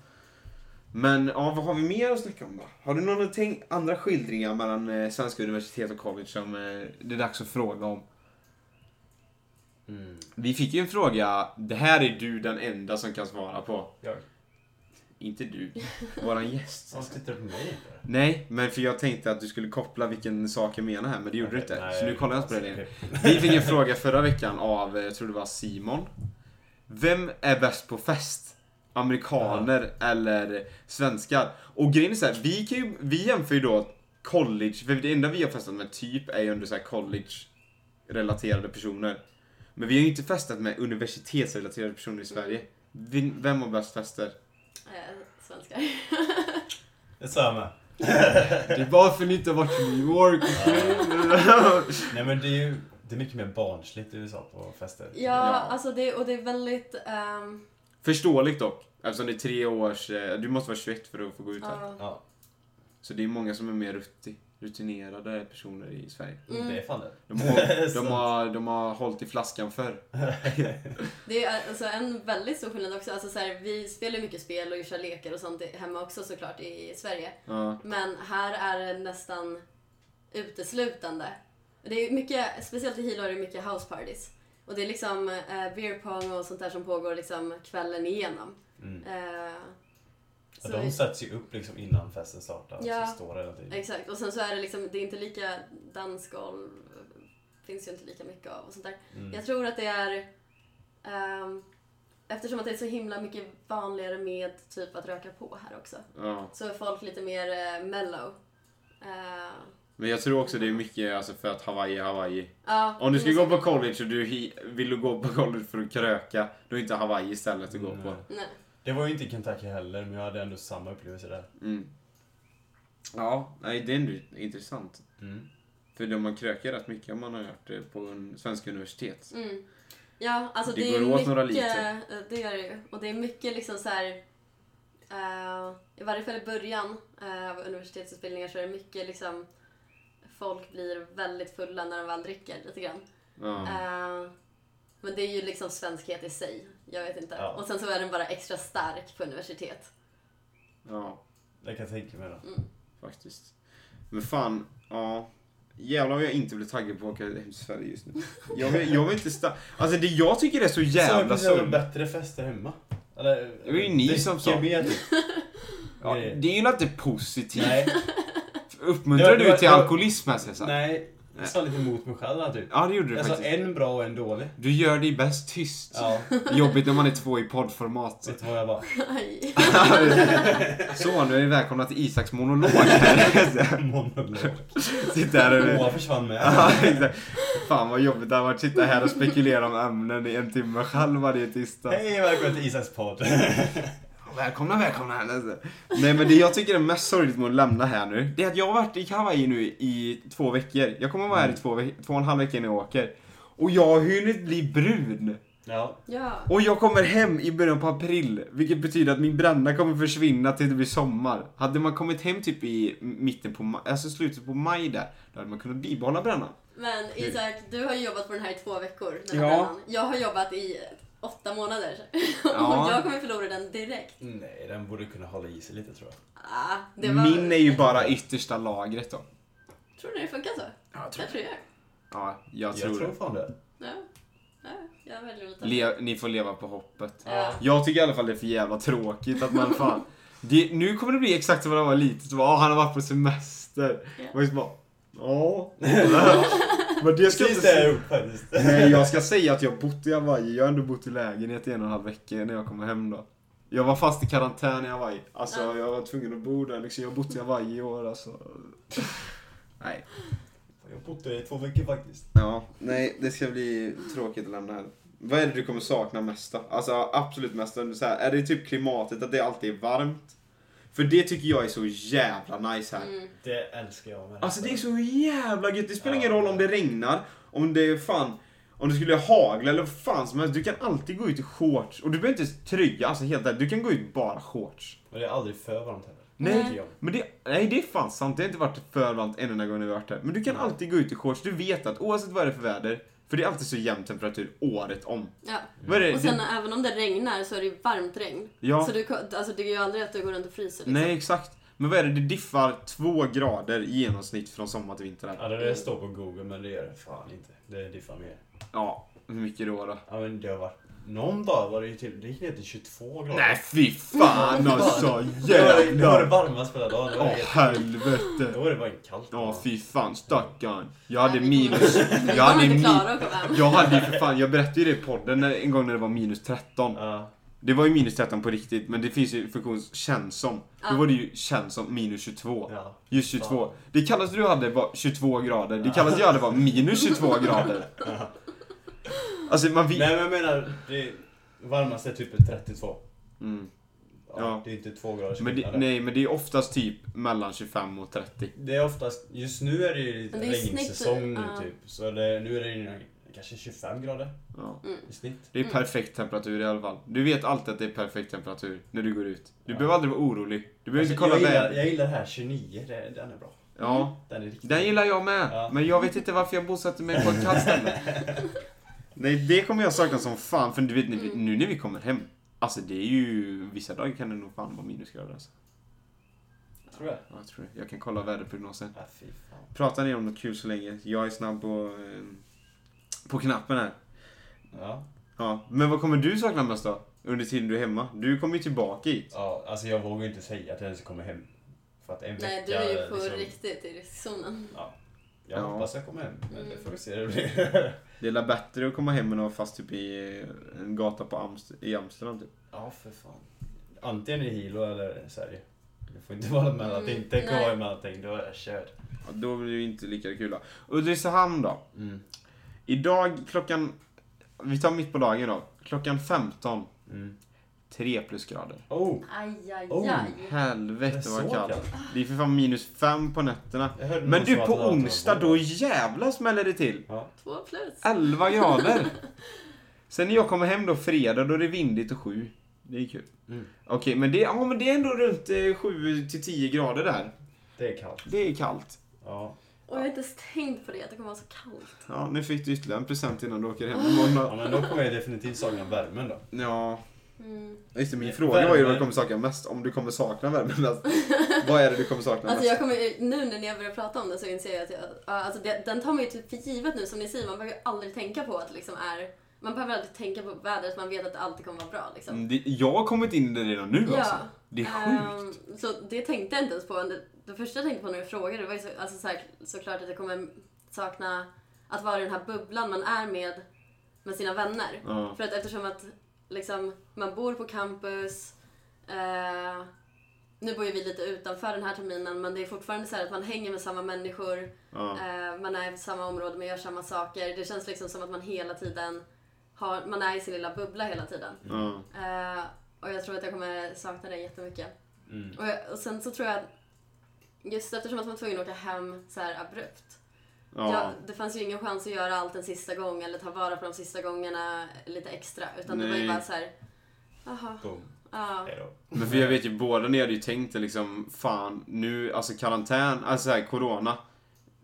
Speaker 1: Men ja, vad har vi mer att snacka om då? Har du några tänk- andra skildringar mellan eh, svenska universitet och college som eh, det är dags att fråga om?
Speaker 2: Mm.
Speaker 1: Vi fick ju en fråga, det här är du den enda som kan svara på.
Speaker 2: Jag.
Speaker 1: Inte du, våran gäst.
Speaker 2: Varför tittar du på mig för?
Speaker 1: Nej, men för jag tänkte att du skulle koppla vilken sak jag menar här, men det gjorde du inte.
Speaker 2: Nej,
Speaker 1: så nu kollar jag inte på det
Speaker 2: alltså,
Speaker 1: längre.
Speaker 2: okej.
Speaker 1: Vi fick en fråga förra veckan av, eh, jag tror det var Simon. Vem är bäst på fest? Amerikaner eller svenskar? Och grejen är så här, vi, kan ju, vi jämför ju då college, för det enda vi har festat med typ är ju under så här college-relaterade personer. Men vi har ju inte festat med universitetsrelaterade personer i Sverige. Vi- Vem har bäst fester?
Speaker 3: Eh, svenskar.
Speaker 2: Det sa jag med.
Speaker 1: Det är bara för att ni inte har varit i New York.
Speaker 2: Nej men det är ju det är mycket mer barnsligt i USA på fester.
Speaker 3: ja, alltså det, och det är väldigt... ehm,
Speaker 1: Förståeligt dock. Eftersom det är tre års... eh, Du måste vara 21 för att få gå ut här.
Speaker 3: ja.
Speaker 2: Ja,
Speaker 1: Så det är många som är mer rutti, rutinerade personer i Sverige.
Speaker 3: Mm.
Speaker 2: det är fan det.
Speaker 1: De har, de
Speaker 2: Sant.
Speaker 1: har, de har hållit i flaskan förr.
Speaker 3: Det är alltså en väldigt stor skillnad också. Alltså så här, vi spelar ju mycket spel och kör lekar och sånt i- hemma också såklart i Sverige.
Speaker 1: Ja.
Speaker 3: Men här är det nästan uteslutande. Det är mycket, speciellt i Hilo är det mycket house parties. Och det är liksom eh, beer pong och sånt där som pågår liksom kvällen igenom.
Speaker 2: Mm.
Speaker 3: Eh,
Speaker 2: Ja,
Speaker 3: så
Speaker 2: de sätts ju upp liksom innan festen startar.
Speaker 3: Ja.
Speaker 2: Så står det hela tiden.
Speaker 3: Exakt, och sen så är det liksom, det är inte lika dansgolv, finns ju inte lika mycket av och sånt där.
Speaker 2: Mm.
Speaker 3: Jag tror att det är, ehm, eftersom att det är så himla mycket vanligare med typ att röka på här också,
Speaker 1: Ja.
Speaker 3: så är folk lite mer eh, mellow. Eh,
Speaker 1: Men jag tror också det är mycket alltså, för att Hawaii är Hawaii.
Speaker 3: ja,
Speaker 1: Om du ska
Speaker 3: men
Speaker 1: gå
Speaker 3: så-
Speaker 1: på college och du hi- vill gå på college för att kröka, då är inte Hawaii stället att gå på.
Speaker 3: Nej.
Speaker 2: Det var ju inte i Kentucky heller, men jag hade ändå samma upplevelse där.
Speaker 1: Mm. Ja, nej, det är ändå intressant.
Speaker 2: Mm.
Speaker 1: För de man krökar rätt mycket om man har hört det på en svenska universitet.
Speaker 3: Mm. Ja, alltså
Speaker 1: Det
Speaker 3: det,
Speaker 1: går
Speaker 3: är
Speaker 1: åt
Speaker 3: mycket,
Speaker 1: några
Speaker 3: eh, Det gör det ju. Och det är mycket liksom så här... eh, I varje fall i början eh, av universitetsutbildningar så är det mycket liksom... Folk blir väldigt fulla när de väl dricker lite grann.
Speaker 1: Ja.
Speaker 3: Eh, men det är ju liksom svenskhet i sig. Jag vet inte.
Speaker 2: Ja.
Speaker 3: Och sen så är den bara extra stark på universitet.
Speaker 1: ja.
Speaker 2: Det kan jag tänka mig då.
Speaker 1: Faktiskt. Men fan, ja. Jävlar vad jag inte blir taggad på att åka hem till Sverige just nu. Jag vill, jag vill inte sta- Alltså det jag tycker är så jävla
Speaker 2: så
Speaker 1: synd.
Speaker 2: bättre fester hemma. Eller,
Speaker 1: Det var ju ni som sa.
Speaker 2: dricka mer, typ.
Speaker 1: Ja, det är ju inte positivt.
Speaker 2: Nej,
Speaker 1: Uppmuntrar
Speaker 2: Det var-
Speaker 1: du till
Speaker 2: det var-
Speaker 1: alkoholism här Cesar?
Speaker 2: nej, Jag sa lite emot mig själv där, typ.
Speaker 1: Ja, det gjorde du
Speaker 2: Jag sa
Speaker 1: faktiskt.
Speaker 2: en bra och en dålig.
Speaker 1: Du gör dig bäst tyst.
Speaker 2: Ja,
Speaker 1: Jobbigt när man är två i poddformat.
Speaker 2: vet du vad jag var?
Speaker 3: Aj.
Speaker 1: Så, nu är vi välkomna till Isaks monolog här.
Speaker 2: Monolog.
Speaker 1: Sitta här och...
Speaker 2: Moa försvann med.
Speaker 1: Ja, exakt. Fan vad jobbigt det hade varit att sitta här och spekulera om ämnen i en timme själv varje tisdag.
Speaker 2: Hej och välkommen till Isaks podd.
Speaker 1: Välkomna, välkomna här. Alltså. Nej men det jag tycker är mest sorgligt med att lämna här nu, det är att jag har varit i Hawaii nu i två veckor. Jag kommer vara här i två, veck- två och en halv vecka innan jag åker. Och jag har hunnit bli brun.
Speaker 2: Ja,
Speaker 3: Ja.
Speaker 1: Och jag kommer hem i början på april, vilket betyder att min bränna kommer försvinna tills det blir sommar. Hade man kommit hem typ i mitten på maj, alltså slutet på maj där, då hade man kunnat bibehålla brännan.
Speaker 3: Men Isak, du har ju jobbat på den här i två veckor. Den
Speaker 1: Ja.
Speaker 3: här brännan. Jag har jobbat i åtta månader.
Speaker 1: Ja.
Speaker 3: Och jag kommer förlora den direkt.
Speaker 2: nej den borde kunna hålla i sig lite tror jag.
Speaker 3: Ah, det var...
Speaker 1: Min är ju bara yttersta lagret då.
Speaker 3: Tror du det funkar så?
Speaker 1: Ja,
Speaker 3: Jag tror jag.
Speaker 1: Ja, jag
Speaker 2: Jag
Speaker 1: tror,
Speaker 2: tror,
Speaker 1: det.
Speaker 2: fan det.
Speaker 3: Ja. Ja, jag väljer att ta
Speaker 1: Le- ni får leva på hoppet.
Speaker 3: Ja.
Speaker 1: Jag tycker i alla fall det är för jävla tråkigt att man fan... Det, nu kommer det bli exakt som när man var litet. Så bara, "Ah, han har varit på semester.
Speaker 3: Ja.
Speaker 1: Och så bara, ja. Men det ska jag
Speaker 2: Precis
Speaker 1: inte
Speaker 2: det jag
Speaker 1: säga.
Speaker 2: gjort faktiskt.
Speaker 1: Nej, jag ska säga att jag bott i Hawaii. Jag har ändå bott i lägenhet i en och en halv vecka när jag kommer hem då. Jag var fast i karantän i Hawaii. Alltså,
Speaker 3: Ja.
Speaker 1: jag var tvungen att bo där liksom. Jag har bott i Hawaii i år alltså. Nej.
Speaker 2: Jag har bott där i två veckor faktiskt.
Speaker 1: Ja, nej, det ska bli tråkigt att lämna här. Vad är det du kommer sakna mest då? Alltså absolut mest, om du så här, är det typ klimatet, att det alltid är varmt? För det tycker jag är så jävla nice här.
Speaker 3: Mm.
Speaker 2: Det älskar jag med.
Speaker 1: Alltså det är så jävla gött, det spelar ingen
Speaker 2: Ja.
Speaker 1: roll om det regnar, om det är fan, om det skulle hagla eller vad fan som helst. Du kan alltid gå ut i shorts och du behöver inte ens tröja, alltså helt ärligt, du kan gå ut i bara shorts.
Speaker 2: Men det är aldrig för varmt heller.
Speaker 1: Nej.
Speaker 2: Tycker jag.
Speaker 1: Men det, nej det är fan sant, det har inte varit för varmt en enda gång när vi har varit här. Men du kan alltid gå ut i shorts, du vet att oavsett vad det är för väder, för det är alltid så jämn temperatur året om.
Speaker 3: Ja.
Speaker 1: Vad är det?
Speaker 3: Och sen även om det regnar så är det ju varmt regn.
Speaker 1: Ja.
Speaker 3: Så du, ko- alltså, det är ju aldrig att du går runt och fryser. Liksom.
Speaker 1: Nej, exakt. Men vad är det? Det diffar två grader i genomsnitt från sommar till vinter. här.
Speaker 2: Ja, det där står på google men det gör det fan inte. Det diffar mer.
Speaker 1: Ja, hur mycket då då?
Speaker 2: Ja men det har varit... Någon dag var det ju till... Det gick ner till 22 grader.
Speaker 1: Nej, fy fan alltså!
Speaker 2: Det var det, det, var det
Speaker 1: Jävlar!
Speaker 2: varmaste hela dagen. Det var
Speaker 1: Åh,
Speaker 2: helt- Då
Speaker 1: helvete!
Speaker 2: var det bara en kallt.
Speaker 1: Ja, fy fan, stackarn. Jag hade
Speaker 3: Nej, vi kommer-
Speaker 1: minus...
Speaker 3: Vi
Speaker 1: Jag
Speaker 3: kommer
Speaker 1: hade,
Speaker 3: inte
Speaker 1: min,
Speaker 3: klara att komma hem.
Speaker 1: jag hade ju för fan, jag berättade ju det i podden när, en gång när det var minus 13.
Speaker 2: Ja.
Speaker 1: Det var ju minus 13 på riktigt, men det finns ju funktion känns som. Då
Speaker 3: Ja.
Speaker 1: var det ju känns som minus 22.
Speaker 2: ja.
Speaker 1: Just 22. Det kallaste du hade var 22 grader. Det kallaste jag hade var minus 22 grader. Alltså man vet...
Speaker 2: Nej men jag menar, det varmaste är typ 32.
Speaker 1: Mm.
Speaker 2: Ja,
Speaker 1: Ja.
Speaker 2: Det är inte två graders
Speaker 1: Men det,
Speaker 2: skillnad.
Speaker 1: nej, men det är oftast typ mellan 25 och 30.
Speaker 2: Det är oftast, just nu är det ju lite
Speaker 3: Men det är i snitt,
Speaker 2: regnsäsong nu
Speaker 3: ja.
Speaker 2: typ. Så det, nu är det ju kanske 25 grader
Speaker 1: Ja.
Speaker 2: i snitt.
Speaker 1: Det är perfekt temperatur i alla fall. Du vet alltid att det är perfekt temperatur när du går ut. Du behöver aldrig vara orolig. Du behöver inte
Speaker 2: Alltså, jag,
Speaker 1: kolla
Speaker 2: gillar,
Speaker 1: vädret.
Speaker 2: jag gillar det här 29, det, den är bra.
Speaker 1: Ja.
Speaker 2: Den är riktigt
Speaker 1: Den gillar jag med.
Speaker 2: Ja.
Speaker 1: Men jag vet inte varför jag bosatte mig på ett kallt ställe. Nej, det kommer jag sakna som fan. För du vet, när vi, nu när vi kommer hem. Alltså det är ju... Vissa dagar kan det nog fan vara minusgrader alltså.
Speaker 2: Tror jag.
Speaker 1: Ja, jag tror det. Jag kan kolla väderprognosen.
Speaker 2: Ja, fy fan.
Speaker 1: Prata ni om något kul så länge. Jag är snabb på, eh, på knappen här.
Speaker 2: Ja.
Speaker 1: Ja, men vad kommer du sakna mest då? Under tiden du är hemma? Du kommer ju tillbaka hit.
Speaker 2: ja, alltså jag vågar ju inte säga att jag ens kommer hem. För att en
Speaker 3: Nej,
Speaker 2: vecka...
Speaker 3: du är ju på
Speaker 2: liksom-
Speaker 3: riktigt i riskzonen.
Speaker 2: Ja. Jag
Speaker 1: Ja.
Speaker 2: hoppas jag kommer hem, men
Speaker 3: Mm.
Speaker 2: det får vi se hur det blir.
Speaker 1: Det är väl bättre att komma hem än att vara fast typ i eh, en gata på Amst- i Amsterdam typ.
Speaker 2: Ja, för fan. Antingen i Hilo eller Sverige. Det får inte vara mellanting.
Speaker 3: Mm,
Speaker 2: Tänk att
Speaker 3: nej.
Speaker 2: vara i mellanting, då är jag körd.
Speaker 1: Ja, då blir det ju inte lika kul då. Ulricehamn då?
Speaker 2: Mm.
Speaker 1: Idag klockan... Vi tar mitt på dagen då. Klockan 15.
Speaker 2: Mm.
Speaker 1: 3 plusgrader.
Speaker 2: Oh!
Speaker 3: Aj, aj,
Speaker 2: Oh,
Speaker 3: aj.
Speaker 1: Helvete
Speaker 2: Det är
Speaker 1: vad
Speaker 2: så
Speaker 1: kallt.
Speaker 2: kallt.
Speaker 1: Det är för fan minus 5 på nätterna.
Speaker 2: Jag hörde
Speaker 1: Men
Speaker 2: någon
Speaker 1: du,
Speaker 2: som
Speaker 1: på
Speaker 2: hade något
Speaker 1: onsdag
Speaker 2: att
Speaker 1: då jävla smäller det till.
Speaker 2: Ja.
Speaker 3: Två plus.
Speaker 1: 11 grader. Sen när jag kommer hem då fredag, då är det vindigt och 7. Det är kul.
Speaker 2: Mm.
Speaker 1: Okej, men, det, ja, men det är ändå runt eh, 7-10 grader där.
Speaker 2: Det är kallt.
Speaker 1: Det är kallt.
Speaker 2: Ja.
Speaker 3: Och jag har inte ens tänkt på det, att det kommer vara så kallt.
Speaker 1: Ja, nu fick du ytterligare en present innan du åker hem
Speaker 2: ja,
Speaker 1: imorgon.
Speaker 2: men då kommer jag definitivt sakna värmen då.
Speaker 1: Ja,
Speaker 3: Mm.
Speaker 1: just det, min
Speaker 2: Värme.
Speaker 1: fråga var ju vad du kommer sakna mest. Om du kommer sakna värmen mest. Vad är det du kommer sakna
Speaker 3: Alltså
Speaker 1: mest?
Speaker 3: jag kommer, nu när jag börjar prata om det så inser jag att jag, ja, alltså det, den tar man ju typ för givet nu som ni säger, man behöver ju aldrig tänka på att det liksom är, man behöver aldrig tänka på vädret, man vet att det alltid kommer vara bra liksom.
Speaker 1: Mm, det, jag har kommit in i det redan nu alltså. Det är sjukt.
Speaker 3: Ehm, så det tänkte jag inte ens på. Det, det första jag tänkte på när du frågade var ju så, alltså så här, såklart att jag kommer sakna att vara i den här bubblan man är med, med sina vänner.
Speaker 1: Ja.
Speaker 3: För att eftersom att liksom, man bor på campus, eh, nu bor ju vi lite utanför den här terminen men det är fortfarande så här att man hänger med samma människor,
Speaker 1: Ja.
Speaker 3: eh, man är i samma område, man gör samma saker. Det känns liksom som att man hela tiden har, man är i sin lilla bubbla hela tiden.
Speaker 1: Ja.
Speaker 3: Eh, och jag tror att jag kommer sakna det jättemycket.
Speaker 2: Mm.
Speaker 3: Och, jag, och sen så tror jag att just eftersom att man var tvungen att åka hem så här abrupt. Ja,
Speaker 1: Ja.
Speaker 3: det fanns ju ingen chans att göra allt en sista gång eller ta vara på de sista gångerna lite extra. Utan det var ju
Speaker 1: Nej.
Speaker 3: bara så här, jaha,
Speaker 2: Boom.
Speaker 3: ja.
Speaker 2: Hejdå.
Speaker 1: Men för jag vet ju båda ni hade ju tänkt er liksom, fan nu, alltså karantän, alltså så här, corona.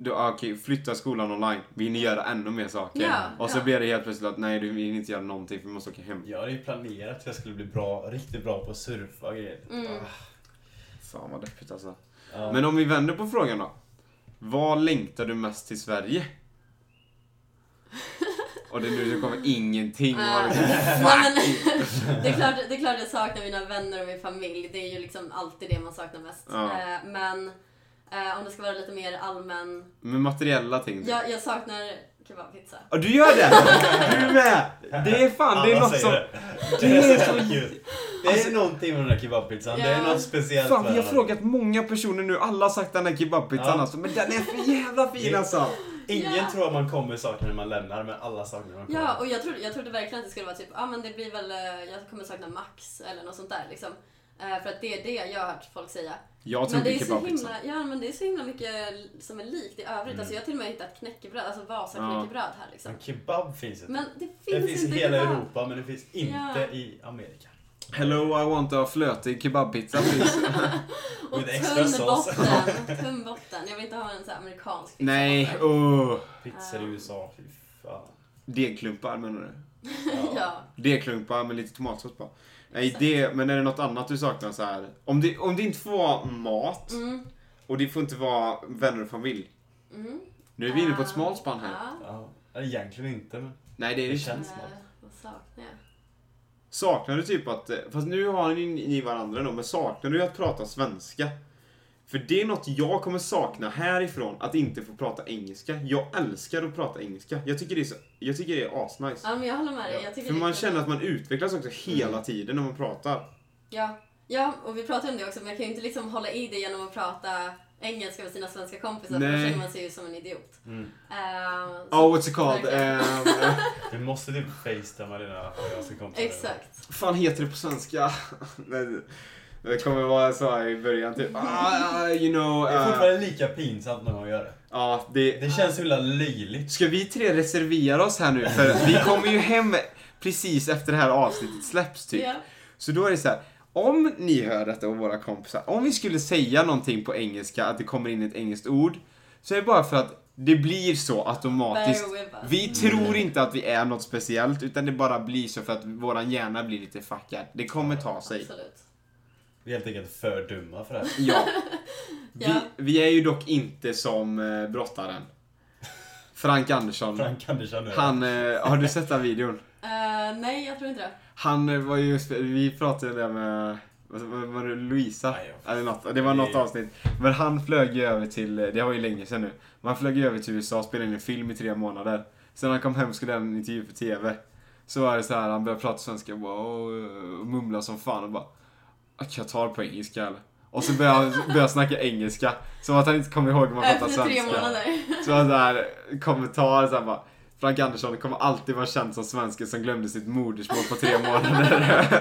Speaker 1: Du, ah, okej, flytta skolan online. Vi hinner göra ännu mer saker.
Speaker 3: Ja,
Speaker 1: och så
Speaker 3: ja.
Speaker 1: blir det helt plötsligt att nej, du vi hinner inte göra någonting för vi måste åka hem.
Speaker 2: Jag hade ju planerat att jag skulle bli bra, riktigt bra på att surfa och grejer. Ah,
Speaker 3: Mm.
Speaker 1: Fan vad deppigt alltså.
Speaker 2: Ja.
Speaker 1: Men om vi vänder på frågan då. Vad längtar du mest till Sverige? Och det är nu det kommer ingenting.
Speaker 3: Ah.
Speaker 1: Och det-
Speaker 3: Nej, men, det, är klart, det är klart jag saknar mina vänner och min familj. Det är ju liksom alltid det man saknar mest.
Speaker 1: Ja.
Speaker 3: Eh, men eh, om det ska vara lite mer allmän.
Speaker 1: Med materiella ting.
Speaker 3: Jag, jag saknar kebabpizza.
Speaker 1: Ja, du gör det! Du är med! Det är fan, det är
Speaker 2: Alla
Speaker 1: något
Speaker 2: säger
Speaker 1: som... Det
Speaker 2: Det, det
Speaker 1: är
Speaker 2: är
Speaker 1: så-
Speaker 2: så kul. Det är någonting med den där kebabpizzan. Det är
Speaker 3: Ja.
Speaker 2: något speciellt
Speaker 1: Fan,
Speaker 2: med
Speaker 1: vi har
Speaker 2: den.
Speaker 1: frågat många personer nu. Alla har sagt den här kebabpizzan
Speaker 2: Ja.
Speaker 1: alltså. Men den är för jävla fin
Speaker 2: Det-
Speaker 1: alltså.
Speaker 2: Ingen
Speaker 3: Ja.
Speaker 2: tror att man kommer sakna när man lämnar, men alla saknar när man kommer.
Speaker 3: Ja, och jag trodde, jag trodde verkligen att det skulle vara typ, ja ah, men det blir väl, eh, jag kommer sakna Max eller något sånt där liksom. Eh, för att det är det jag har hört folk säga.
Speaker 1: Jag tror
Speaker 3: Men det,
Speaker 1: inte
Speaker 3: är så
Speaker 1: kebabpizzan.
Speaker 3: himla, ja, men det är så himla mycket som är likt i övrigt. Alltså, jag har till och med hittat knäckebröd, alltså Vasa
Speaker 1: Mm. Ja.
Speaker 3: knäckebröd här liksom.
Speaker 2: Men kebab finns inte.
Speaker 3: Men det finns,
Speaker 2: det finns i
Speaker 3: inte
Speaker 2: hela
Speaker 3: kebab.
Speaker 2: Europa, men det finns inte
Speaker 3: Ja.
Speaker 2: i Amerika.
Speaker 1: Hello, I want a flötig kebabpizza please.
Speaker 3: Och
Speaker 2: Med extra
Speaker 3: tunn
Speaker 2: sås.
Speaker 3: botten, tunn botten. Jag vill inte ha en sån här amerikansk pizza.
Speaker 1: Nej, oh.
Speaker 2: Pizzor i USA, fy fan.
Speaker 1: Degklumpar menar du?
Speaker 3: ja.
Speaker 1: Degklumpar med lite tomatsås på. Nej, det, men är det något annat du saknar så här? Om det, om det inte får vara mat
Speaker 3: Mm.
Speaker 1: och det får inte vara vänner och familj.
Speaker 3: Mm.
Speaker 1: Nu är vi inne på ett
Speaker 3: Ah,
Speaker 1: smalt spann här.
Speaker 3: Ja.
Speaker 2: Ja. Eller Egentligen inte, men
Speaker 1: Nej, det är det
Speaker 2: det
Speaker 1: inte.
Speaker 2: känns
Speaker 3: Eh,
Speaker 2: smart.
Speaker 3: Vad saknar jag?
Speaker 1: Saknar du typ att, eh, fast nu har ni, ni varandra då, men saknar du att prata svenska? För det är något jag kommer sakna härifrån, att inte få prata engelska. Jag älskar att prata engelska. Jag tycker det är, så, jag tycker det är asnice.
Speaker 3: Ja, men jag håller med dig. Jag tycker
Speaker 1: För
Speaker 3: det är
Speaker 1: man
Speaker 3: kul.
Speaker 1: känner att man utvecklas också hela tiden när man pratar.
Speaker 3: Ja. ja, och vi pratade om det också, men jag kan ju inte liksom hålla i det genom att prata engelska med sina svenska kompisar, för då
Speaker 1: Nej.
Speaker 3: känner man sig ju som en idiot.
Speaker 2: Mm.
Speaker 3: Eh, så-
Speaker 1: Oh, what's it called?
Speaker 3: verkligen.
Speaker 1: Um,
Speaker 2: Du måste typ facetima dina kompisar.
Speaker 3: Exakt.
Speaker 1: fan heter det på svenska? Nej, det kommer vara så här i början, typ. Ah, you know.
Speaker 2: Det är
Speaker 1: eh,
Speaker 2: fortfarande lika pinsamt när man gör det.
Speaker 1: Ja, det,
Speaker 2: Det känns så himla löjligt.
Speaker 1: Ska vi tre reservera oss här nu? För vi kommer ju hem precis efter det här avsnittet släpps typ.
Speaker 3: Ja.
Speaker 1: Så då är det så här. Om ni hör detta och våra kompisar, om vi skulle säga någonting på engelska, att det kommer in ett engelskt ord, så är det bara för att det blir så automatiskt.
Speaker 3: Bear with us.
Speaker 1: Vi
Speaker 2: Mm.
Speaker 1: tror inte att vi är något speciellt, utan det bara blir så för att våran hjärna blir lite fuckad. Det kommer ta sig.
Speaker 3: Absolut.
Speaker 2: Vi är helt enkelt för dumma för det här.
Speaker 1: Ja. Vi,
Speaker 3: Ja.
Speaker 1: vi är ju dock inte som eh, brottaren. Frank Andersson.
Speaker 2: Frank Andersson nu.
Speaker 1: Mm. Han, eh, har du sett den videon?
Speaker 3: Eh, nej, jag tror inte det.
Speaker 1: Han eh, var ju, vi pratade ju där med, vad- vad- var det Louisa?
Speaker 2: Nej, jag-
Speaker 1: Eller något, det var något avsnitt. Men han flög ju över till, eh, det var ju länge sedan nu, men han flög ju över till USA och spelade in en film i tre månader. Sen när han kom hem skulle han göra en intervju för TV. Så var det så här, han började prata svenska och, bara, "Åh", och mumla som fan och bara Qatar på engelska eller? Och så började han började han snacka engelska. Som att han inte kom ihåg hur man pratar
Speaker 3: Efter
Speaker 1: svenska.
Speaker 3: Eh, tre månader.
Speaker 1: Så en sån här kommentar så här bara Frank Andersson kommer alltid vara känd som svensken som glömde sitt modersmål på tre månader.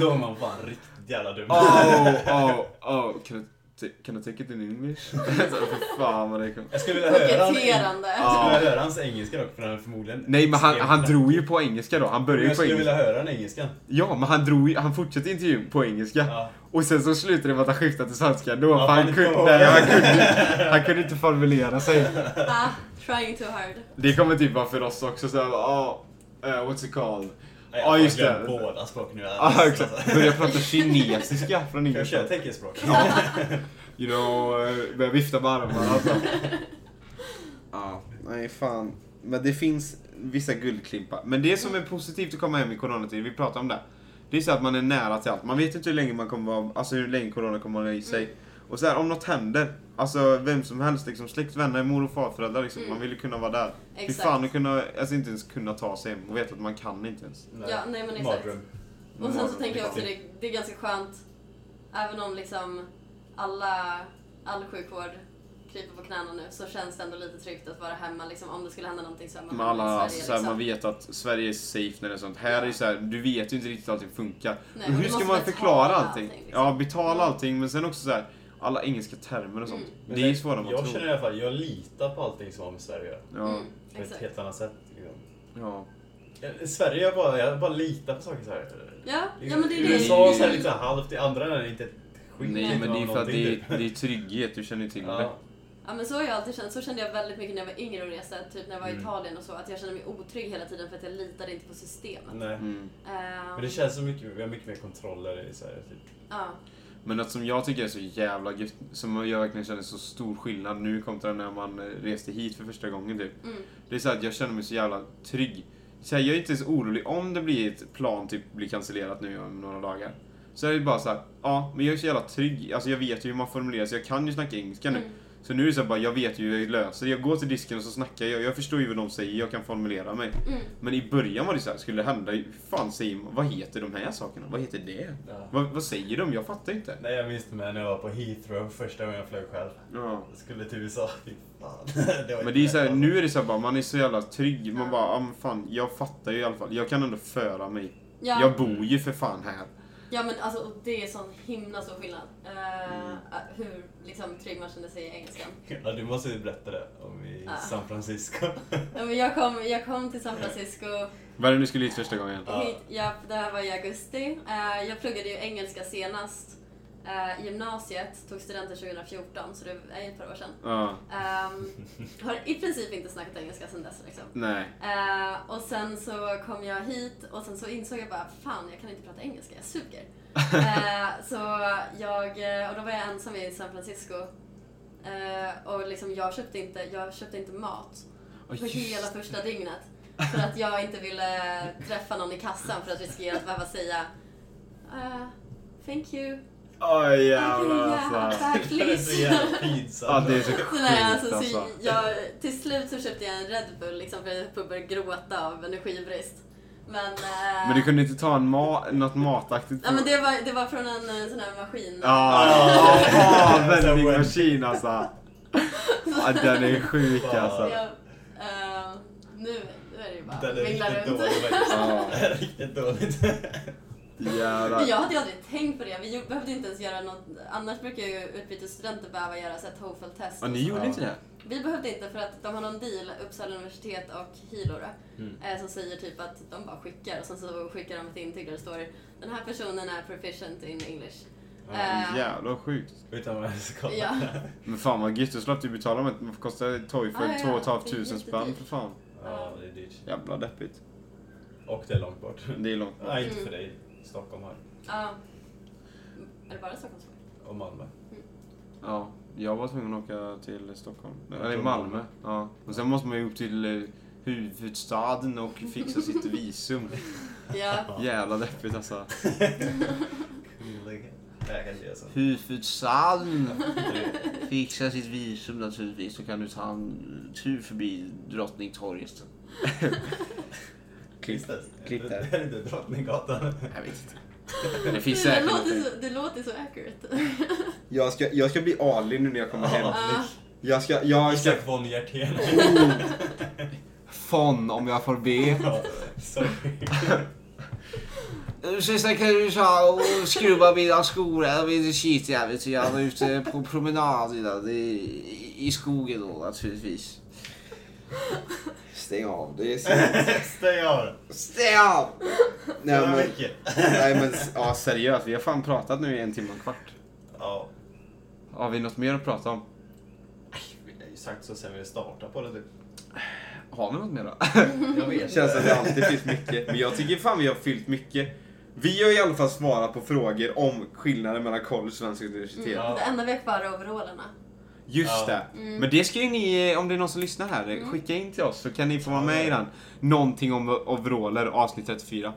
Speaker 2: Då är man fan riktigt jävla dum.
Speaker 1: oh, oh, oh. Can I, ta- can I take it in English? alltså, för fan vad det kom.
Speaker 2: Jag skulle vilja höra, han, jag
Speaker 3: Koketterande.
Speaker 2: skulle vilja höra hans engelska dock, för han är förmodligen...
Speaker 1: Nej men han,
Speaker 2: extremt-
Speaker 1: han drog ju på engelska då. Han
Speaker 2: Men
Speaker 1: började ju
Speaker 2: Jag
Speaker 1: på
Speaker 2: skulle
Speaker 1: engelska.
Speaker 2: vilja höra den engelskan.
Speaker 1: Ja men han drog ju, han fortsatte intervjun på engelska.
Speaker 2: Ja.
Speaker 1: Och sen så slutade det med att han skiftade till svenska då.
Speaker 2: Ja,
Speaker 1: för han,
Speaker 2: fan,
Speaker 1: kunde,
Speaker 2: det var-
Speaker 1: nej, han, kunde, han kunde inte formulera sig.
Speaker 3: Ah, trying too hard.
Speaker 1: Det kommer typ vara för oss också såhär, ja, oh, what's it called?
Speaker 2: Nej,
Speaker 1: Ja, just
Speaker 2: jag har
Speaker 1: det.
Speaker 2: glömt båda språken nu. Alltså.
Speaker 1: Ja, exakt. Börja prata kinesiska från
Speaker 2: Kan vi köra
Speaker 1: ingenstans.
Speaker 2: teckenspråk?
Speaker 1: You know, eh, börja vifta med armarna alltså. Ja, nej fan. Men det finns vissa guldklimpar. Men det som är positivt att komma hem i coronatid, vi pratar om det. Det är så att man är nära till allt. Man vet inte hur länge man kommer vara, alltså hur länge corona kommer att hålla i sig. Och så här, om något händer, alltså vem som helst, liksom, släkt, vänner, mor och farföräldrar, liksom,
Speaker 3: Mm.
Speaker 1: man vill ju kunna vara där. Fy
Speaker 3: Exakt.
Speaker 1: fan att kunna, alltså inte ens kunna ta sig hem och veta att man kan inte ens.
Speaker 3: Ja, nej men exakt.
Speaker 2: Mardröm.
Speaker 3: Och sen så
Speaker 1: Mardröm,
Speaker 3: tänker jag också
Speaker 1: riktigt.
Speaker 3: det, det är ganska skönt, även om liksom alla, all sjukvård kryper på knäna nu, så känns det ändå lite tryggt att vara hemma liksom, om det skulle hända någonting så är man
Speaker 1: Med
Speaker 3: hemma
Speaker 1: alla,
Speaker 3: i
Speaker 1: alltså,
Speaker 3: Sverige.
Speaker 1: så här, man
Speaker 3: liksom.
Speaker 1: vet att Sverige är safe när det är sånt. Här är det så här, du vet ju inte riktigt hur allting funkar.
Speaker 3: Nej,
Speaker 1: Men
Speaker 3: och
Speaker 1: hur
Speaker 3: du
Speaker 1: ska
Speaker 3: måste
Speaker 1: man
Speaker 3: betala
Speaker 1: förklara allting?
Speaker 3: liksom.
Speaker 1: Ja, betala allting, men sen också så här, alla engelska termer och sånt.
Speaker 3: Mm.
Speaker 2: Men
Speaker 1: Det är ju
Speaker 2: sen-
Speaker 1: svårare än man
Speaker 2: Jag
Speaker 1: tror.
Speaker 2: känner i alla fall, jag litar på allting som har med Sverige att
Speaker 1: Ja,
Speaker 2: göra.
Speaker 3: Mm,
Speaker 2: På ett
Speaker 3: exakt.
Speaker 2: helt annat sätt. Liksom.
Speaker 1: ja.
Speaker 2: Eh, Sverige, jag bara, jag bara litar på saker så här.
Speaker 3: Ja, ja, men det är det.
Speaker 2: USA så här, lite halvt, i andra länder inte ett skit.
Speaker 1: Nej, men det är ju för att det
Speaker 2: Någonting, typ.
Speaker 1: är, det är trygghet, du känner ju till det.
Speaker 2: Ja.
Speaker 3: Ja men så har jag alltid känt. Så kände jag väldigt mycket när jag var yngre och reste, typ när jag var i
Speaker 1: Mm.
Speaker 3: Italien och så. Att jag kände mig otrygg hela tiden för att jag litade inte på systemet.
Speaker 2: Nej.
Speaker 1: Mm.
Speaker 3: Ehm,
Speaker 2: Men det känns så mycket, vi har mycket mer kontroller i Sverige. Typ.
Speaker 3: ja.
Speaker 1: Men något som jag tycker är så jävla gött, som jag verkligen känner så stor skillnad nu kontra när man eh, reste hit för första gången typ.
Speaker 3: Mm.
Speaker 1: Det är så här att jag känner mig så jävla trygg. Så här, jag är inte ens orolig om det blir ett plan typ blir cancellerat nu om några dagar. Så är det bara så här, ja, men jag är så jävla trygg. Alltså jag vet ju hur man formulerar sig, jag kan ju snacka engelska nu.
Speaker 3: Mm.
Speaker 1: Så nu är det så här bara, jag vet ju hur jag löser det. Jag går till disken och så snackar jag, jag förstår ju vad de säger, jag kan formulera mig.
Speaker 3: Mm.
Speaker 1: Men i början var det så här, skulle det hända, hur fan säger man, vad heter de här sakerna? Vad heter det? Vad, vad säger de? Jag fattar inte.
Speaker 2: Nej, jag minns det med när jag var på Heathrow första gången jag flög själv.
Speaker 1: Ja.
Speaker 2: Jag skulle till USA. Fy fan. var
Speaker 1: Men det är så här,
Speaker 2: inte-
Speaker 1: nu är det så här bara, man är så jävla trygg. Man
Speaker 3: Ja.
Speaker 1: bara, ah, men fan, jag fattar ju i alla fall. Jag kan ändå föra mig.
Speaker 3: Ja.
Speaker 1: Jag bor ju för fan här.
Speaker 3: ja men alltså och det är sån himla stor skillnad. Ehm, att Hur liksom, trygg man kände sig i engelskan.
Speaker 2: Ja, du måste ju berätta det om i
Speaker 3: Ja.
Speaker 2: San Francisco.
Speaker 3: Ja, men jag, kom, jag kom till San Francisco
Speaker 1: Vad är det nu skulle hit första gången?
Speaker 2: Ja.
Speaker 3: Hit, ja, det här var i augusti. Eh, jag pluggade ju engelska senast. eh, gymnasiet, tog studenten 2014, så det är ju ett par år sedan.
Speaker 1: Ja.
Speaker 3: Ehm, har i princip inte snackat engelska sedan dess. Liksom.
Speaker 1: Nej.
Speaker 3: Eh, och sen så kom jag hit och sen så insåg jag bara, fan jag kan inte prata engelska, jag suger. Eh, så jag, eh, och då var jag ensam i San Francisco. Eh, och liksom jag köpte inte, jag köpte inte mat
Speaker 1: Åh,
Speaker 3: på
Speaker 1: just-
Speaker 3: hela första dygnet. För att jag inte ville träffa någon i kassan för att riskera att behöva säga eh, Thank you.
Speaker 1: Åh
Speaker 3: I
Speaker 1: jävlar
Speaker 3: can have
Speaker 1: alltså.
Speaker 3: back,
Speaker 2: det är så
Speaker 3: please.
Speaker 2: jävla pinsamt.
Speaker 1: Ja, det är så
Speaker 3: Så Nej, alltså,
Speaker 1: sjukt
Speaker 3: så
Speaker 1: alltså.
Speaker 3: jag, till slut så köpte jag en Red Bull liksom, för jag började gråta av energibrist. Men, eh,
Speaker 1: Men du kunde inte ta en ma något mataktigt?
Speaker 3: ja, men det, var, det var från en eh, sån här maskin.
Speaker 1: Ja,
Speaker 2: Ah.
Speaker 1: ah, vending
Speaker 2: Så-
Speaker 1: machine alltså. Ah, den är sjuk
Speaker 2: Fan.
Speaker 1: alltså.
Speaker 3: Jag, eh, nu, nu är det ju bara
Speaker 2: Den är
Speaker 3: minglar
Speaker 2: riktigt
Speaker 3: runt.
Speaker 2: dålig faktiskt.
Speaker 1: Ja.
Speaker 2: Den är riktigt dåligt.
Speaker 1: Jävlar.
Speaker 3: Men jag hade ju aldrig tänkt på det. Vi ju- behövde inte ens göra något. Annars brukar ju utbytesstudenter behöva göra så här TOEFL-test.
Speaker 1: Ja, ni gjorde inte det?
Speaker 3: Vi behövde inte för att de har någon deal, Uppsala universitet och Hilora,
Speaker 2: Mm.
Speaker 3: eh, som säger typ att de bara skickar och sen så skickar de ett intyg där det står den här personen är proficient in English. Eh,
Speaker 1: Jävlar sjukt.
Speaker 2: Utan vad jag ska kolla.
Speaker 3: Ja.
Speaker 1: Men fan vad gött, då slapp du betala med det kostar
Speaker 3: Ah,
Speaker 1: Toyfel
Speaker 3: ja,
Speaker 1: 2
Speaker 3: det är
Speaker 1: 500 spänn
Speaker 3: jättedyrt.
Speaker 1: för fan.
Speaker 2: Ja, det är dyrt.
Speaker 1: Jävla deppigt.
Speaker 2: Och det är långt bort.
Speaker 1: Det är långt bort.
Speaker 2: Nej, inte
Speaker 3: Mm.
Speaker 2: för dig. Stockholm här.
Speaker 3: Ja. är det bara Stockholmsfolk?
Speaker 2: Och Malmö.
Speaker 1: Ja, jag var tvungen att åka till Stockholm.
Speaker 2: Jag
Speaker 1: Eller
Speaker 2: tror
Speaker 1: Malmö.
Speaker 2: Malmö.
Speaker 1: Ja. Och sen måste man ju upp till eh, huvudstaden och fixa sitt visum.
Speaker 3: Ja.
Speaker 1: Jävla deppigt alltså.
Speaker 2: Nej, jag kan inte göra så.
Speaker 1: Huvudstaden! Fixa sitt visum naturligtvis så kan du ta en tur förbi Drottningtorget. Klipp.
Speaker 2: Kristet.
Speaker 1: Klipp där.
Speaker 2: Det är inte Drottninggatan.
Speaker 1: Jag vet inte. Det finns
Speaker 3: det,
Speaker 1: säkert
Speaker 3: låter
Speaker 1: någonting.
Speaker 3: så, det låter så accurate.
Speaker 1: Jag ska, jag ska bli Ali nu när jag kommer hem.
Speaker 3: Ja.
Speaker 1: Jag ska, jag ska...
Speaker 2: Isak von Hjertén.
Speaker 1: Oh. Fon om jag får be.
Speaker 2: Ja, Sorry.
Speaker 1: Ursäkta, kan du ta och skruva mina skor? Jag blir skitjävlig så jag är ute på promenad innan, i, i skogen då naturligtvis. Stäng av, det är så...
Speaker 2: Stäng av.
Speaker 1: Stäng av! Nej
Speaker 2: Det var
Speaker 1: men,
Speaker 2: mycket.
Speaker 1: nej, men ja, seriöst, vi har fan pratat nu i en timme och en kvart.
Speaker 2: Ja.
Speaker 1: Har vi något mer att prata om?
Speaker 2: Vi har ju sagt så sen vi startade på det typ.
Speaker 1: Har vi något mer då?
Speaker 2: Jag vet
Speaker 1: Det känns som att det
Speaker 2: inte.
Speaker 1: alltid finns mycket. Men jag tycker fan vi har fyllt mycket. Vi har i alla fall svarat på frågor om skillnaden mellan college och svenska universitet.
Speaker 3: Mm. Det enda vi har kvar är overallerna.
Speaker 1: Just
Speaker 2: Ja.
Speaker 1: det.
Speaker 3: Mm.
Speaker 1: Men det ska ju ni, eh, om det är någon som lyssnar här, skicka in till oss så kan ni få vara med i den. Någonting om overaller, avsnitt 34.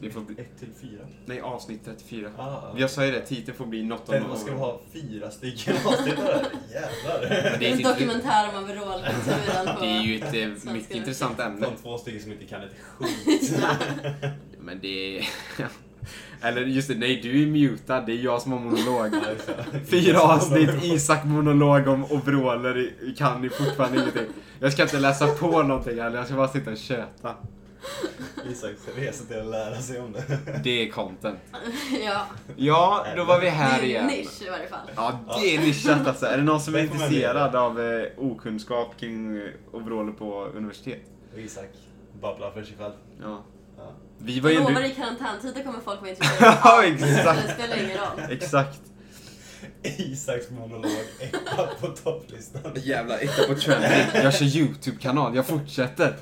Speaker 1: Det får bli...
Speaker 2: 1 till 4.
Speaker 1: Nej, avsnitt 34.
Speaker 2: Ah,
Speaker 1: Jag sa ju det, titeln får bli något
Speaker 2: Men
Speaker 1: om...
Speaker 2: man ska ha fyra stycken avsnitt här. Jävlar.
Speaker 1: Men det är
Speaker 3: en
Speaker 1: inte-
Speaker 3: dokumentär om overallkulturen på...
Speaker 1: Det är ju ett eh, mycket
Speaker 3: Svenska.
Speaker 1: intressant ämne.
Speaker 2: Från två stycken som inte kan ett skit.
Speaker 1: Men det... Eller just det, nej du är mutad, det är jag som har monolog.
Speaker 2: Ja, just det.
Speaker 1: Fyra avsnitt Isak monolog om overaller i- kan ju fortfarande ingenting. Jag ska inte läsa på någonting heller, jag ska bara sitta och köta.
Speaker 2: Isaks resa till att lära sig om det.
Speaker 1: Det är content.
Speaker 3: ja,
Speaker 1: Ja, då var vi
Speaker 3: det
Speaker 1: här
Speaker 3: är ju en
Speaker 1: igen.
Speaker 3: nisch i varje fall.
Speaker 1: Ja, det är nischat alltså. Är det någon som är
Speaker 2: Det får man
Speaker 1: intresserad av eh, okunskap kring eh, overaller på universitet?
Speaker 2: Och Isak babblar för sig själv.
Speaker 1: Ja.
Speaker 2: Ja.
Speaker 1: Vi var ju
Speaker 3: Jag
Speaker 1: ändå...
Speaker 3: lovar, i karantäntider kommer folk vara intresserade. av
Speaker 1: Ja,
Speaker 3: allt, så Det
Speaker 1: exakt.
Speaker 3: spelar ingen roll.
Speaker 1: Exakt.
Speaker 2: Isaks monolog etta på topplistan.
Speaker 1: Jävla etta på trending. Jag kör YouTube-kanal, jag fortsätter.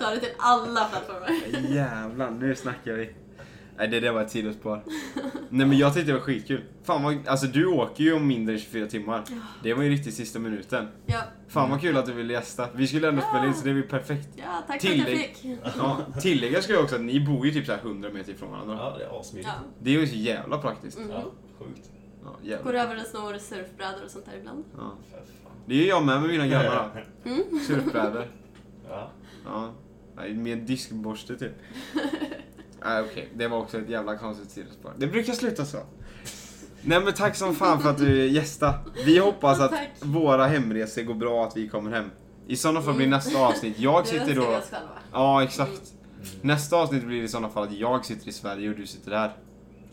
Speaker 3: Ta det till alla plattformar.
Speaker 1: Jävlar, nu snackar vi. Nej, det där var ett sidospår. Nej men jag tyckte det var skitkul. Fan vad, alltså du åker ju om mindre än 24 timmar. Det var ju riktigt sista minuten.
Speaker 3: Ja,
Speaker 1: Fan vad kul att du ville gästa. Vi skulle ändå spela in så det blir perfekt.
Speaker 3: ja tack för att
Speaker 1: Tillägg.
Speaker 3: jag fick.
Speaker 1: Ja, tillägga ska jag också att ni bor ju typ så här 100 meter ifrån varandra.
Speaker 2: Ja, det är asmidigt.
Speaker 3: Ja.
Speaker 2: Ja.
Speaker 1: Det är ju så jävla praktiskt.
Speaker 3: Mm.
Speaker 2: sjukt.
Speaker 1: Ja,
Speaker 3: Går
Speaker 1: jävla.
Speaker 3: över och snor surfbrädor och sånt där ibland. Mm.
Speaker 1: Ja.
Speaker 2: För fan.
Speaker 1: Det är ju jag med med mina grannar då. Surfbrädor.
Speaker 2: Ja.
Speaker 1: Ja. Nej, Med diskborste typ. Nej okej, det var också ett jävla konstigt sidospår. Det brukar sluta så. Nej men tack som fan för att du gästa. Vi hoppas att
Speaker 3: Tack.
Speaker 1: våra hemresor går bra, att vi kommer hem. I sådana fall blir
Speaker 3: Mm.
Speaker 1: nästa avsnitt, jag
Speaker 3: Det
Speaker 1: sitter
Speaker 3: önskar vi
Speaker 1: då...
Speaker 3: oss själva.
Speaker 1: Ja exakt. Nästa avsnitt blir i sådana fall att jag sitter i Sverige och du sitter där.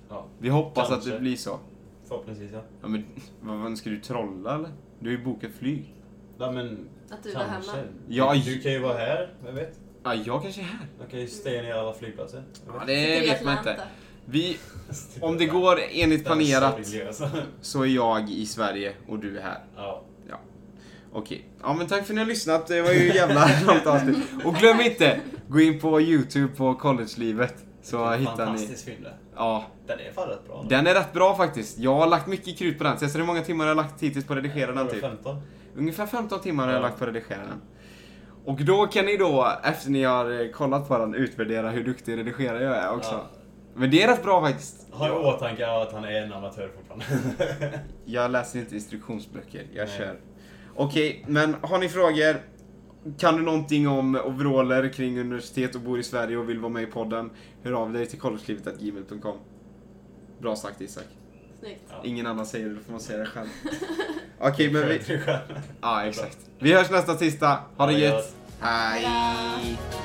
Speaker 2: ja.
Speaker 1: Vi hoppas att det
Speaker 2: Kanske.
Speaker 1: blir så.
Speaker 2: Förhoppningsvis ja.
Speaker 1: Ja men, vad vad, ska du trolla eller? Du har ju bokat flyg.
Speaker 2: Nej men
Speaker 3: Att du var
Speaker 2: kanske.
Speaker 3: hemma.
Speaker 1: Ja,
Speaker 2: Du-
Speaker 1: ju-
Speaker 2: Du kan ju vara här, vem vet?
Speaker 1: Ja, jag kanske är här.
Speaker 2: Man kan ju stänga ner alla flygplatser. vem
Speaker 1: Ja,
Speaker 2: vet?
Speaker 1: det
Speaker 3: Sitter i
Speaker 1: vet man
Speaker 3: Atlanta.
Speaker 1: inte. Vi,
Speaker 2: Typ
Speaker 1: om det
Speaker 2: där.
Speaker 1: går enligt
Speaker 2: Där är
Speaker 1: planerat
Speaker 2: sorgliga, alltså.
Speaker 1: så är jag i Sverige och du är här.
Speaker 2: Ja.
Speaker 1: Okej. Ja men tack för att ni har lyssnat. Det var ju jävla långt avsnitt. Och glöm inte, gå in på YouTube på collegelivet. Så hittar ni.
Speaker 2: Fantastisk film det.
Speaker 1: Ja,
Speaker 2: Den är fan rätt bra.
Speaker 1: den är rätt bra faktiskt. Jag har lagt mycket krut på den. Så jag ser hur många timmar jag har lagt hittills på att redigera den typ.
Speaker 2: 15.
Speaker 1: Ungefär 15 timmar har jag
Speaker 2: Ja.
Speaker 1: lagt på att redigera den. Och då kan ni då, efter ni har eh, kollat på den, utvärdera hur duktig redigerare jag är också.
Speaker 2: Ja.
Speaker 1: Men det är rätt bra faktiskt.
Speaker 2: Har i åtanke att han är en amatör fortfarande.
Speaker 1: Jag läser inte instruktionsböcker, jag
Speaker 2: Nej.
Speaker 1: kör. Okej, men har ni frågor? Kan du någonting om overaller kring universitet och bor i Sverige och vill vara med i podden? Hör av dig till collegelivet.gmail.com Bra sagt Isak.
Speaker 3: Snyggt.
Speaker 2: Ja.
Speaker 1: Ingen annan säger det, då får man säga det själv. Okej, men vi...
Speaker 2: Sköter du själv.
Speaker 1: Ja, exakt. Vi hörs nästa tisdag. Ha det
Speaker 2: Ha det
Speaker 1: gött.
Speaker 2: gött.
Speaker 1: Hej!
Speaker 3: Hejdå.